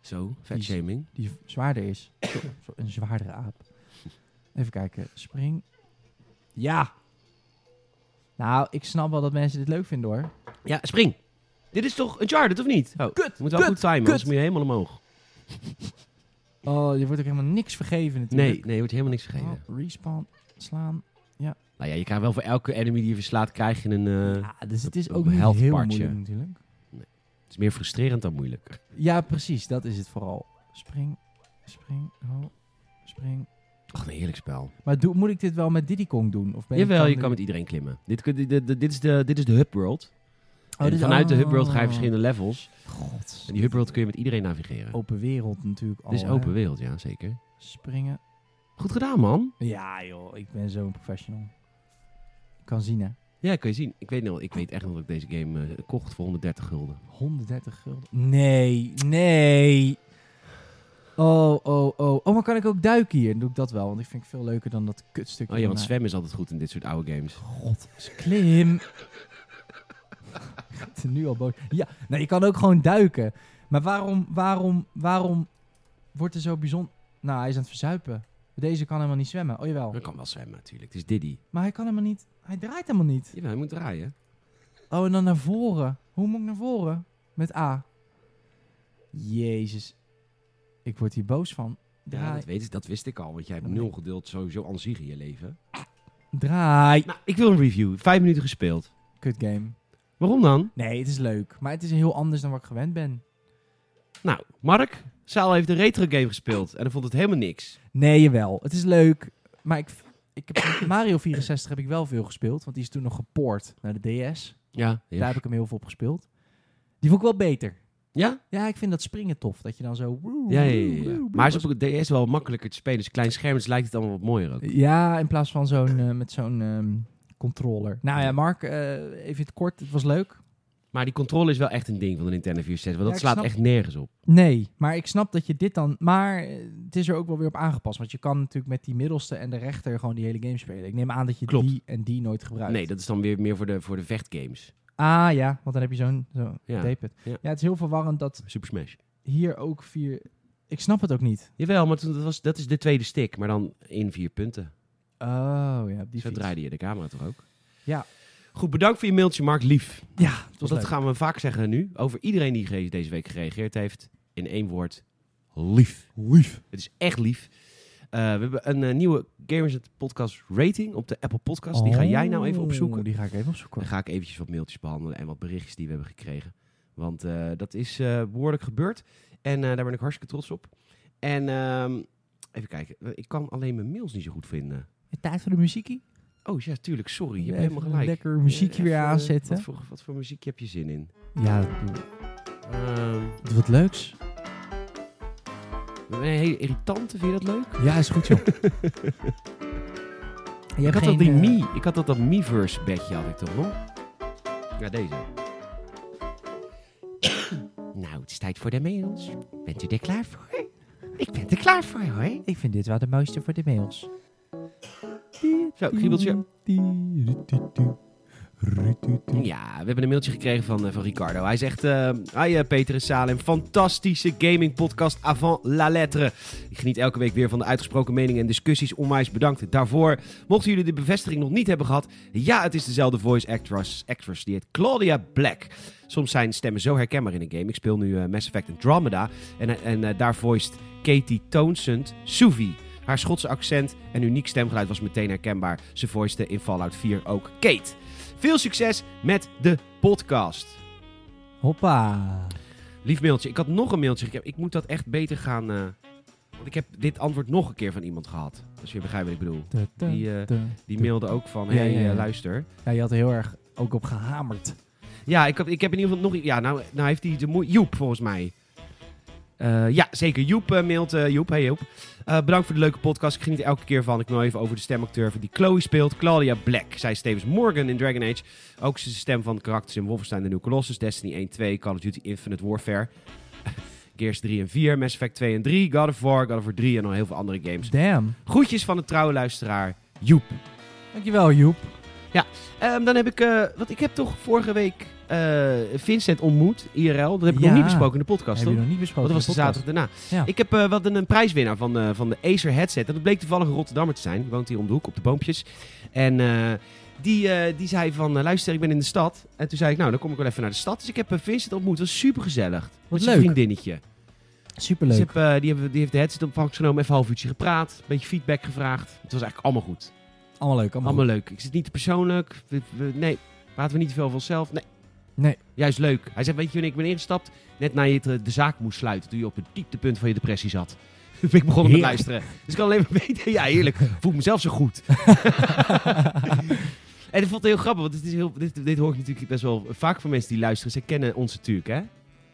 Speaker 1: Zo, fat shaming.
Speaker 2: die v- zwaarder is. Zo- een zwaardere aap. Even kijken. Spring. Ja. Nou, ik snap wel dat mensen dit leuk vinden hoor.
Speaker 1: Ja, spring. Dit is toch een charted of niet? Oh,
Speaker 2: Kut,
Speaker 1: moet wel
Speaker 2: kut,
Speaker 1: goed timen, anders
Speaker 2: kut.
Speaker 1: moet je helemaal omhoog.
Speaker 2: Oh, je wordt ook helemaal niks vergeven
Speaker 1: Nee,
Speaker 2: natuurlijk.
Speaker 1: nee, je wordt helemaal niks vergeten.
Speaker 2: Oh, respawn. Slaan.
Speaker 1: Nou ja, je krijgt wel voor elke enemy die je verslaat, krijg je een... eh,
Speaker 2: Ja, dus het is
Speaker 1: een
Speaker 2: ook niet heel
Speaker 1: health partje.
Speaker 2: moeilijk natuurlijk.
Speaker 1: Het is meer frustrerend dan moeilijk.
Speaker 2: Ja, precies. Dat is het vooral. Spring. Spring. Oh. Spring.
Speaker 1: Ach, een heerlijk spel.
Speaker 2: Maar doe, moet ik dit wel met Diddy Kong doen? Of ben ik
Speaker 1: Jawel,
Speaker 2: dan
Speaker 1: je
Speaker 2: de-
Speaker 1: kan met iedereen klimmen. Dit, kun- dit, dit, dit is, de, dit is de hub world.
Speaker 2: Oh,
Speaker 1: En
Speaker 2: dit is-
Speaker 1: vanuit de hub world ga je
Speaker 2: oh.
Speaker 1: verschillende levels.
Speaker 2: God.
Speaker 1: En die hub world kun je met iedereen navigeren.
Speaker 2: Open wereld natuurlijk al.
Speaker 1: dit is
Speaker 2: Oh, hè.
Speaker 1: open wereld, ja, zeker.
Speaker 2: Springen.
Speaker 1: Goed gedaan, man.
Speaker 2: Ja, joh, ik ben zo'n professional. Ik kan zien, hè?
Speaker 1: Ja, kun je zien. Ik weet, nog, ik weet echt nog dat ik deze game eh, kocht voor 130 gulden.
Speaker 2: 130 gulden. Nee, nee. Oh, oh, oh. Oh, maar kan ik ook duiken hier? Dan doe ik dat wel, want ik vind het veel leuker dan dat kutstukje.
Speaker 1: Oh ja, want
Speaker 2: van mij.
Speaker 1: zwemmen is altijd goed in dit soort oude games.
Speaker 2: God, is klim. Ik ben nu al boos. Ja, nou, je kan ook gewoon duiken. Maar waarom, waarom, waarom wordt er zo bijzonder... Nou, hij is aan het verzuipen. Deze kan helemaal niet zwemmen. Oh, jawel.
Speaker 1: Dat kan wel zwemmen natuurlijk. Het is Diddy.
Speaker 2: Maar hij kan helemaal niet... Hij draait helemaal niet.
Speaker 1: Jawel, hij moet draaien.
Speaker 2: Oh, en dan naar voren. Hoe moet ik naar voren? Met A. Jezus. Ik word hier boos van.
Speaker 1: Ja,
Speaker 2: Draai.
Speaker 1: dat, weet ik, Oh, dat wist ik al, want jij hebt
Speaker 2: Ja,
Speaker 1: nul geduld sowieso aan zich in je leven.
Speaker 2: Draai.
Speaker 1: Nou, ik wil een review. Vijf minuten gespeeld.
Speaker 2: Kut game.
Speaker 1: Waarom dan?
Speaker 2: Nee, het is leuk. Maar het is heel anders dan wat ik gewend ben.
Speaker 1: Nou, Mark, Saal heeft een retro game gespeeld en hij vond het helemaal niks.
Speaker 2: Nee, jawel. Het is leuk. Maar ik, ik heb, Mario 64 heb ik wel veel gespeeld. Want die is toen nog gepoord naar de DS.
Speaker 1: Ja.
Speaker 2: Daar
Speaker 1: Ja?
Speaker 2: heb ik hem heel veel op gespeeld. Die vond ik wel beter.
Speaker 1: Ja,
Speaker 2: Ja, ik vind dat springen tof. Dat je dan zo... woe,
Speaker 1: ja, ja.
Speaker 2: woe,
Speaker 1: ja.
Speaker 2: woe,
Speaker 1: Maar hij is op de DS wel makkelijker te spelen. Dus klein scherm, dus lijkt het allemaal wat mooier ook.
Speaker 2: Ja, in plaats van zo'n eh, met zo'n ehm, controller. Nou ja, Mark, eh, even het kort. Het was leuk.
Speaker 1: Maar die controle is wel echt een ding van de Nintendo 64. Want
Speaker 2: Ja,
Speaker 1: dat
Speaker 2: ik
Speaker 1: slaat
Speaker 2: snap-
Speaker 1: echt nergens op.
Speaker 2: Nee, maar ik snap dat je dit dan. Maar eh, het is er ook wel weer op aangepast. Want je kan natuurlijk met die middelste en de rechter gewoon die hele game spelen. Ik neem aan dat je
Speaker 1: Klopt.
Speaker 2: die en die nooit gebruikt.
Speaker 1: Nee, dat is dan weer meer voor de, voor de vechtgames.
Speaker 2: Ah ja, want dan heb je zo'n. Zo,
Speaker 1: Ja,
Speaker 2: tape het.
Speaker 1: ja.
Speaker 2: Ja. het is heel verwarrend dat
Speaker 1: Super Smash.
Speaker 2: hier ook vier. Ik snap het ook niet.
Speaker 1: Jawel, maar toen- dat, was, dat is de tweede stick, maar dan in vier punten.
Speaker 2: Oh ja, op die
Speaker 1: Zo
Speaker 2: fiets.
Speaker 1: draaide je de camera toch ook?
Speaker 2: Ja.
Speaker 1: Goed, bedankt voor je mailtje, Mark. Lief.
Speaker 2: Ja, het was
Speaker 1: Want
Speaker 2: leuk.
Speaker 1: dat gaan we vaak zeggen nu. Over iedereen die ge- deze week gereageerd heeft. In één woord. Lief. Lief. Het is echt lief. Eh, we hebben een eh, nieuwe Gamers Net Podcast rating op de Apple Podcast. Die ga jij nou even
Speaker 2: Oh,
Speaker 1: opzoeken.
Speaker 2: Die ga ik even opzoeken.
Speaker 1: Dan ga ik eventjes wat mailtjes behandelen en wat berichtjes die we hebben gekregen. Want eh, dat is eh, behoorlijk gebeurd. En eh, daar ben ik hartstikke trots op. En ehm, even kijken. Ik kan alleen mijn mails niet zo goed vinden.
Speaker 2: Tijd voor de muziekie.
Speaker 1: Oh ja, tuurlijk. Sorry. Je
Speaker 2: Even
Speaker 1: hebt helemaal gelijk.
Speaker 2: Lekker muziekje
Speaker 1: Eh,
Speaker 2: weer
Speaker 1: even, eh,
Speaker 2: aanzetten.
Speaker 1: Wat voor, wat voor muziek heb je zin in?
Speaker 2: Ja, doe,
Speaker 1: Ehm,
Speaker 2: doe wat leuks.
Speaker 1: een hele irritante. Vind je dat leuk?
Speaker 2: Ja, is goed joh. Je
Speaker 1: ik
Speaker 2: hebt
Speaker 1: had
Speaker 2: geen,
Speaker 1: dat die
Speaker 2: eh,
Speaker 1: Mi. Ik had dat dat Miiverse bedje had ik toch nog? Ja, deze. nou, het is tijd voor de mails. Bent u er klaar voor? Ik ben er klaar voor hoor.
Speaker 2: Ik vind dit wel de mooiste voor de mails.
Speaker 1: Zo, Giebeltje. Ja, we hebben een mailtje gekregen van, eh, van Ricardo. Hij zegt, eh hi eh, Peter en Salem, fantastische gaming podcast avant la lettre. Ik geniet elke week weer van de uitgesproken meningen en discussies. Onwijs bedankt daarvoor. Mochten jullie de bevestiging nog niet hebben gehad, ja, het is dezelfde voice actress, actress die heet Claudia Black. Soms zijn stemmen zo herkenbaar in een game. Ik speel nu eh, Mass Effect Andromeda en, eh, en eh, daar voiced Katie Townsend Suvi. Haar Schotse accent en uniek stemgeluid was meteen herkenbaar. Ze voicede in Fallout 4 ook Kate. Veel succes met de podcast.
Speaker 2: Hoppa.
Speaker 1: Lief mailtje. Ik had nog een mailtje gekregen. Ik moet dat echt beter gaan... eh, want ik heb dit antwoord nog een keer van iemand gehad. Als je begrijpt wat ik bedoel.
Speaker 2: Da, da,
Speaker 1: Die, eh,
Speaker 2: da.
Speaker 1: Die mailde ook van...
Speaker 2: Ja,
Speaker 1: hey,
Speaker 2: ja, ja.
Speaker 1: eh, luister.
Speaker 2: Ja, je had er heel erg ook op gehamerd.
Speaker 1: Ja, ik heb, ik heb in ieder geval nog... Ja, nou, nou heeft hij de moe- Joep, volgens mij. Eh, ja, zeker. Joep eh, mailt. eh, Joep, hey Joep. Eh, bedankt voor de leuke podcast. Ik geniet er elke keer van. Ik wil even over de stemacteur van die Chloe speelt. Claudia Black. Zij is Stevens Morgan in Dragon Age. Ook ze is de stem van de karakters in Wolfenstein The New Colossus, Destiny 1, 2, Call of Duty Infinite Warfare. Gears 3 en 4, Mass Effect 2 en 3, God of War, God of War 3 en nog heel veel andere games.
Speaker 2: Damn.
Speaker 1: Groetjes van de trouwe luisteraar, Joep.
Speaker 2: Dankjewel Joep.
Speaker 1: Ehm, dan heb ik, eh want ik heb toch vorige week eh, Vincent ontmoet, IRL. Dat heb ik
Speaker 2: Ja.
Speaker 1: nog niet besproken in de podcast,
Speaker 2: Hebben
Speaker 1: toch?
Speaker 2: we nog niet
Speaker 1: Want
Speaker 2: besproken.
Speaker 1: dat was de
Speaker 2: in podcast.
Speaker 1: zaterdag daarna.
Speaker 2: Ja.
Speaker 1: Ik heb eh, wat een, een prijswinnaar van, eh, van de Acer headset. En dat bleek toevallig een Rotterdammer te zijn. Die woont hier om de hoek, op de boompjes. En eh, die, eh, die zei van, eh, luister, ik ben in de stad. En toen zei ik, nou, dan kom ik wel even naar de stad. Dus ik heb eh, Vincent ontmoet. Dat was supergezellig. Wat Met zijn
Speaker 2: leuk.
Speaker 1: vriendinnetje. Dus
Speaker 2: Superleuk.
Speaker 1: ik heb, eh, die, hebben, die heeft de headset op ontvangst genomen. Even een half uurtje gepraat. Een beetje feedback gevraagd. Het was eigenlijk allemaal goed.
Speaker 2: Allemaal leuk. Allemaal,
Speaker 1: Allemaal leuk. Ik zit niet te persoonlijk. We- we- nee, praten we niet te veel van onszelf. Nee.
Speaker 2: Nee.
Speaker 1: Juist leuk. Hij zei, weet je, wanneer ik ben ingestapt, net na je eh, de, de zaak moest sluiten, toen je op het dieptepunt van je depressie zat. Toen ben ik begonnen met
Speaker 2: Heerlijk.
Speaker 1: luisteren. Dus ik kan alleen maar weten, ja, heerlijk. Voel ik mezelf zo goed. en ik vond het heel grappig, want dit, is heel, dit, dit hoor ik natuurlijk best wel vaak van mensen die luisteren. Zij kennen ons natuurlijk, hè?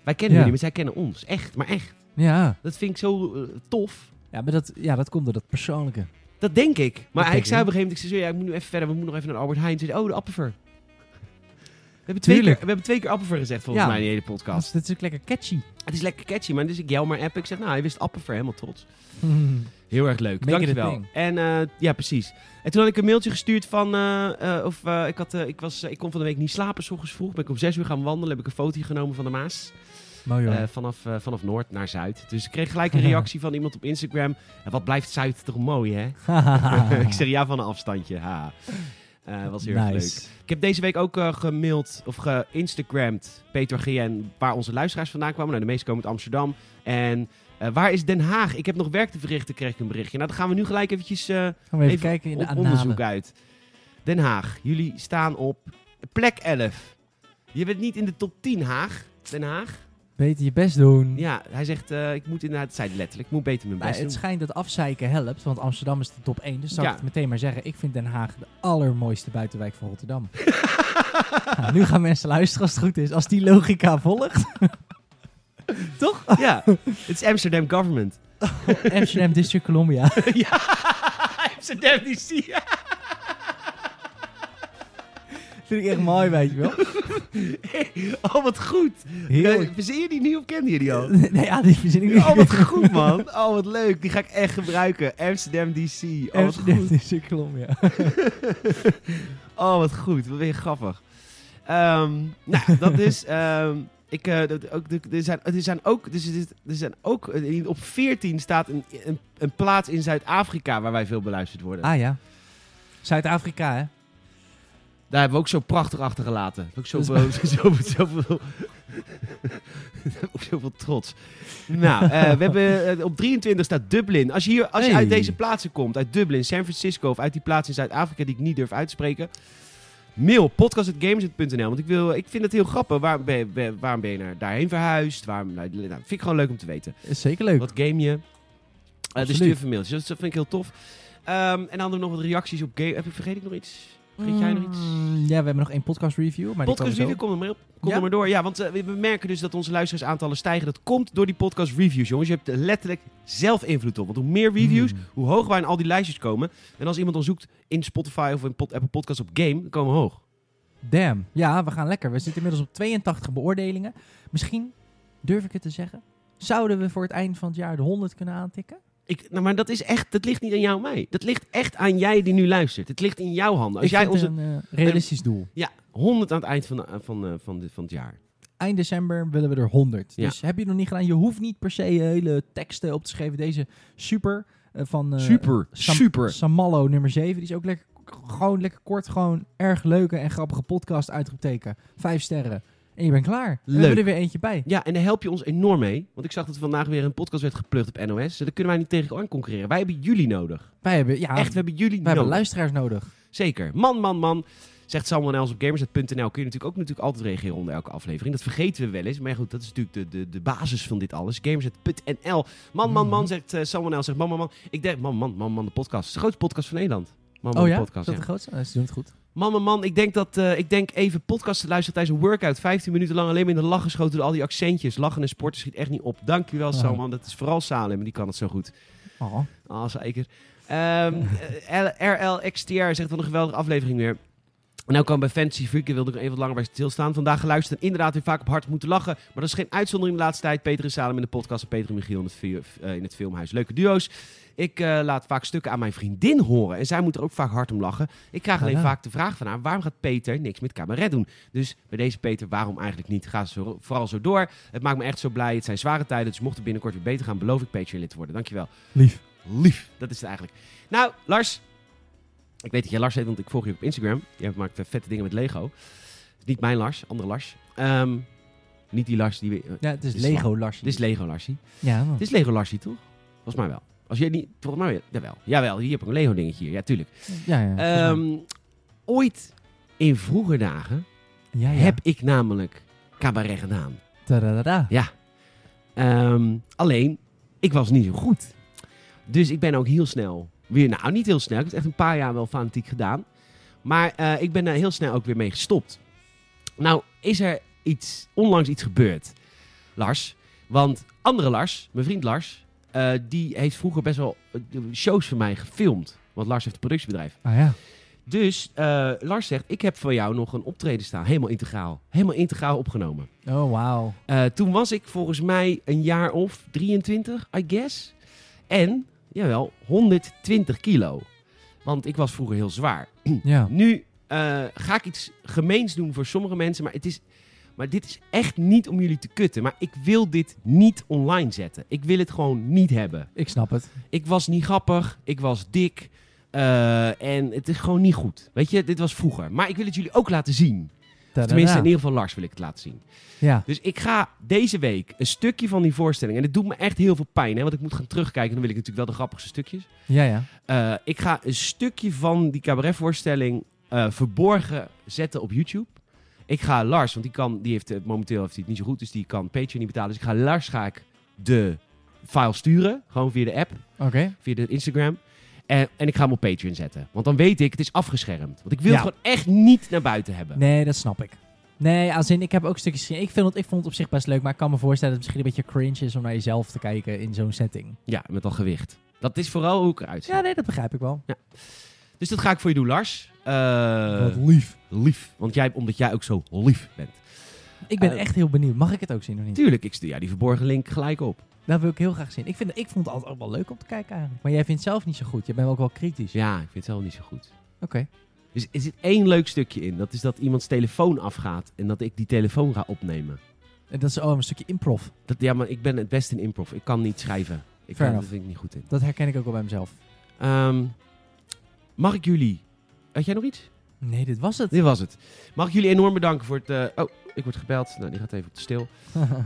Speaker 1: Wij kennen
Speaker 2: Ja.
Speaker 1: jullie, maar zij kennen ons. Echt, maar echt.
Speaker 2: leuk. Ja.
Speaker 1: Dat vind ik zo eh, tof.
Speaker 2: Ja, maar dat, ja, dat komt door dat persoonlijke.
Speaker 1: Dat denk ik. Maar
Speaker 2: denk
Speaker 1: ik zei op
Speaker 2: ik.
Speaker 1: een gegeven moment, ik zei zo, ja, ik moet nu even verder. We moeten nog even naar de Albert Heijn. Toen zei hij, oh, de Appelver. We hebben twee, keer,
Speaker 2: Tuurlijk.
Speaker 1: we hebben twee keer Appelver gezegd, volgens
Speaker 2: Ja.
Speaker 1: mij, in de hele podcast.
Speaker 2: Dat is natuurlijk lekker catchy.
Speaker 1: Het is lekker catchy, maar dus ik jou maar app. Ik zeg, nou, hij wist Appelver. Helemaal trots. Heel erg leuk.
Speaker 2: Make it a
Speaker 1: Dankjewel.
Speaker 2: thing.
Speaker 1: En eh, ja, precies. En toen had ik een mailtje gestuurd van, eh, eh, of eh, ik, had, eh, ik, was, eh, ik kon van de week niet slapen, s ochtends vroeg. Ben ik om zes uur gaan wandelen. Heb ik een foto genomen van de Maas.
Speaker 2: Mooi hoor.
Speaker 1: Eh, vanaf, eh, vanaf Noord naar Zuid. Dus ik kreeg gelijk een reactie van iemand op Instagram. En wat blijft Zuid toch mooi, hè? Eh, ik zeg ja van een afstandje. Ha. Eh, was heel erg leuk.
Speaker 2: nice.
Speaker 1: Ik heb deze week ook eh, gemaild of geïnstagramd Peter GN waar onze luisteraars vandaan kwamen. Nou, de meeste komen uit Amsterdam. En eh, waar is Den Haag? Ik heb nog werk te verrichten, kreeg ik een berichtje. Nou, dan gaan we nu gelijk eventjes eh,
Speaker 2: Gaan we even,
Speaker 1: Even
Speaker 2: kijken in de
Speaker 1: op
Speaker 2: aanname.
Speaker 1: onderzoek uit. Den Haag, jullie staan op plek 11. Je bent niet in de top 10, Haag. Den Haag.
Speaker 2: Beter je best doen.
Speaker 1: Ja, hij zegt, eh, ik moet inderdaad, het zei hij letterlijk, ik moet beter mijn
Speaker 2: Nou,
Speaker 1: best
Speaker 2: het
Speaker 1: doen.
Speaker 2: schijnt dat afzeiken helpt, want Amsterdam is de top 1. Dus zou
Speaker 1: Ja.
Speaker 2: ik het meteen maar zeggen, ik vind Den Haag de allermooiste buitenwijk van Rotterdam. Nou, nu gaan mensen luisteren als het goed is, als die logica volgt. Toch?
Speaker 1: Ja, het is Amsterdam government.
Speaker 2: Amsterdam District Columbia.
Speaker 1: ja, Amsterdam DC. Ja.
Speaker 2: vind ik echt mooi, weet je wel.
Speaker 1: Oh, wat goed.
Speaker 2: Heerlijk.
Speaker 1: Eh, Verzin je die nu of kende je die al?
Speaker 2: Nee, ja, die verzin ik niet.
Speaker 1: Oh, wat goed, man. Oh, wat leuk. Die ga ik echt gebruiken. Amsterdam DC. Oh, wat
Speaker 2: Amsterdam
Speaker 1: goed.
Speaker 2: District Columbia.
Speaker 1: Oh, wat goed. Wat ben je grappig. Ehm, nou, dat is... ehm, ik, eh, dat ook, er, zijn, er zijn ook... Dus er is- er zijn ook eh, op 14 staat een, een, een plaats in Zuid-Afrika waar wij veel beluisterd worden.
Speaker 2: Ah ja. Zuid-Afrika, hè?
Speaker 1: Daar hebben we ook zo prachtig achtergelaten. Ook zo,
Speaker 2: Dat
Speaker 1: zo, zo, zoveel- ook zoveel trots. Nou, eh, we hebben, eh, op 23 staat Dublin. Als je, hier, als je
Speaker 2: Hey.
Speaker 1: uit deze plaatsen komt, uit Dublin, San Francisco of uit die plaatsen in Zuid-Afrika die ik niet durf uit te spreken. Mail podcast.gamers.nl. Want ik, wil, ik vind het heel grappig. Waarom ben je, ben- waarom ben je naar, daarheen verhuisd? Waarom, nou, nou, vind ik gewoon leuk om te weten.
Speaker 2: Is zeker leuk.
Speaker 1: Wat game je? Eh dus
Speaker 2: Absoluut.
Speaker 1: stuur even mailtjes. Dat vind ik heel tof. Ehm, en dan hadden we nog wat reacties op game. Heb ik, vergeet ik nog iets? Vergeet jij nog iets?
Speaker 2: Mm, Ja, we hebben nog één podcast review. Maar die
Speaker 1: podcast
Speaker 2: komen zo.
Speaker 1: review, kom er maar op. Kom
Speaker 2: Ja?
Speaker 1: er maar door. Ja, want eh, we we merken dus dat onze luisteraarsaantallen stijgen. Dat komt door die podcast reviews, jongens. Je hebt er letterlijk zelf invloed op. Want hoe meer reviews,
Speaker 2: Mm.
Speaker 1: hoe hoger wij in al die lijstjes komen. En als iemand ons zoekt in Spotify of in pod- Apple Podcast op game, dan komen we hoog.
Speaker 2: Damn. Ja, we gaan lekker. We zitten inmiddels op 82 beoordelingen. Misschien, durf ik het te zeggen, zouden we voor het eind van het jaar de 100 kunnen aantikken?
Speaker 1: Ik, nou, maar dat is echt, dat ligt niet aan jou en mij. Dat ligt echt aan jij die nu luistert. Het ligt in jouw handen. Als
Speaker 2: ik
Speaker 1: jij
Speaker 2: vind
Speaker 1: onze
Speaker 2: het een eh, realistisch doel.
Speaker 1: 100 aan het eind van, de- van, eh, van, dit- van het jaar.
Speaker 2: Eind december willen we er 100.
Speaker 1: Ja.
Speaker 2: Dus heb je het nog niet gedaan? Je hoeft niet per se hele teksten op te schrijven. Deze super eh, van eh,
Speaker 1: super,
Speaker 2: Sam-
Speaker 1: super.
Speaker 2: Samallo nummer 7. Die is ook lekker, gewoon lekker kort. Gewoon erg leuke en grappige podcast. Uitroepteken. Vijf sterren. En je bent klaar. En We
Speaker 1: Leuk.
Speaker 2: hebben er weer eentje bij.
Speaker 1: Ja, en daar help je ons enorm mee. Want ik zag dat er vandaag weer een podcast werd geplukt op NOS. Dus Daar kunnen wij niet tegen aan concurreren. Wij hebben jullie nodig.
Speaker 2: Wij hebben, ja,
Speaker 1: Echt, we hebben jullie
Speaker 2: wij hebben
Speaker 1: nodig.
Speaker 2: luisteraars nodig.
Speaker 1: Zeker. Man, man, man. Zegt Samuel Els op gamers.nl. Kun je natuurlijk ook natuurlijk altijd reageren onder elke aflevering. Dat vergeten we wel eens. Maar goed, dat is natuurlijk de, de, de basis van dit alles. Gamers.nl. Man, man,
Speaker 2: Mhm.
Speaker 1: man. Zegt eh Samuel Els. Zegt man, man, man. Ik denk, man, man, man, man. De podcast. Het is de grootste podcast van Nederland. Man, man,
Speaker 2: oh
Speaker 1: de
Speaker 2: ja?
Speaker 1: podcast.
Speaker 2: is dat
Speaker 1: ja.
Speaker 2: de grootste? Nou, ze doen het goed.
Speaker 1: Man, man, man. Ik denk dat, eh, ik denk even podcast te luisteren tijdens een workout. 15 minuten lang alleen maar in de lach geschoten door al die accentjes. Lachen en sporten schiet echt niet op. Dankjewel,
Speaker 2: Oh.
Speaker 1: Salman. Dat is vooral Salem. en Die kan het zo goed.
Speaker 2: Oh.
Speaker 1: Ah, zeker. Ehm, eh, RLXTR zegt van een geweldige aflevering weer. En nou kan bij Fantasy Freak, daar wilde ik nog even wat langer bij stilstaan. Vandaag geluisterd en inderdaad weer vaak op hard moeten lachen. Maar dat is geen uitzondering de laatste tijd. Peter en Salem in de podcast en Peter en Michiel in het, vi- eh, in het filmhuis. Leuke duo's. Ik eh, laat vaak stukken aan mijn vriendin horen. En zij moet er ook vaak hard om lachen. Ik krijg alleen
Speaker 2: Ah, ja.
Speaker 1: vaak de vraag van haar, waarom gaat Peter niks met cabaret doen? Dus bij deze Peter, waarom eigenlijk niet? Ga zo, vooral zo door. Het maakt me echt zo blij. Het zijn zware tijden, dus mocht het binnenkort weer beter gaan, beloof ik Patreon lid te worden. Dankjewel.
Speaker 2: Lief.
Speaker 1: Lief. Dat is het eigenlijk. Nou, Lars. Ik weet dat jij Lars heet, want ik volg je op Instagram. Jij maakt eh, vette dingen met Lego. Niet mijn Lars, andere Lars. Ehm, niet die Lars die... we- eh,
Speaker 2: Ja, het is
Speaker 1: Dit is
Speaker 2: Lego Lars.
Speaker 1: Dit is Lego Larsie.
Speaker 2: Ja, man.
Speaker 1: Dit is Lego Larsie, toch? Volgens mij wel. Als jij niet... Volgens mij wel. Jawel. Jawel, hier heb ik een Lego dingetje hier. Ja, tuurlijk.
Speaker 2: ja, ja, volgens
Speaker 1: Ehm, ooit in vroege dagen
Speaker 2: mij. ja, ja.
Speaker 1: heb ik namelijk cabaret gedaan.
Speaker 2: Tadadada.
Speaker 1: Ehm, alleen, ik was niet zo goed. Dus ik ben ook heel snel weer, nou niet heel snel, ik heb het echt een paar jaar wel fanatiek gedaan. Maar eh, ik ben daar heel snel ook weer mee gestopt. Nou is er iets, onlangs iets gebeurd, Lars. Want andere Lars, mijn vriend Lars, eh, die heeft vroeger best wel eh, shows voor mij gefilmd. Want Lars heeft een productiebedrijf.
Speaker 2: Ah ja.
Speaker 1: Dus eh, Lars zegt, ik heb voor jou nog een optreden staan, helemaal integraal. Helemaal integraal opgenomen.
Speaker 2: Oh, wauw.
Speaker 1: Eh, toen was ik volgens mij een jaar of 23, I guess. En, jawel, 120 kilo. Want ik was vroeger heel zwaar.
Speaker 2: Ja.
Speaker 1: Nu eh, ga ik iets gemeens doen voor sommige mensen, maar, het is, maar dit is echt niet om jullie te kutten. Maar ik wil dit niet online zetten. Ik wil het gewoon niet hebben.
Speaker 2: Ik snap het.
Speaker 1: Ik was niet grappig, ik was dik. eh, en het is gewoon niet goed. Weet je, dit was vroeger. Maar ik wil het jullie ook laten zien.
Speaker 2: Tadada.
Speaker 1: Tenminste, in ieder geval Lars wil ik het laten zien.
Speaker 2: Ja.
Speaker 1: Dus ik ga deze week een stukje van die voorstelling. En het doet me echt heel veel pijn, hè, want ik moet gaan terugkijken. Dan wil ik natuurlijk wel de grappigste stukjes.
Speaker 2: Ja, ja.
Speaker 1: Eh, ik ga een stukje van die cabaretvoorstelling eh, verborgen zetten op YouTube. En Ik ga Lars, want die, kan, die heeft eh, momenteel heeft hij het niet zo goed, dus die kan Patreon niet betalen. Dus ik ga Lars ga ik de file sturen, gewoon via de app,
Speaker 2: Oké.
Speaker 1: via de Instagram. En, en ik ga hem op Patreon zetten. Want dan weet ik, het is afgeschermd. Want ik wil
Speaker 2: Ja.
Speaker 1: het gewoon echt niet naar buiten hebben.
Speaker 2: Nee, dat snap ik. Nee, als in, ik heb ook stukjes gezien. Ik, vind het, ik vond het op zich best leuk, maar ik kan me voorstellen dat het misschien een beetje cringe is om naar jezelf te kijken in zo'n setting.
Speaker 1: Ja, met dat gewicht. Dat is vooral hoe ik eruit zie.
Speaker 2: Ja, nee, dat begrijp ik wel.
Speaker 1: Dus dat ga ik voor je doen, Lars. Eh,
Speaker 2: lief.
Speaker 1: lief. Want jij, omdat jij ook zo lief bent.
Speaker 2: Ik ben
Speaker 1: Eh,
Speaker 2: echt heel benieuwd. Mag ik het ook zien of niet?
Speaker 1: Tuurlijk, ik stuur ja, die verborgen link gelijk op.
Speaker 2: Dat wil ik heel graag zien. Ik, vind, ik vond het altijd ook wel leuk om te kijken eigenlijk. Maar jij vindt het zelf niet zo goed. Je bent ook wel kritisch.
Speaker 1: Dus Ja, ik vind het zelf niet zo goed.
Speaker 2: Oké.
Speaker 1: Dus er zit één leuk stukje in. Dat is dat iemands telefoon afgaat en dat ik die telefoon ga opnemen.
Speaker 2: En dat is oh, een stukje improv.
Speaker 1: Dat, ja, maar ik ben het best in improv. Ik kan niet schrijven. Ik kan,
Speaker 2: Fair
Speaker 1: dat
Speaker 2: enough.
Speaker 1: vind ik niet goed in.
Speaker 2: Dat herken ik ook al bij mezelf.
Speaker 1: Ehm, mag ik jullie... Had jij nog iets?
Speaker 2: Nee, dit was het.
Speaker 1: Dit was het. Mag ik jullie enorm bedanken voor het... eh, Oh, ik word gebeld. Nou, die gaat even op de stil.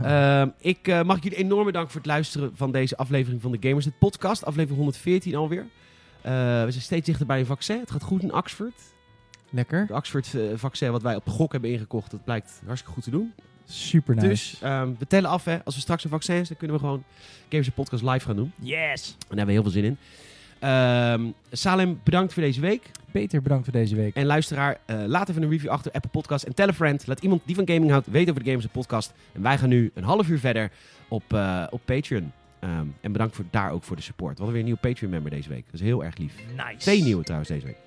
Speaker 1: Ehm, ik eh, mag jullie enorm bedanken voor het luisteren van deze aflevering van de Gamers. Het podcast, aflevering 114 alweer. Eh, we zijn steeds dichter bij een vaccin. Het gaat goed in Oxford.
Speaker 2: Lekker.
Speaker 1: Het Oxford-vaccin wat wij op de gok hebben ingekocht, dat blijkt hartstikke goed te doen.
Speaker 2: Super nice.
Speaker 1: Dus ehm, we tellen af, hè. Als we straks een vaccin hebben, dan kunnen we gewoon Gamers podcast live gaan doen.
Speaker 2: Yes.
Speaker 1: En daar hebben we heel veel zin in. Ehm, Salem, bedankt voor deze week.
Speaker 2: Peter, bedankt voor deze week.
Speaker 1: En luisteraar, eh, laat even een review achter Apple Podcast en tell a friend. Laat iemand die van gaming houdt weten over de Gamers en Podcast. En wij gaan nu een half uur verder op, eh, op Patreon. Ehm, en bedankt voor, daar ook voor de support. We hadden weer een nieuwe Patreon-member deze week. Dat is heel erg lief.
Speaker 2: Nice.
Speaker 1: Twee nieuwe trouwens deze week.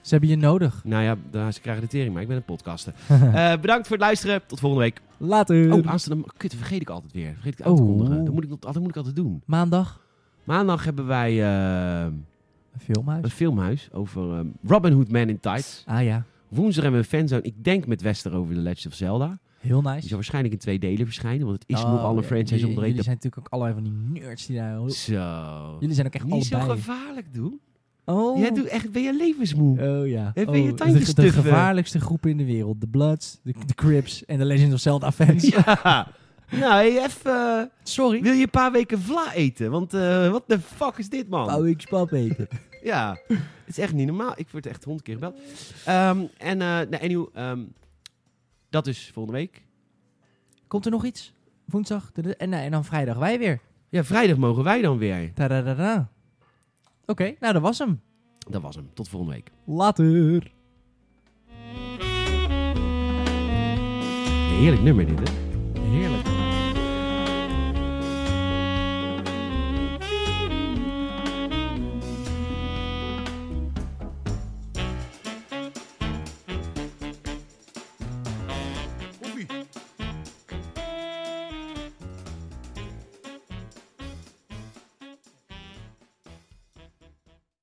Speaker 2: Ze hebben je nodig.
Speaker 1: Nou ja, daar- ze krijgen de tering, maar ik ben een podcaster. Eh, bedankt voor het luisteren. Tot volgende week.
Speaker 2: Later.
Speaker 1: Oh, aanstaande... Kut, dat vergeet ik altijd weer. Vergeet ik aan
Speaker 2: Oh.
Speaker 1: te kondigen. Dat moet ik, dat moet ik altijd doen.
Speaker 2: Maandag.
Speaker 1: Maandag hebben wij eh,
Speaker 2: Een filmhuis.
Speaker 1: een filmhuis over eh, Robin Hood Man in Tights.
Speaker 2: Ah ja.
Speaker 1: Woensdag hebben we een fanzone, ik denk met Wester over The Legend of Zelda.
Speaker 2: Heel
Speaker 1: Die
Speaker 2: nice.
Speaker 1: zal waarschijnlijk in twee delen verschijnen, want het is
Speaker 2: Oh,
Speaker 1: nog al een
Speaker 2: ja,
Speaker 1: franchise
Speaker 2: jullie-
Speaker 1: onderheen.
Speaker 2: Jullie
Speaker 1: Dat-
Speaker 2: zijn natuurlijk ook allebei van die nerds die daar...
Speaker 1: Zo.
Speaker 2: Jullie zijn ook echt
Speaker 1: Niet zo
Speaker 2: allebei.
Speaker 1: gevaarlijk, doe.
Speaker 2: oh.
Speaker 1: Jij doet echt, ben je levensmoe.
Speaker 2: Oh ja.
Speaker 1: Heb je
Speaker 2: oh,
Speaker 1: je
Speaker 2: de-
Speaker 1: tandjes
Speaker 2: de,
Speaker 1: stuffen?
Speaker 2: gevaarlijkste groepen in de wereld. De Bloods, de, de Crips en de Legend of Zelda fans.
Speaker 1: Ja. Nou, hey, even... eh,
Speaker 2: Sorry.
Speaker 1: wil je een paar weken vla eten? Want eh wat de fuck is dit, man?
Speaker 2: Wou ik spap eten.
Speaker 1: Ja, het is echt niet normaal. Ik word echt honderd keer gebeld. Ehm, en eh nou, anyhow, ehm, dat is volgende week.
Speaker 2: Komt er nog iets? Woensdag de- de- en, eh, en dan vrijdag wij weer.
Speaker 1: Ja, vrijdag mogen wij dan weer.
Speaker 2: Tadadada. Oké, nou dat was hem.
Speaker 1: Dat was hem. Tot volgende week.
Speaker 2: Later.
Speaker 1: Heerlijk nummer dit, hè?
Speaker 2: Heerlijk.